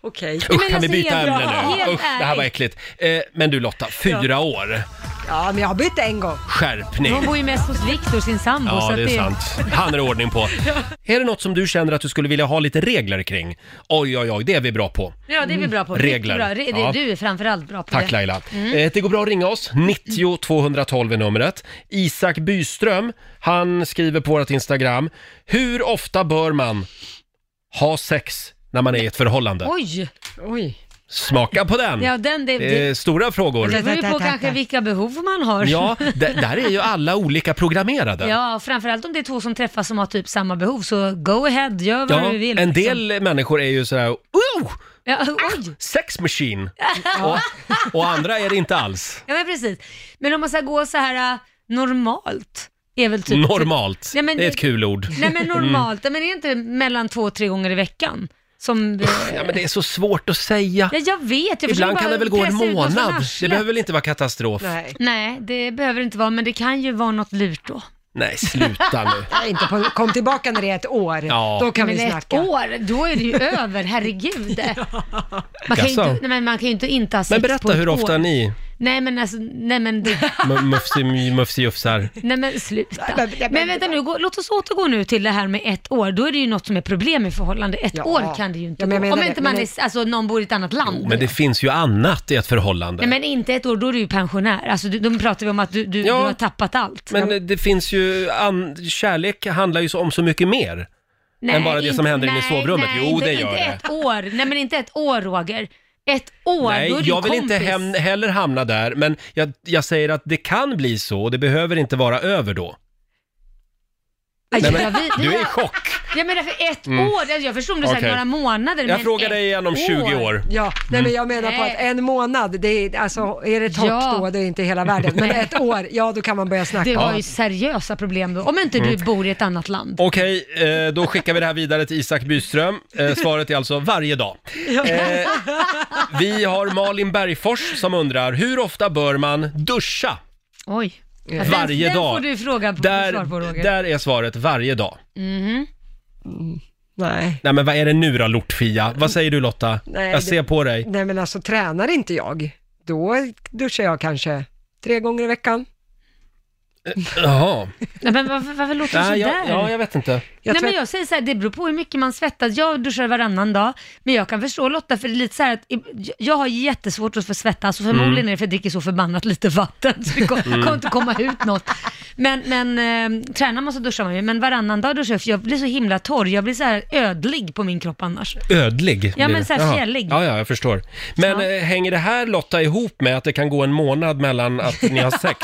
[SPEAKER 2] Okej.
[SPEAKER 1] Usch, kan
[SPEAKER 4] alltså,
[SPEAKER 1] vi byta ämne nu? Usch, det här var äckligt. Eh, men du Lotta, fyra år.
[SPEAKER 2] Ja, men jag har bytt en gång.
[SPEAKER 1] Skärpning.
[SPEAKER 4] Hon bor ju mest hos Viktor, sin sambo. så
[SPEAKER 1] Ja,
[SPEAKER 4] att
[SPEAKER 1] det är sant. Han är det ordning på. Är det något som du känner att du skulle vilja ha lite regler kring? Oj, oj, oj, det är vi bra på.
[SPEAKER 4] Ja, det är vi bra på.
[SPEAKER 1] Mm. Regler.
[SPEAKER 4] Bra. Re-
[SPEAKER 1] Ja.
[SPEAKER 4] det, du är framförallt bra på det.
[SPEAKER 1] Tack Laila.
[SPEAKER 4] Mm.
[SPEAKER 1] Eh, Det går bra att ringa oss, 90 212 är numret. Isak Byström, han skriver på vårt Instagram, hur ofta bör man ha sex när man är i ett förhållande?
[SPEAKER 4] Oj!
[SPEAKER 2] Oj.
[SPEAKER 1] Smaka på den!
[SPEAKER 4] Ja, den, det,
[SPEAKER 1] Det är
[SPEAKER 4] det,
[SPEAKER 1] stora frågor.
[SPEAKER 4] det beror ju på kanske vilka behov man har.
[SPEAKER 1] Ja, d- där är ju alla olika programmerade.
[SPEAKER 4] Ja, framförallt om det är två som träffas som har typ samma behov, så go ahead, gör vad
[SPEAKER 1] Ja,
[SPEAKER 4] du vill.
[SPEAKER 1] en
[SPEAKER 4] liksom.
[SPEAKER 1] del människor är ju sådär, oh,
[SPEAKER 4] Ja, oj!
[SPEAKER 1] sex machine! Och, och andra är det inte alls.
[SPEAKER 4] Ja, men precis. Men om man ska gå så här äh, normalt, är väl typ...
[SPEAKER 1] Normalt,
[SPEAKER 4] Nej, men-
[SPEAKER 1] det är ett kul ord.
[SPEAKER 4] Nej, men
[SPEAKER 1] Mm.
[SPEAKER 4] normalt. Men är det inte mellan två och tre gånger i veckan? Som... eh,
[SPEAKER 1] Ja, men det är så svårt att säga.
[SPEAKER 4] Ja, jag vet. Jag försöker
[SPEAKER 1] Ibland kan
[SPEAKER 4] bara
[SPEAKER 1] det väl gå en
[SPEAKER 4] pressa ut något från
[SPEAKER 1] månad. Det
[SPEAKER 4] arslet.
[SPEAKER 1] behöver väl inte vara katastrof? Nej,
[SPEAKER 4] Nej, det behöver det inte vara, men det kan ju vara något lurt då.
[SPEAKER 1] sluta nu.
[SPEAKER 2] Nej, inte på, kom tillbaka när det är ett år.
[SPEAKER 1] Ja.
[SPEAKER 2] Då kan
[SPEAKER 4] men
[SPEAKER 2] vi
[SPEAKER 4] ett
[SPEAKER 2] snacka.
[SPEAKER 4] år, då är det ju över, herregud. Man kan, ju
[SPEAKER 1] Jaså?
[SPEAKER 4] inte, nej, men man kan ju inte inte ha sex
[SPEAKER 1] Men
[SPEAKER 4] på
[SPEAKER 1] berätta
[SPEAKER 4] ett
[SPEAKER 1] hur ofta
[SPEAKER 4] år.
[SPEAKER 1] ni
[SPEAKER 4] Nej men alltså, nej men, det-
[SPEAKER 1] mu- mufsi, mufsijufsar.
[SPEAKER 4] nej men sluta. Men vänta nu, gå, låt oss återgå nu till det här med ett år. Då är det ju något som är problem i förhållande. Ett
[SPEAKER 2] Ja.
[SPEAKER 4] år kan det ju inte
[SPEAKER 2] Ja, men jag
[SPEAKER 4] gå.
[SPEAKER 2] menar
[SPEAKER 4] Om
[SPEAKER 2] det,
[SPEAKER 4] inte man
[SPEAKER 2] men
[SPEAKER 4] är, alltså någon bor i ett annat land.
[SPEAKER 1] Men det finns ju annat i ett förhållande.
[SPEAKER 4] Nej men inte ett år, då är du ju pensionär. Alltså du- då pratar vi om att du, du, du har tappat allt.
[SPEAKER 1] Men eh, det finns ju, an- kärlek handlar ju så- om så mycket mer. än bara det som händer inne i sovrummet.
[SPEAKER 4] nej,
[SPEAKER 1] Jo,
[SPEAKER 4] inte,
[SPEAKER 1] det gör
[SPEAKER 4] inte
[SPEAKER 1] det.
[SPEAKER 4] ett år. Nej men inte ett år Roger. Ett år,
[SPEAKER 1] Nej,
[SPEAKER 4] då är du
[SPEAKER 1] jag vill
[SPEAKER 4] kompis.
[SPEAKER 1] inte hem, heller hamna där, men jag, jag säger att det kan bli så och det behöver inte vara över då.
[SPEAKER 4] Aj,
[SPEAKER 1] Nej, men,
[SPEAKER 4] ja, vi- vi
[SPEAKER 1] du är i
[SPEAKER 4] har-
[SPEAKER 1] chock.
[SPEAKER 4] Ja men därför ett
[SPEAKER 1] Mm.
[SPEAKER 4] år, alltså, jag jag förstod om du sa
[SPEAKER 1] Okej.
[SPEAKER 4] några månader.
[SPEAKER 1] Jag
[SPEAKER 4] men
[SPEAKER 1] frågar
[SPEAKER 4] ett
[SPEAKER 1] dig igen om 20 år.
[SPEAKER 2] Ja, nej
[SPEAKER 1] Mm.
[SPEAKER 2] men jag menar på att en månad, det är, alltså, är det torrt
[SPEAKER 4] Ja.
[SPEAKER 2] då, det är inte hela världen. Men ett år, ja då kan man börja snacka.
[SPEAKER 4] Det var
[SPEAKER 2] om-
[SPEAKER 4] ju seriösa problem då, om inte du
[SPEAKER 1] Mm.
[SPEAKER 4] bor i ett annat land.
[SPEAKER 1] Okej, eh, då skickar vi det här vidare till Isak Byström. Eh, svaret är alltså varje dag. Eh, vi har Malin Bergfors som undrar, hur ofta bör man duscha?
[SPEAKER 4] Oj.
[SPEAKER 1] Ja.
[SPEAKER 4] Den-
[SPEAKER 1] Varje
[SPEAKER 4] den
[SPEAKER 1] dag.
[SPEAKER 4] får du fråga på, svar
[SPEAKER 1] Där,
[SPEAKER 4] på Roger.
[SPEAKER 1] där är svaret varje dag.
[SPEAKER 4] Mhm.
[SPEAKER 2] Nej.
[SPEAKER 1] Nej men vad är det nu då Lortfia? Vad säger du Lotta?
[SPEAKER 2] Nej,
[SPEAKER 1] Jag
[SPEAKER 2] det-
[SPEAKER 1] ser på dig.
[SPEAKER 2] Nej men alltså tränar inte jag, då duschar jag kanske tre gånger i veckan.
[SPEAKER 1] Jaha.
[SPEAKER 4] Nej, men varför, varför låter du
[SPEAKER 1] Nej,
[SPEAKER 4] sådär?
[SPEAKER 1] jag, ja, jag vet inte.
[SPEAKER 4] Nej, men jag säger så här, det beror på hur mycket man svettas. Jag duschar varannan dag, men jag kan förstå Lotta, för det är lite så här att i- jag har jättesvårt att få svettas och förmodligen
[SPEAKER 17] Mm.
[SPEAKER 4] är det för att jag dricker så förbannat lite vatten, så det kom- kommer
[SPEAKER 17] Mm.
[SPEAKER 4] inte komma ut något. Men, men eh, tränar man så duschar man ju, men varannan dag duschar jag, för jag blir så himla torr. Jag blir så här ödlig på min kropp annars.
[SPEAKER 1] Ödlig. blir
[SPEAKER 4] men
[SPEAKER 1] det.
[SPEAKER 4] så här
[SPEAKER 1] Jaha.
[SPEAKER 4] fjällig.
[SPEAKER 1] Ja, ja, jag förstår. Men eh, hänger det här Lotta ihop med att det kan gå en månad mellan att ni har sex?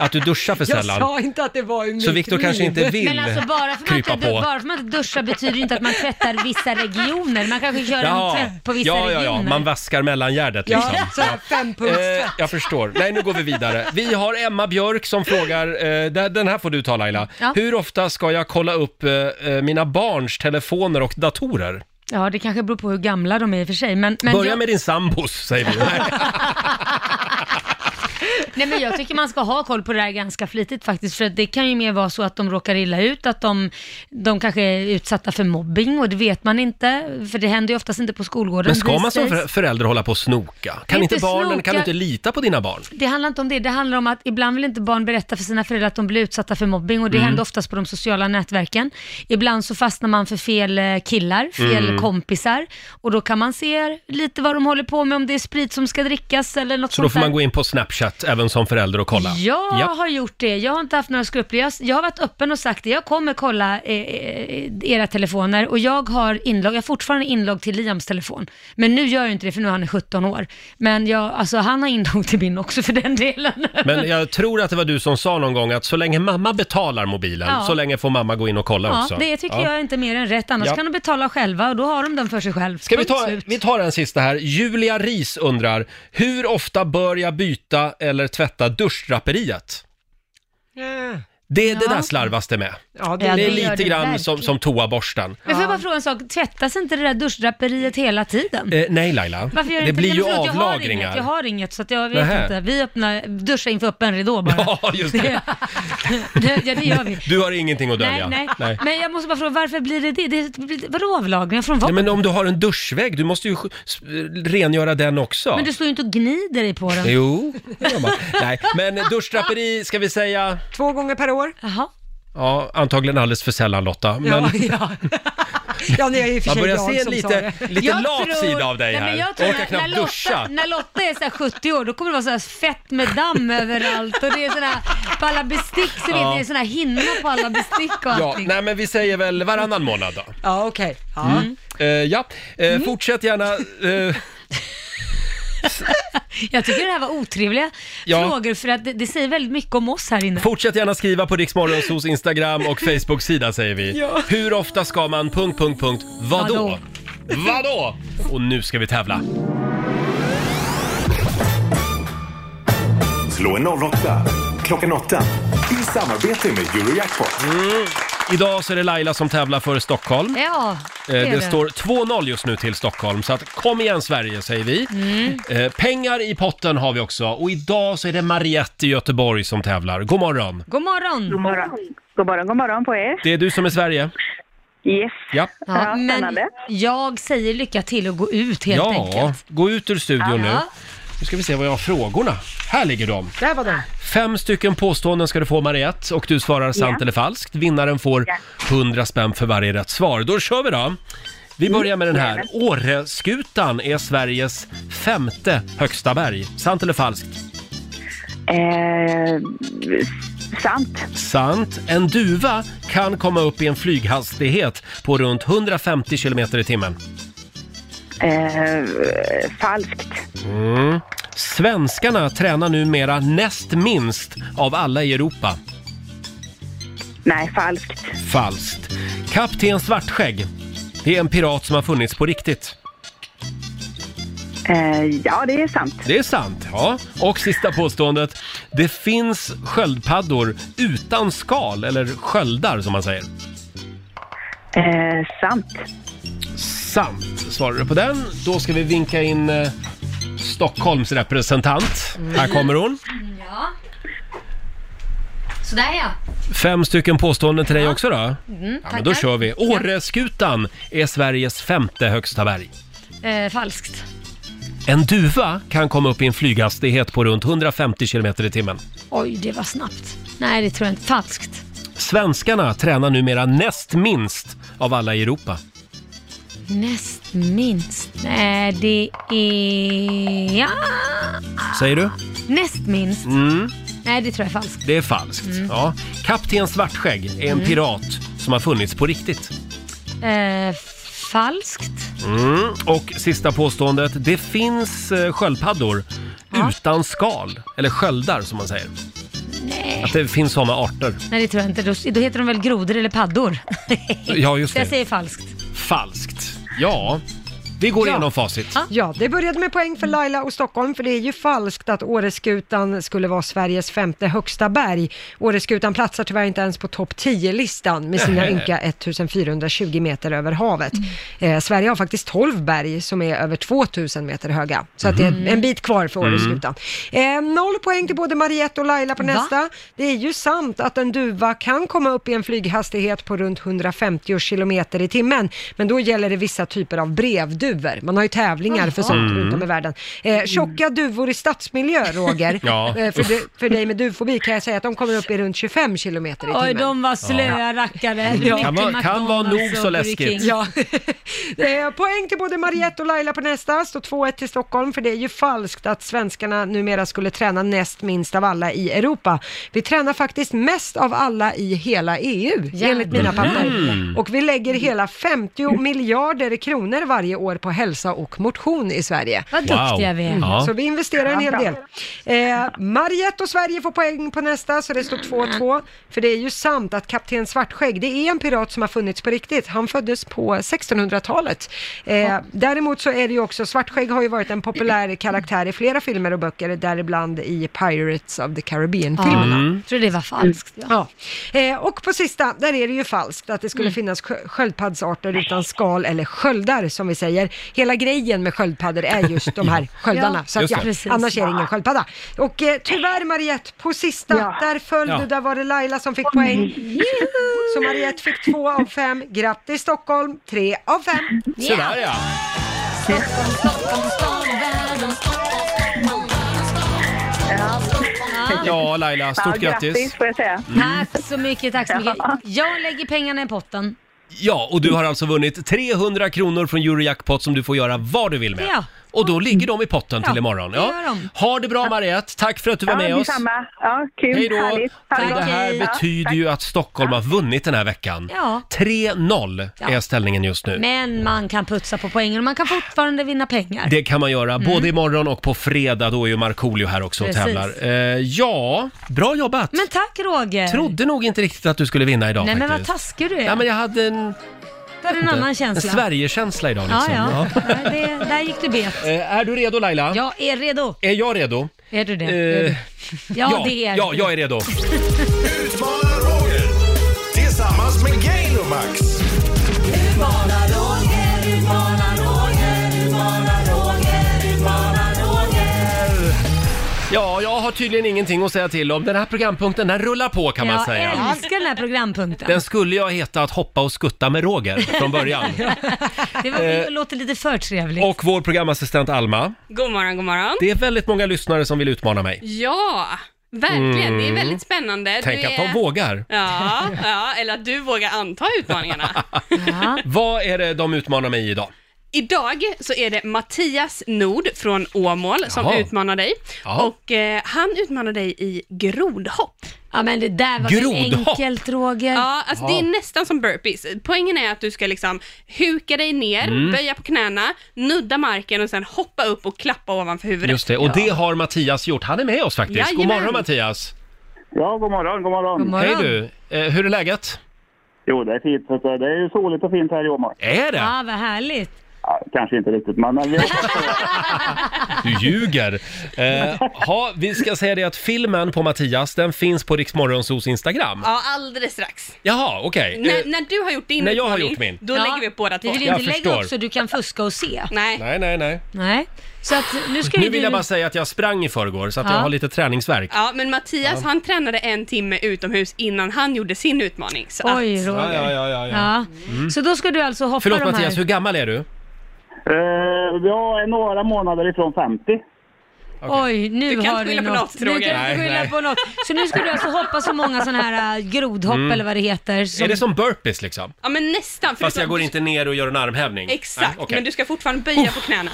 [SPEAKER 1] att du duschar för
[SPEAKER 2] Jag
[SPEAKER 1] sällan?
[SPEAKER 2] sa inte att det var i mitt
[SPEAKER 1] Så Victor kanske
[SPEAKER 2] liv.
[SPEAKER 1] inte vill
[SPEAKER 4] Men alltså bara för, man
[SPEAKER 1] krypa
[SPEAKER 4] inte,
[SPEAKER 1] på.
[SPEAKER 4] bara för man inte duschar betyder ju inte att man tvättar vissa regioner. Man kanske kör
[SPEAKER 1] Jaha.
[SPEAKER 4] en tvätt på vissa
[SPEAKER 1] ja, ja,
[SPEAKER 4] regioner.
[SPEAKER 1] ja, man vaskar mellangärdet liksom.
[SPEAKER 2] fempunktstvätt.
[SPEAKER 1] Eh, jag förstår. Nej, nu går vi vidare. Vi har Emma Björk som frågar, eh, där- den här får du ta Laila.
[SPEAKER 4] Ja.
[SPEAKER 1] Hur ofta ska jag kolla upp eh, eh, mina barns telefoner och datorer?
[SPEAKER 4] Ja, det kanske beror på hur gamla de är i och för sig. Men, men
[SPEAKER 1] Börja
[SPEAKER 4] jag,
[SPEAKER 1] med din sambos, säger vi. Nej.
[SPEAKER 4] nej, men jag tycker man ska ha koll på det här ganska flitigt faktiskt. För att det kan ju mer vara så att de råkar illa ut, att de, de kanske är utsatta för mobbing och det vet man inte. För det händer ju oftast inte på skolgården.
[SPEAKER 1] Men ska man som
[SPEAKER 4] These days.
[SPEAKER 1] för- förälder hålla på och snoka? Kan
[SPEAKER 4] Inte
[SPEAKER 1] inte barnen,
[SPEAKER 4] snoka.
[SPEAKER 1] kan du inte lita på dina barn?
[SPEAKER 4] Det handlar inte om det, det handlar om att ibland vill inte barn berätta för sina föräldrar att de blir utsatta för mobbing och det
[SPEAKER 1] Mm.
[SPEAKER 4] händer oftast på de sociala nätverken. Ibland så fastnar man för fel eh, killar, fel
[SPEAKER 1] Mm.
[SPEAKER 4] kompisar och då kan man se lite vad de håller på med, om det är sprit som ska drickas eller något
[SPEAKER 1] Så
[SPEAKER 4] sånt
[SPEAKER 1] då får
[SPEAKER 4] där.
[SPEAKER 1] man gå in på Snapchat även som förälder och kolla?
[SPEAKER 4] Jag
[SPEAKER 1] Ja.
[SPEAKER 4] har gjort det. Jag har inte haft några skrupler. Jag, jag har varit öppen och sagt det. Jag kommer kolla eh, eh, era telefoner och jag har inlogg. Jag har fortfarande inlogg till Liams telefon. Men nu gör jag inte det för nu är han 17 år. Men jag, alltså, han har inlogg till min också för den delen.
[SPEAKER 1] Men jag tror att det var du som sa någon gång att så länge mamma betalar mobilen,
[SPEAKER 4] Ja.
[SPEAKER 1] så länge får mamma gå in och kolla
[SPEAKER 4] ja,
[SPEAKER 1] också.
[SPEAKER 4] det tycker
[SPEAKER 1] Ja.
[SPEAKER 4] jag är inte mer än rätt. Annars
[SPEAKER 1] Ja.
[SPEAKER 4] kan de betala själva och då har de den för sig själv.
[SPEAKER 1] Ska vi
[SPEAKER 4] Punkt
[SPEAKER 1] ta,
[SPEAKER 4] slut.
[SPEAKER 1] vi tar en sista här. Julia Ris undrar, hur ofta bör jag byta eller tvätta duschdraperiet? Eh.
[SPEAKER 2] Ja.
[SPEAKER 1] Det, det
[SPEAKER 4] Ja.
[SPEAKER 1] där slarvas det med.
[SPEAKER 2] Ja,
[SPEAKER 1] det,
[SPEAKER 4] det-
[SPEAKER 1] är
[SPEAKER 4] det gör
[SPEAKER 1] lite
[SPEAKER 4] det
[SPEAKER 1] grann
[SPEAKER 4] verkligen.
[SPEAKER 1] som, som toaborsten.
[SPEAKER 4] Men får jag bara fråga en sak? Tvättas inte det där duschdraperiet hela tiden?
[SPEAKER 1] Eh, nej Laila,
[SPEAKER 4] Varför gör
[SPEAKER 1] det
[SPEAKER 4] inte
[SPEAKER 1] blir ju
[SPEAKER 4] Nej, men förlåt,
[SPEAKER 1] avlagringar.
[SPEAKER 4] Jag har inget, jag har inget så att jag vet
[SPEAKER 1] Nähä.
[SPEAKER 4] inte. Vi öppnar, duschar inför öppen ridå bara.
[SPEAKER 1] Ja, just det.
[SPEAKER 4] det, ja, det gör vi.
[SPEAKER 1] Du har ingenting att
[SPEAKER 4] Nej,
[SPEAKER 1] dölja.
[SPEAKER 4] nej, Men jag måste bara fråga, varför blir det det? det blir- vadå avlagringar från vad?
[SPEAKER 1] Nej, men om du har en duschvägg, du måste ju sk- s- rengöra den också.
[SPEAKER 4] Men du står ju inte och gnider dig på den.
[SPEAKER 1] Jo, det gör man. Nej, men duschdraperi ska vi säga,
[SPEAKER 2] Två gånger per år.
[SPEAKER 4] Jaha.
[SPEAKER 1] ja antagligen alldeles för sällan Lotta. Men...
[SPEAKER 2] Ja, ja. ja, det är ju i och för
[SPEAKER 1] Man
[SPEAKER 2] sig
[SPEAKER 1] börjar
[SPEAKER 2] jag
[SPEAKER 1] se en
[SPEAKER 2] som
[SPEAKER 1] lite-
[SPEAKER 2] sa det.
[SPEAKER 1] lite Jag lat tror- sida av dig
[SPEAKER 4] Nej, men
[SPEAKER 1] här.
[SPEAKER 4] jag tror
[SPEAKER 1] Orkar
[SPEAKER 4] att
[SPEAKER 1] knappt
[SPEAKER 4] när Lotta,
[SPEAKER 1] duscha.
[SPEAKER 4] när Lotta är så här 70 år, då kommer det vara så här fett med damm överallt och det är såna här, på alla bestick så
[SPEAKER 1] Ja.
[SPEAKER 4] vet ni, det är såna här hinnor på alla bestick och
[SPEAKER 1] Ja,
[SPEAKER 4] allting.
[SPEAKER 1] nej men vi säger väl varannan månad då.
[SPEAKER 2] Ja, okej. Ja.
[SPEAKER 1] Mm. Eh, ja, Eh,
[SPEAKER 4] Mm.
[SPEAKER 1] fortsätt gärna. eh,
[SPEAKER 4] Jag tycker det här var otrevliga
[SPEAKER 1] Ja.
[SPEAKER 4] frågor för att det, det säger väldigt mycket om oss här inne.
[SPEAKER 1] fortsätt gärna skriva på Riksmorgonsos Instagram och Facebook-sida säger vi.
[SPEAKER 4] Ja.
[SPEAKER 1] Hur ofta ska man... Punkt, punkt, punkt. Vadå?
[SPEAKER 4] Vadå?
[SPEAKER 1] Vadå? Och nu ska vi tävla.
[SPEAKER 6] Slå en 08 klockan 8 i samarbete med Eurojackpot.
[SPEAKER 4] Mm.
[SPEAKER 1] Idag så är det Laila som tävlar för Stockholm.
[SPEAKER 4] Ja,
[SPEAKER 1] Eh, Det, står 2-0 just nu till Stockholm, så att kom igen Sverige säger vi.
[SPEAKER 4] Mm.
[SPEAKER 1] Eh, pengar i potten har vi också och idag så är det Mariette i Göteborg som tävlar. God morgon!
[SPEAKER 4] God morgon!
[SPEAKER 18] God morgon. God morgon, god morgon på er.
[SPEAKER 1] Det är du som är Sverige?
[SPEAKER 18] Yes.
[SPEAKER 1] Ja.
[SPEAKER 4] Ja, men
[SPEAKER 18] spännande.
[SPEAKER 4] jag säger lycka till och gå ut helt
[SPEAKER 1] ja,
[SPEAKER 4] enkelt.
[SPEAKER 1] gå ut ur studion nu.
[SPEAKER 4] Ja.
[SPEAKER 1] Nu ska vi se vad jag har frågorna. Här ligger de.
[SPEAKER 2] Där var den.
[SPEAKER 1] Fem stycken påståenden ska du få Mariette och du svarar sant
[SPEAKER 2] Ja.
[SPEAKER 1] eller falskt. Vinnaren får
[SPEAKER 2] Ja.
[SPEAKER 1] 100 spänn för varje rätt svar. Då kör vi då! Vi
[SPEAKER 2] Mm.
[SPEAKER 1] börjar med den här. Åreskutan är Sveriges femte högsta berg. Sant eller falskt?
[SPEAKER 18] Eh, sant.
[SPEAKER 1] Sant. En duva kan komma upp i en flyghastighet på runt 150 km i timmen.
[SPEAKER 15] Eh, falskt.
[SPEAKER 1] Mm. Svenskarna tränar numera näst minst av alla i Europa.
[SPEAKER 15] Nej, falskt.
[SPEAKER 1] Falskt. Kapten Svartskägg. Det är en pirat som har funnits på riktigt.
[SPEAKER 15] Eh, ja, det är sant.
[SPEAKER 1] Det är sant, ja. Och sista påståendet. Det finns sköldpaddor utan skal, eller sköldar som man säger.
[SPEAKER 15] Eh, sant.
[SPEAKER 1] Sant svarar du på den. Då ska vi vinka in eh, Stockholms representant. Här kommer hon.
[SPEAKER 14] Ja. Sådär ja.
[SPEAKER 1] Fem stycken påståenden till dig också då.
[SPEAKER 14] Mm,
[SPEAKER 1] Ja, men då
[SPEAKER 14] tackar.
[SPEAKER 1] kör vi. Åreskutan är Sveriges femte högsta berg.
[SPEAKER 14] Eh, falskt.
[SPEAKER 1] En duva kan komma upp i en flyghastighet på runt 150 km i timmen.
[SPEAKER 14] Oj, det var snabbt. Nej, det tror jag inte. Falskt.
[SPEAKER 1] Svenskarna tränar numera näst minst av alla i Europa.
[SPEAKER 14] Näst minst. Nej, det är... Ja.
[SPEAKER 1] Säger du?
[SPEAKER 14] Näst minst.
[SPEAKER 1] Mm,
[SPEAKER 14] Nej, det tror jag är falskt.
[SPEAKER 1] det är falskt.
[SPEAKER 14] Mm.
[SPEAKER 1] Ja. Kapten Svartskägg är en
[SPEAKER 14] Mm.
[SPEAKER 1] pirat som har funnits på riktigt.
[SPEAKER 14] Eh, falskt.
[SPEAKER 1] Mm. Och sista påståendet. Det finns eh, sköldpaddor utan skal, eller sköldar som man säger.
[SPEAKER 14] Nej.
[SPEAKER 1] Att det finns såna arter.
[SPEAKER 14] Nej, det tror jag inte. Då, då heter de väl grodor eller paddor?
[SPEAKER 1] Ja, just
[SPEAKER 14] Så jag
[SPEAKER 1] det.
[SPEAKER 14] säger falskt.
[SPEAKER 1] Falskt. Ja, vi går igenom facit.
[SPEAKER 2] Ja, det började med poäng för Laila och Stockholm, för det är ju falskt att Åreskutan skulle vara Sveriges femte högsta berg. Åreskutan platsar tyvärr inte ens på topp 10-listan med sina
[SPEAKER 19] Nej.
[SPEAKER 2] ynka 1420 meter över havet.
[SPEAKER 19] Mm.
[SPEAKER 2] Eh, Sverige har faktiskt 12 berg som är över 2000 meter höga, så att det
[SPEAKER 19] Mhm.
[SPEAKER 2] är en bit kvar för
[SPEAKER 19] Mm.
[SPEAKER 2] Åreskutan. Eh, noll poäng till både Mariette och Laila på
[SPEAKER 19] Va?
[SPEAKER 2] nästa. Det är ju sant att en duva kan komma upp i en flyghastighet på runt 150 kilometer i timmen, men då gäller det vissa typer av brevduvor. Man har ju tävlingar för sånt
[SPEAKER 19] Mm.
[SPEAKER 2] runt om i världen. Eh, tjocka duvor i stadsmiljö, Roger.
[SPEAKER 19] Ja,
[SPEAKER 2] eh, för,
[SPEAKER 19] usch.
[SPEAKER 2] dig- för dig med duvfobi kan jag säga att de kommer upp i runt 25 kilometer i timmen.
[SPEAKER 14] Oj, de var slöa rackare.
[SPEAKER 2] Ja.
[SPEAKER 14] Mitt i
[SPEAKER 2] Kan vara- kan vara
[SPEAKER 14] McDonald's
[SPEAKER 2] nog så
[SPEAKER 14] och Burger
[SPEAKER 2] läskigt.
[SPEAKER 14] King.
[SPEAKER 2] Ja. Eh, poäng till både Mariette och Laila på nästa, står 2-1 till Stockholm, för det är ju falskt att svenskarna numera skulle träna näst minst av alla i Europa. Vi tränar faktiskt mest av alla i hela EU, enligt mina papper.
[SPEAKER 19] Mm.
[SPEAKER 2] Och vi lägger hela 50 miljarder kronor varje år på hälsa och motion i Sverige.
[SPEAKER 19] Vad duktiga Wow. vi är.
[SPEAKER 2] Mm.
[SPEAKER 19] Ja.
[SPEAKER 2] Så vi investerar en hel del. Eh, Mariette och Sverige får poäng på nästa, så det står 2-2. För det är ju sant att Kapten Svartskägg, det är en pirat som har funnits på riktigt. Han föddes på 1600-talet. Eh, däremot så är det ju också, Svartskägg har ju varit en populär karaktär i flera filmer och böcker, däribland i Pirates of the Caribbean-filmerna.
[SPEAKER 14] Ja, jag trodde det var falskt. Ja.
[SPEAKER 2] Ja. Eh, och på sista, där är det ju falskt att det
[SPEAKER 19] Mm.
[SPEAKER 2] skulle finnas skö- sköldpaddsarter utan skal eller sköldar som vi säger. Hela grejen med sköldpaddor är just de här sköldarna.
[SPEAKER 19] Ja,
[SPEAKER 2] så att,
[SPEAKER 19] just
[SPEAKER 2] ja,
[SPEAKER 19] det. Precis.
[SPEAKER 2] annars är det ingen sköldpadda. Och eh, tyvärr Mariette, på sista, där föll
[SPEAKER 19] Ja.
[SPEAKER 2] du, där var det Laila som fick poäng. Så Mariette fick två av fem. Grattis Stockholm, tre av fem.
[SPEAKER 1] Se där ja. Ja, Laila, stort grattis.
[SPEAKER 15] får jag säga.
[SPEAKER 14] Tack så mycket, tack så mycket. Jag lägger pengarna i potten.
[SPEAKER 1] Ja, och du har alltså vunnit 300 kronor från Eurojackpot som du får göra vad du vill med.
[SPEAKER 14] Ja.
[SPEAKER 1] Och då ligger de i potten
[SPEAKER 14] Ja,
[SPEAKER 1] till imorgon.
[SPEAKER 14] det gör de.
[SPEAKER 1] Ha det bra Mariette, tack för att du var med
[SPEAKER 15] ja,
[SPEAKER 1] oss.
[SPEAKER 15] detsamma. Ja, kul.
[SPEAKER 1] Hej då.
[SPEAKER 15] Härligt. Ha
[SPEAKER 1] Och
[SPEAKER 15] bra.
[SPEAKER 1] det här
[SPEAKER 15] Ja,
[SPEAKER 1] betyder
[SPEAKER 15] tack.
[SPEAKER 1] ju att Stockholm har vunnit den här veckan.
[SPEAKER 14] Ja.
[SPEAKER 1] 3-0
[SPEAKER 14] Ja.
[SPEAKER 1] är ställningen just nu.
[SPEAKER 14] Men man kan putsa på poängen och man kan fortfarande vinna pengar.
[SPEAKER 1] Det kan man göra,
[SPEAKER 14] Mm.
[SPEAKER 1] både imorgon och på fredag. Då är ju Markoolio här också och
[SPEAKER 14] Precis.
[SPEAKER 1] tävlar. Eh, ja, bra jobbat!
[SPEAKER 14] Men tack Roger!
[SPEAKER 1] Trodde nog inte riktigt att du skulle vinna idag
[SPEAKER 14] Nej men vad
[SPEAKER 1] faktiskt.
[SPEAKER 14] taskig du är.
[SPEAKER 1] Ja, men jag hade en...
[SPEAKER 14] Du hade en annan känsla.
[SPEAKER 1] En Sverigekänsla idag liksom.
[SPEAKER 14] Ja,
[SPEAKER 1] Ja.
[SPEAKER 14] ja. Nej, det, där gick du bet.
[SPEAKER 1] Eh, är du redo Laila?
[SPEAKER 14] Jag är redo.
[SPEAKER 1] Är jag redo?
[SPEAKER 14] Är du det?
[SPEAKER 1] Eh,
[SPEAKER 14] Är du- ja, det är
[SPEAKER 1] Ja,
[SPEAKER 14] du.
[SPEAKER 1] jag är redo.
[SPEAKER 8] Utmanar Roger tillsammans med Gail och Max.
[SPEAKER 1] Ja, jag har tydligen ingenting att säga till om. Den här programpunkten, den rullar på kan man
[SPEAKER 14] jag
[SPEAKER 1] säga.
[SPEAKER 14] älskar den här programpunkten.
[SPEAKER 1] Den skulle jag heta att hoppa och skutta med Roger från början.
[SPEAKER 14] Det var,
[SPEAKER 1] Eh,
[SPEAKER 14] låter lite för trevligt.
[SPEAKER 1] Och vår programassistent Alma.
[SPEAKER 19] God morgon, god morgon.
[SPEAKER 1] Det är väldigt många lyssnare som vill utmana mig.
[SPEAKER 19] Ja, verkligen. Det är
[SPEAKER 1] Mm.
[SPEAKER 19] väldigt spännande.
[SPEAKER 1] Tänk
[SPEAKER 19] Du
[SPEAKER 1] att
[SPEAKER 19] är-
[SPEAKER 1] de vågar.
[SPEAKER 19] Ja, ja, eller att du vågar anta utmaningarna.
[SPEAKER 1] Vad är det de utmanar mig i idag?
[SPEAKER 19] Idag så är det Mattias Nord från Åmål som
[SPEAKER 1] Jaha.
[SPEAKER 19] utmanar dig.
[SPEAKER 1] Ja.
[SPEAKER 19] Och eh, han utmanar dig i grodhopp.
[SPEAKER 14] Ja men det där var väl
[SPEAKER 19] Grodhopp.
[SPEAKER 14] enkelt Roger?
[SPEAKER 19] Ja, alltså det är nästan som burpees. Poängen är att du ska liksom huka dig ner,
[SPEAKER 1] Mm.
[SPEAKER 19] böja på knäna, nudda marken och sen hoppa upp och klappa ovanför huvudet.
[SPEAKER 1] Just det, och det har Mattias gjort. Han är med oss faktiskt. God
[SPEAKER 19] Jajamän.
[SPEAKER 1] morgon Mattias!
[SPEAKER 11] Ja, god morgon, god morgon.
[SPEAKER 1] God morgon. Hej du. Eh, hur är läget?
[SPEAKER 11] Jo, det är fint. så att eh, Det är soligt och fint här i Åmål.
[SPEAKER 1] Är
[SPEAKER 14] Ja, vad härligt.
[SPEAKER 11] Ja, kanske inte riktigt, men... men vi-
[SPEAKER 1] Du ljuger! Eh, ha, vi ska säga det att filmen på Mattias, den finns på Riksmorgonsos Instagram.
[SPEAKER 19] Ja, alldeles strax.
[SPEAKER 1] Jaha, okej. Eh,
[SPEAKER 19] När, när du har gjort din
[SPEAKER 1] när jag har
[SPEAKER 19] utmaning,
[SPEAKER 1] gjort min.
[SPEAKER 19] Då
[SPEAKER 1] Ja.
[SPEAKER 19] lägger vi upp båda två.
[SPEAKER 1] Vi vill inte Jag lägga förstår. upp så
[SPEAKER 14] du kan fuska och se.
[SPEAKER 19] Nej.
[SPEAKER 1] Nej, nej, nej.
[SPEAKER 14] Nej. Så att nu ska
[SPEAKER 1] Nu
[SPEAKER 14] ju
[SPEAKER 1] vill
[SPEAKER 14] du...
[SPEAKER 1] jag bara säga att jag sprang i förrgår så att jag
[SPEAKER 19] Ja.
[SPEAKER 1] har lite träningsvärk.
[SPEAKER 19] Ja, men Mattias
[SPEAKER 1] Ja.
[SPEAKER 19] han tränade en timme utomhus innan han gjorde sin utmaning. Så
[SPEAKER 14] Oj,
[SPEAKER 19] att...
[SPEAKER 14] Roger.
[SPEAKER 1] Ja, ja, ja, ja. Mm.
[SPEAKER 14] Så då ska du alltså hoppa
[SPEAKER 1] Förlåt
[SPEAKER 14] de här...
[SPEAKER 1] Mattias, hur gammal är du?
[SPEAKER 11] Eh, jag är några månader ifrån 50.
[SPEAKER 14] Oj, nu
[SPEAKER 19] Du kan
[SPEAKER 14] har
[SPEAKER 19] inte
[SPEAKER 14] du
[SPEAKER 19] skylla på
[SPEAKER 14] något.
[SPEAKER 19] något,
[SPEAKER 14] Nu kan
[SPEAKER 19] Roger.
[SPEAKER 14] du
[SPEAKER 1] Nej,
[SPEAKER 14] inte skylla
[SPEAKER 1] nej.
[SPEAKER 14] på något. Så nu ska du alltså hoppa så många sådana här äh, grodhopp
[SPEAKER 1] Mm.
[SPEAKER 14] eller vad det heter. Som...
[SPEAKER 1] Är det som burpees liksom?
[SPEAKER 19] Ja, men nästan.
[SPEAKER 1] Fast
[SPEAKER 19] förutom-
[SPEAKER 1] jag går inte ner och gör en armhävning?
[SPEAKER 19] Exakt,
[SPEAKER 1] Nej, okej.
[SPEAKER 19] men du ska fortfarande böja på knäna.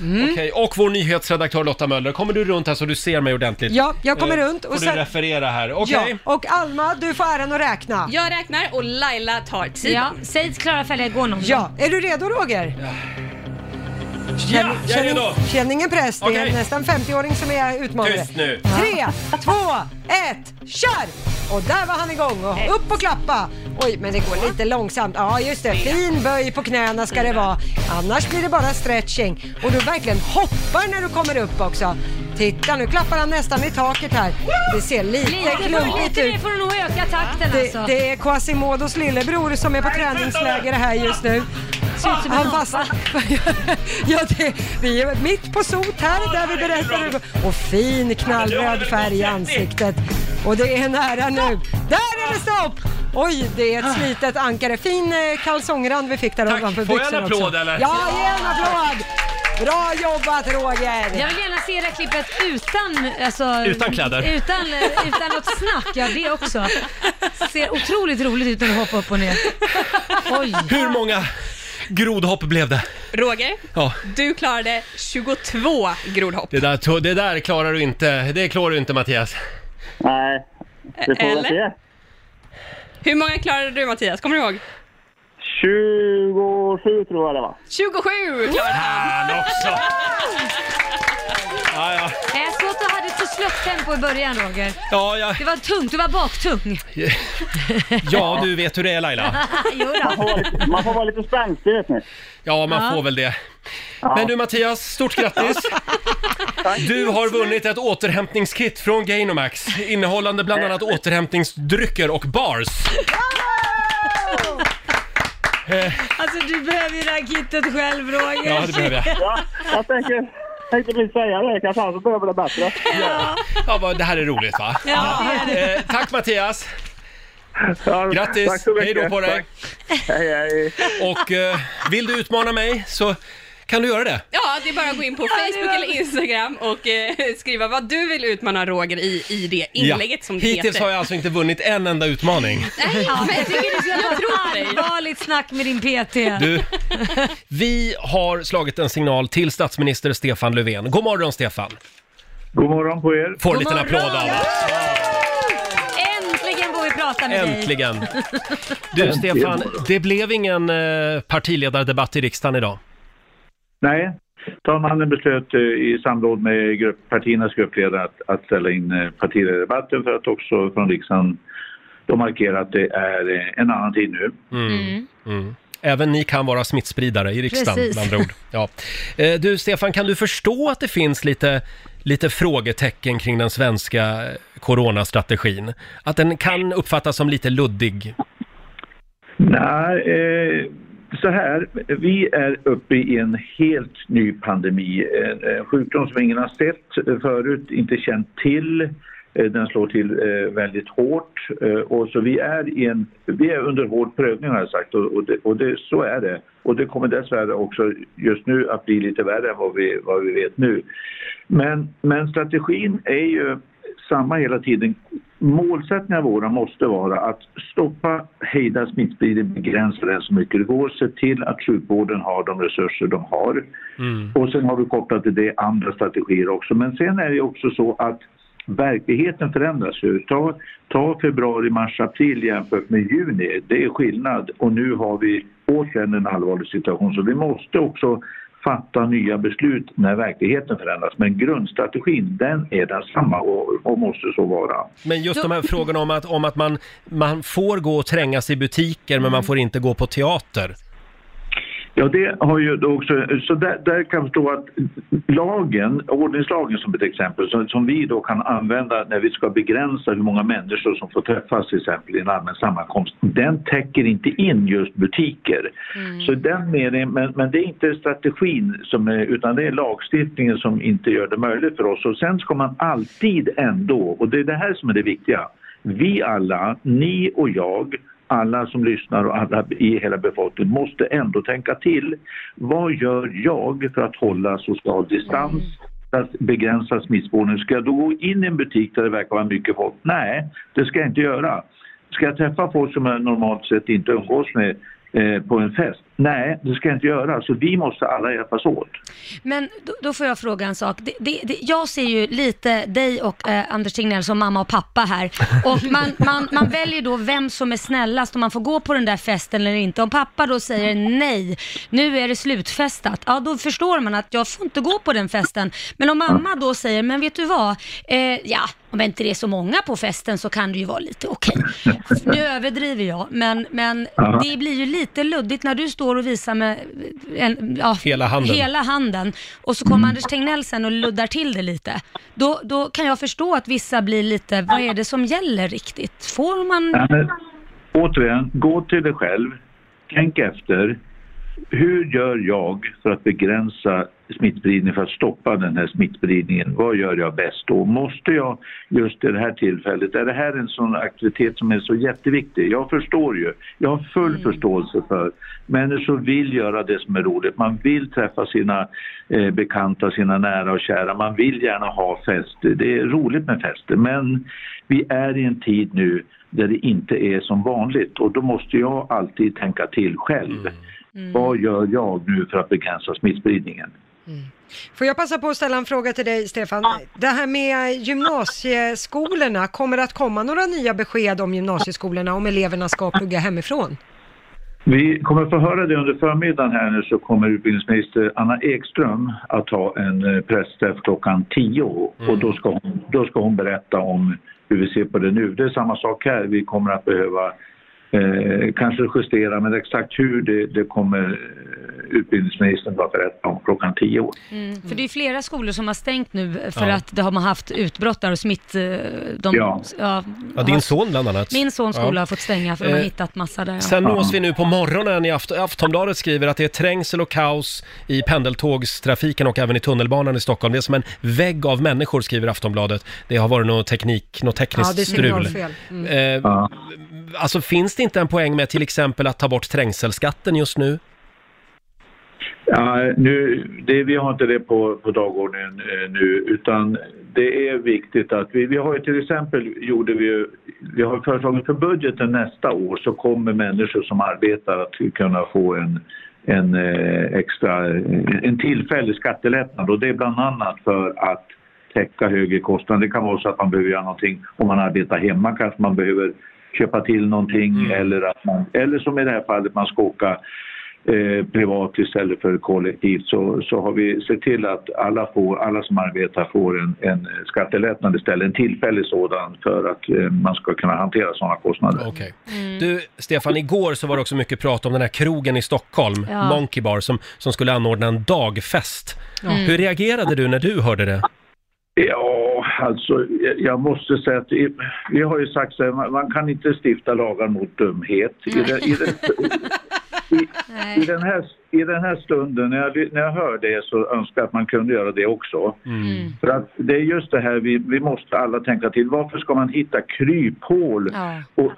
[SPEAKER 2] Mm.
[SPEAKER 1] Okej, och vår nyhetsredaktör Lotta Möller, kommer du runt här så du ser mig ordentligt?
[SPEAKER 2] Ja, jag kommer
[SPEAKER 1] Eh,
[SPEAKER 2] runt och
[SPEAKER 1] Får
[SPEAKER 2] sen-
[SPEAKER 1] du referera här, okej?
[SPEAKER 2] Ja, och Alma, du får äran att räkna.
[SPEAKER 19] Jag räknar och Laila tar tiden.
[SPEAKER 14] Ja, säg till Klara Fälla igår någon gång.
[SPEAKER 2] Ja, är du redo Roger?
[SPEAKER 1] Ja, jag är
[SPEAKER 2] Känn-
[SPEAKER 1] redo!
[SPEAKER 2] Känn ingen press, det är
[SPEAKER 1] Okej.
[SPEAKER 2] en nästan 50-åring som är utmanare.
[SPEAKER 1] Tyst nu.
[SPEAKER 2] Tre, två, ett, kör! Och där var han igång och upp och klappa. Oj, men det går lite långsamt. Ja, just det. Fin böj på knäna ska det vara. Annars blir det bara stretching. Och du verkligen hoppar när du kommer upp också. Titta, nu klappar han nästan i taket här. Det ser lite
[SPEAKER 14] Lite,
[SPEAKER 2] klumpigt
[SPEAKER 14] lite mer
[SPEAKER 2] ut.
[SPEAKER 14] får du nog öka takten alltså.
[SPEAKER 2] Det, det är Quasimodos lillebror som är på träningsläger här just nu.
[SPEAKER 14] Ser ut som en apa.
[SPEAKER 2] ja, det, vi är mitt på sot här där vi berättar hur det går. Och fin knallröd färg i ansiktet. Och det är nära nu. Där är det stopp! Oj, det är
[SPEAKER 14] Ah.
[SPEAKER 2] ett slitet ankare. Fin eh, kalsongrand vi fick där ovanför
[SPEAKER 1] Får jag
[SPEAKER 2] byxorna
[SPEAKER 1] en
[SPEAKER 2] också.
[SPEAKER 1] applåd, eller?
[SPEAKER 2] Ja, ge en applåd! Bra jobbat Roger!
[SPEAKER 14] Jag vill gärna se det här klippet utan... Alltså,
[SPEAKER 1] Utan kläder.
[SPEAKER 14] Utan, eh, utan något snack, ja det också. Ser otroligt roligt ut när du hoppar upp och ner. Oj.
[SPEAKER 1] Hur många grodhopp blev det?
[SPEAKER 19] Roger,
[SPEAKER 1] Ja,
[SPEAKER 19] du klarade 22 grodhopp.
[SPEAKER 1] det där, to- det där klarar du inte, det klarar du inte Mattias.
[SPEAKER 11] Nej, det får väl se.
[SPEAKER 19] Hur många klarade du Mattias? Kommer du ihåg?
[SPEAKER 11] 27 tror jag det var.
[SPEAKER 19] 27 klarade han!
[SPEAKER 1] Han också! Ja, ja.
[SPEAKER 14] Nej, Jag såg att du hade ett Eh, så slött tempo i början Roger.
[SPEAKER 1] Ja, jag,
[SPEAKER 14] Det var tungt, du var baktung.
[SPEAKER 1] ja, du vet hur det är Laila.
[SPEAKER 14] Jo
[SPEAKER 11] Man får vara lite, man får vara lite spänstig vet ni.
[SPEAKER 1] Ja, man
[SPEAKER 14] Ja.
[SPEAKER 1] får väl det. Men du Mattias, stort grattis! Du har vunnit ett återhämtningskit från Gainomax innehållande bland annat återhämtningsdrycker och bars. Eh,
[SPEAKER 14] Alltså du behöver ju det här kittet själv Roger.
[SPEAKER 1] Ja, det behöver jag.
[SPEAKER 11] Ja, jag tänker, tänkte precis säga det, kanske han som behöver det bättre.
[SPEAKER 1] Ja, vad- det här är roligt va?
[SPEAKER 14] Ja, det är det.
[SPEAKER 1] Eh, tack Mattias!
[SPEAKER 11] tack
[SPEAKER 1] Grattis!
[SPEAKER 11] så mycket.
[SPEAKER 1] Hej då på dig!
[SPEAKER 11] Hej, hej.
[SPEAKER 1] Och eh, vill du utmana mig så kan du göra det.
[SPEAKER 19] Ja, det är bara att gå in på Facebook eller Instagram och eh, skriva vad du vill utmana Roger i, i det inlägget som det
[SPEAKER 1] Hittills
[SPEAKER 19] heter.
[SPEAKER 1] har jag alltså inte vunnit en enda utmaning.
[SPEAKER 14] Ja, men jag tycker du ska
[SPEAKER 19] Jag tror
[SPEAKER 14] ta
[SPEAKER 19] på dig.
[SPEAKER 14] ett allvarligt snack med din PT.
[SPEAKER 1] Du, vi har slagit en signal till statsminister Stefan Löfven. God morgon Stefan!
[SPEAKER 11] God morgon på er.
[SPEAKER 1] Får
[SPEAKER 14] God
[SPEAKER 1] en liten
[SPEAKER 14] morgon.
[SPEAKER 1] applåd av oss.
[SPEAKER 14] Äntligen får vi prata med dig.
[SPEAKER 1] Äntligen! Du Stefan, det blev ingen eh, partiledardebatt i riksdagen idag.
[SPEAKER 18] Nej, talmannen beslöt eh, i samråd med grupp, partiernas gruppledare att, att ställa in eh, partiledardebatten för att också från riksdagen då markera att det är eh, en annan tid nu.
[SPEAKER 1] Mm. Mm. Även ni kan vara smittspridare i riksdagen
[SPEAKER 14] Precis.
[SPEAKER 1] med andra ord. Ja. Eh, Du Stefan, kan du förstå att det finns lite, lite frågetecken kring den svenska eh, coronastrategin? Att den kan uppfattas som lite luddig?
[SPEAKER 18] Nej, eh, så här. Vi är uppe i en helt ny pandemi. En en sjukdom som ingen har sett eh, förut, inte känt till. Eh, Den slår till eh, väldigt hårt. Eh, Och så vi, är i en, vi är under hård prövning har jag sagt och, och, det, och det, så är det. Och det kommer dessvärre också just nu att bli lite värre än vad vi, vad vi vet nu. Men, men strategin är ju samma hela tiden. Målsättningen våra måste vara att stoppa, hejda smittspridningen, begränsa den så mycket det går, se till att sjukvården har de resurser de har. Och sen har vi kopplat till det andra strategier också. Men sen är det ju också så att verkligheten förändras ju. Ta, ta februari, mars, april jämfört med juni. Det är skillnad och nu har vi återigen en allvarlig situation. Så vi måste också fatta nya beslut när verkligheten förändras. Men grundstrategin, den är densamma och, och måste så vara.
[SPEAKER 1] Men just de här frågorna om att, om att man, man får gå och trängas i butiker men man får inte gå på teater.
[SPEAKER 18] Ja, det har ju då också... Så där, där kan jag förstå att lagen, ordningslagen som ett exempel, som, som vi då kan använda när vi ska begränsa hur många människor som får träffas till exempel i en allmän sammankomst, den täcker inte in just butiker.
[SPEAKER 14] Mm.
[SPEAKER 18] Så i den meningen, men, men det är inte strategin som är, utan det är lagstiftningen som inte gör det möjligt för oss. Och sen ska man alltid ändå, och det är det här som är det viktiga, vi alla, ni och jag, alla som lyssnar och alla i hela befolkningen måste ändå tänka till. Vad gör jag för att hålla social distans? för att begränsa smittspårning. Ska jag då gå in i en butik där det verkar vara mycket folk? Nej, det ska jag inte göra. Ska jag träffa folk som jag normalt sett inte umgås med eh, på en fest? Nej, det ska jag inte göra. Så vi måste alla hjälpas åt.
[SPEAKER 4] Men då, då får jag fråga en sak. Det, det, det, jag ser ju lite dig och eh, Anders Tegnell som mamma och pappa här. Och man, man, man väljer då vem som är snällast om man får gå på den där festen eller inte. Om pappa då säger nej, nu är det slutfestat, ja då förstår man att jag får inte gå på den festen. Men om mamma då säger, men vet du vad, eh, ja, om inte det är så många på festen så kan det ju vara lite okej. Nu överdriver jag, men, men
[SPEAKER 20] Ja.
[SPEAKER 4] det blir ju lite luddigt när du står och visar med en, ja,
[SPEAKER 1] Hela handen.
[SPEAKER 4] hela handen och så kommer Anders Tegnell sen och luddar till det lite. Då, då kan jag förstå att vissa blir lite, vad är det som gäller riktigt? Får man...
[SPEAKER 18] Nej, men, återigen, gå till dig själv. Tänk efter. Hur gör jag för att begränsa smittspridningen, för att stoppa den här smittspridningen? Vad gör jag bäst då? Måste jag just i det här tillfället, är det här en sån aktivitet som är så jätteviktig? Jag förstår ju, jag har full förståelse för människor vill göra det som är roligt. Man vill träffa sina eh, bekanta, sina nära och kära. Man vill gärna ha fester. Det är roligt med fester, men vi är i en tid nu där det inte är som vanligt och då måste jag alltid tänka till själv.
[SPEAKER 1] Mm.
[SPEAKER 14] Mm.
[SPEAKER 18] Vad gör jag nu för att begränsa smittspridningen?
[SPEAKER 2] Får jag passa på att ställa en fråga till dig, Stefan? Det här med gymnasieskolorna, kommer det att komma några nya besked om gymnasieskolorna om eleverna ska plugga hemifrån?
[SPEAKER 18] Vi kommer få höra det under förmiddagen här nu så kommer utbildningsminister Anna Ekström att ha en eh, pressträff klockan 10 och då ska, hon, då ska hon berätta om hur vi ser på det nu. Det är samma sak här, vi kommer att behöva eh, kanske justera men exakt hur det, det kommer eh, utbildningsministern att berätta om klockan 10.
[SPEAKER 4] Mm. För det är ju flera skolor som har stängt nu för
[SPEAKER 1] Ja.
[SPEAKER 4] att det har man haft utbrott där och smitt... eh, De,
[SPEAKER 1] Ja. Ja, din son bland annat.
[SPEAKER 4] Min sons skola
[SPEAKER 1] Ja.
[SPEAKER 4] har fått stänga för de har
[SPEAKER 1] Eh,
[SPEAKER 4] hittat massa där. ja.
[SPEAKER 1] Sen nås vi nu på morgonen i Aft- Aftonbladet skriver att det är trängsel och kaos i pendeltågstrafiken och även i tunnelbanan i Stockholm. Det är som en vägg av människor skriver Aftonbladet. Det har varit något teknik, något tekniskt
[SPEAKER 2] Ja, det är
[SPEAKER 1] strul.
[SPEAKER 2] signalfel. Mm.
[SPEAKER 1] Eh, Alltså finns det inte en poäng med till exempel att ta bort trängselskatten just nu?
[SPEAKER 2] Mm.
[SPEAKER 18] Ja, nu, det, vi har inte det på, på dagordningen eh, nu utan det är viktigt att vi, vi har ju till exempel gjorde vi ju, vi har föreslagit för budgeten nästa år så kommer människor som arbetar att kunna få en, en eh, extra, en tillfällig skattelättnad och det är bland annat för att täcka högre kostnader. Det kan vara så att man behöver göra någonting om man arbetar hemma kanske man behöver köpa till någonting eller att man, eller som i det här fallet man ska åka eh, privat istället för kollektivt så, så har vi sett till att alla, får, alla som arbetar får en, en skattelättnad istället, en tillfällig sådan för att eh, man ska kunna hantera sådana kostnader.
[SPEAKER 1] Okej. Du, Stefan, igår så var det också mycket prat om den här krogen i Stockholm,
[SPEAKER 4] Ja.
[SPEAKER 1] Monkey Bar, som, som skulle anordna en dagfest.
[SPEAKER 4] Ja.
[SPEAKER 1] Hur
[SPEAKER 2] Mm.
[SPEAKER 1] reagerade du när du hörde det?
[SPEAKER 18] Ja, alltså jag- jag måste säga att i- vi har ju sagt så här, man, man kan inte stifta lagar mot dumhet. I, den, i, den, i, i, den här, I den här stunden, när jag, ly- när jag hör det så önskar jag att man kunde göra det också. För att det är just det här vi, vi måste alla tänka till. Varför ska man hitta kryphål
[SPEAKER 4] Ja.
[SPEAKER 18] och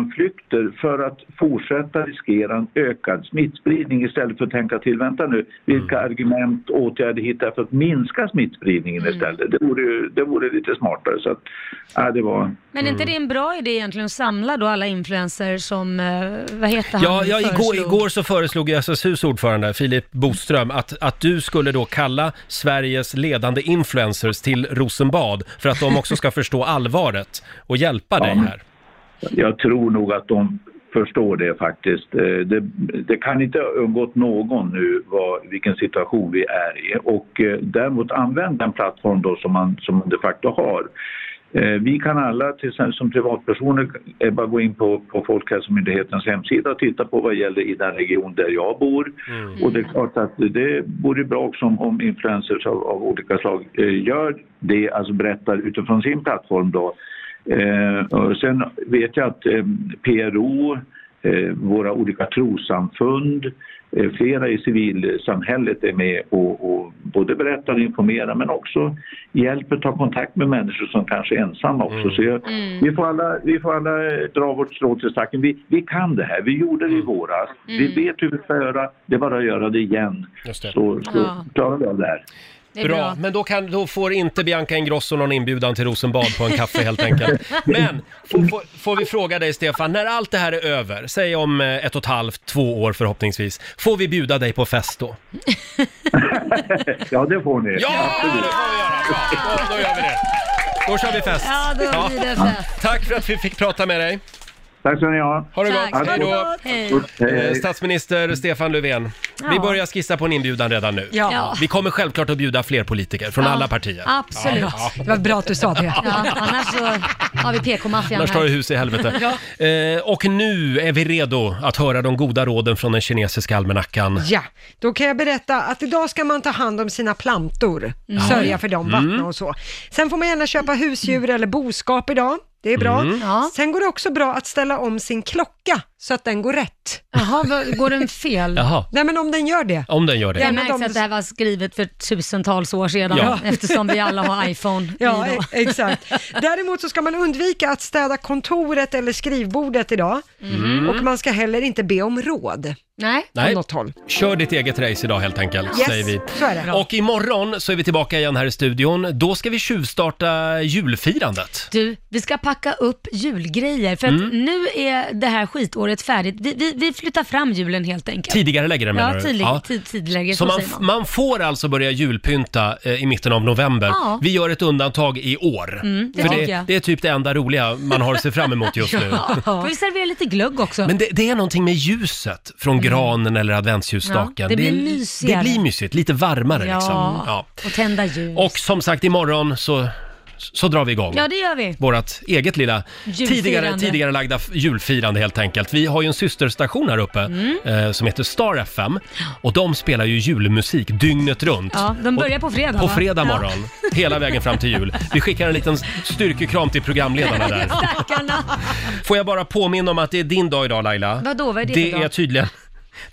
[SPEAKER 18] undanflykter för att fortsätta riskera en ökad smittspridning istället för att tänka till, vänta nu, vilka argument och åtgärder hittar jag för att minska smittspridningen istället? Det vore, ju- det vore lite smartare. Så att, ja, det var...
[SPEAKER 4] Men
[SPEAKER 1] Mm.
[SPEAKER 4] är inte det en bra idé egentligen att samla då alla influencers som, eh, vad heter han?
[SPEAKER 1] Ja, ja igår,
[SPEAKER 4] föreslog?
[SPEAKER 1] igår så föreslog ju SSUs ordförande Filip Boström att, att du skulle då kalla Sveriges ledande influencers till Rosenbad för att de också ska förstå allvaret och hjälpa dig här.
[SPEAKER 18] Jag tror nog att de förstår det faktiskt. Eh, Det, det kan inte ha undgått någon nu vad, vilken situation vi är i. Och eh, däremot använd den plattform då som man, som man de facto har. Eh, Vi kan alla till exempel som privatpersoner eh, bara gå in på, på Folkhälsomyndighetens hemsida och titta på vad gäller i den region där jag bor. Och det är klart att det vore bra också om, om influencers av, av olika slag eh, gör det, alltså berättar utifrån sin plattform då. Eh, och sen vet jag att eh, PRO, eh, våra olika trossamfund, eh, flera i civilsamhället är med och, och både berättar och informerar men också hjälper ta kontakt med människor som kanske är ensamma också. Så jag,
[SPEAKER 21] Mm.
[SPEAKER 18] vi, får alla, vi får alla eh, dra vårt strå till stacken. Vi, vi kan det här, vi gjorde det i våras. Vi vet hur vi ska göra, det är bara att göra det igen. Så, så
[SPEAKER 1] Ja.
[SPEAKER 18] klarar vi av det här.
[SPEAKER 1] Bra. men då, kan, då får inte Bianca Ingrosso någon inbjudan till Rosenbad på en kaffe helt enkelt. Men får, får, får vi fråga dig Stefan, när allt det här är över, säg om eh, ett och ett halvt, två år förhoppningsvis, får vi bjuda dig på fest då?
[SPEAKER 18] ja, det får ni.
[SPEAKER 1] Ja, det får vi göra! Bra. Då, då gör vi det. Då kör vi fest.
[SPEAKER 4] Ja, då blir det fest.
[SPEAKER 1] Tack för att vi fick prata med dig.
[SPEAKER 18] Tack ska ni ha.
[SPEAKER 1] Ha det
[SPEAKER 4] Tack.
[SPEAKER 1] gott. Hej då.
[SPEAKER 4] Hej.
[SPEAKER 1] Eh, Statsminister Stefan Löfven, vi
[SPEAKER 4] Ja.
[SPEAKER 1] börjar skissa på en inbjudan redan nu.
[SPEAKER 2] Ja. Ja.
[SPEAKER 1] Vi kommer självklart att bjuda fler politiker från
[SPEAKER 4] Ja,
[SPEAKER 1] alla partier.
[SPEAKER 4] absolut.
[SPEAKER 1] Ja, ja.
[SPEAKER 2] Det var bra att du sa det.
[SPEAKER 4] Ja, annars så har vi PK-maffian
[SPEAKER 1] Annars tar det hus i helvete. Eh, och nu är vi redo att höra de goda råden från den kinesiska almanackan.
[SPEAKER 2] Ja, då kan jag berätta att idag ska man ta hand om sina plantor,
[SPEAKER 1] Mm.
[SPEAKER 2] sörja för dem, vattna
[SPEAKER 1] Mm.
[SPEAKER 2] och så. Sen får man gärna köpa husdjur eller boskap idag. Det är bra.
[SPEAKER 4] Mm. Ja.
[SPEAKER 2] Sen går det också bra att ställa om sin klocka så att den går rätt.
[SPEAKER 4] Jaha, vad- går den fel?
[SPEAKER 1] Jaha.
[SPEAKER 2] Nej men om den gör det.
[SPEAKER 1] Om den gör det.
[SPEAKER 4] Jag märks att det här var skrivet för tusentals år sedan
[SPEAKER 1] Ja.
[SPEAKER 4] eftersom vi alla har iPhone.
[SPEAKER 2] Ja,
[SPEAKER 4] Vi då.
[SPEAKER 2] e- exakt. Däremot så ska man undvika att städa kontoret eller skrivbordet idag.
[SPEAKER 1] Mhm.
[SPEAKER 2] Och man ska heller inte be om råd.
[SPEAKER 4] Nej.
[SPEAKER 1] Nej,
[SPEAKER 2] något håll.
[SPEAKER 1] kör ditt eget race idag helt enkelt,
[SPEAKER 2] Yes,
[SPEAKER 1] säger vi.
[SPEAKER 2] så är det.
[SPEAKER 1] Och imorgon så är vi tillbaka igen här i studion. Då ska vi tjuvstarta julfirandet.
[SPEAKER 4] Du, vi ska packa upp julgrejer för att
[SPEAKER 1] Mm.
[SPEAKER 4] nu är det här skitåret färdigt. Vi, vi, vi flyttar fram julen helt enkelt.
[SPEAKER 1] Tidigare lägger den menar du?
[SPEAKER 4] ja, tidig,
[SPEAKER 1] Ja.
[SPEAKER 4] Tid, tidigare,
[SPEAKER 1] Så
[SPEAKER 4] så
[SPEAKER 1] man,
[SPEAKER 4] säger man.
[SPEAKER 1] man får alltså börja julpynta eh, i mitten av november.
[SPEAKER 4] Ja.
[SPEAKER 1] Vi gör ett undantag i år.
[SPEAKER 4] Mm, det
[SPEAKER 1] För
[SPEAKER 4] tycker jag.
[SPEAKER 1] det, det är typ det enda roliga man har att se fram emot just nu.
[SPEAKER 4] Ja. Får vi servera lite glögg också?
[SPEAKER 1] Men det, det är någonting med ljuset från granen eller adventsljusstaken.
[SPEAKER 4] Mm. Ja, det blir
[SPEAKER 1] är-
[SPEAKER 4] mysigare.
[SPEAKER 1] Det blir mysigt, lite varmare
[SPEAKER 4] Ja.
[SPEAKER 1] liksom. Ja.
[SPEAKER 4] Och tända ljus.
[SPEAKER 1] Och som sagt, imorgon så, så drar vi igång.
[SPEAKER 4] Ja, det gör vi.
[SPEAKER 1] Vårat eget lilla
[SPEAKER 4] Julfirande.
[SPEAKER 1] tidigare, tidigare lagda f- julfirande helt enkelt. Vi har ju en systerstation här uppe
[SPEAKER 4] Mm.
[SPEAKER 1] eh, som heter Star FM och de spelar ju julmusik dygnet runt.
[SPEAKER 4] Ja, de börjar på fredag,
[SPEAKER 1] På
[SPEAKER 4] va?
[SPEAKER 1] fredag
[SPEAKER 4] Ja.
[SPEAKER 1] morgon, hela vägen fram till jul. Vi skickar en liten styrkekram till programledarna där.
[SPEAKER 4] Stackarna.
[SPEAKER 1] Får jag bara påminna om att det är din dag idag Laila.
[SPEAKER 4] Vadå, vad är det
[SPEAKER 1] Det
[SPEAKER 4] för dag?
[SPEAKER 1] är tydligen,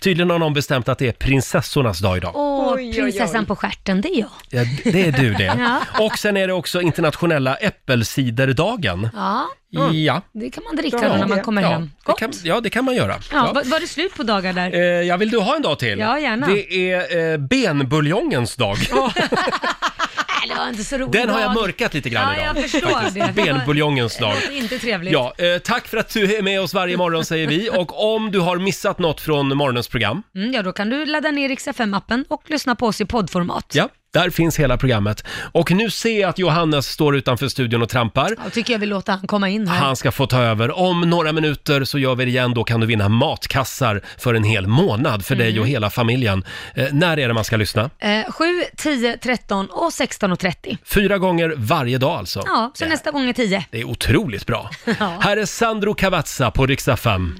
[SPEAKER 1] tydligen har någon bestämt att det är prinsessornas dag idag.
[SPEAKER 4] Åh,
[SPEAKER 2] oj, oj.
[SPEAKER 4] prinsessan på stjärten, det är jag.
[SPEAKER 1] Ja, det är du det.
[SPEAKER 4] Ja.
[SPEAKER 1] Och sen är det också internationella äppelciderdagen.
[SPEAKER 4] Ja,
[SPEAKER 1] Ja.
[SPEAKER 4] det kan man dricka då när man kommer
[SPEAKER 1] ja,
[SPEAKER 4] hem.
[SPEAKER 1] Det kan, ja, det kan man göra.
[SPEAKER 4] Ja, Var, var det slut på dagar där?
[SPEAKER 1] Eh, ja, vill du ha en dag till?
[SPEAKER 4] Ja, gärna.
[SPEAKER 1] Det är eh, benbuljongens dag.
[SPEAKER 4] Nej, det var inte så roligt.
[SPEAKER 1] Den har jag mörkat lite grann
[SPEAKER 4] Ja,
[SPEAKER 1] idag.
[SPEAKER 4] jag förstår det.
[SPEAKER 1] Benbuljongens dag.
[SPEAKER 4] Det är inte trevligt.
[SPEAKER 1] Ja, eh, tack för att du är med oss varje morgon säger vi. Och om du har missat något från morgonens program,
[SPEAKER 4] Mm, ja, då kan du ladda ner Rix FM-appen och lyssna på oss i poddformat.
[SPEAKER 1] ja, där finns hela programmet. Och nu ser jag att Johannes står utanför studion och trampar.
[SPEAKER 4] Jag tycker jag vill låta han komma in här.
[SPEAKER 1] Han ska få ta över. Om några minuter så gör vi det igen. Då kan du vinna matkassar för en hel månad för dig
[SPEAKER 4] Mm.
[SPEAKER 1] och hela familjen. Eh, när är det man ska lyssna?
[SPEAKER 4] Eh, 7, 10, 13 och 16.30.
[SPEAKER 1] Fyra gånger varje dag alltså.
[SPEAKER 4] Ja, så nästa gång är 10.
[SPEAKER 1] Det är otroligt bra.
[SPEAKER 4] Ja.
[SPEAKER 1] Här är Sandro Cavazza på riksdag 5.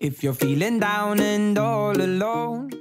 [SPEAKER 22] If you're feeling down and all alone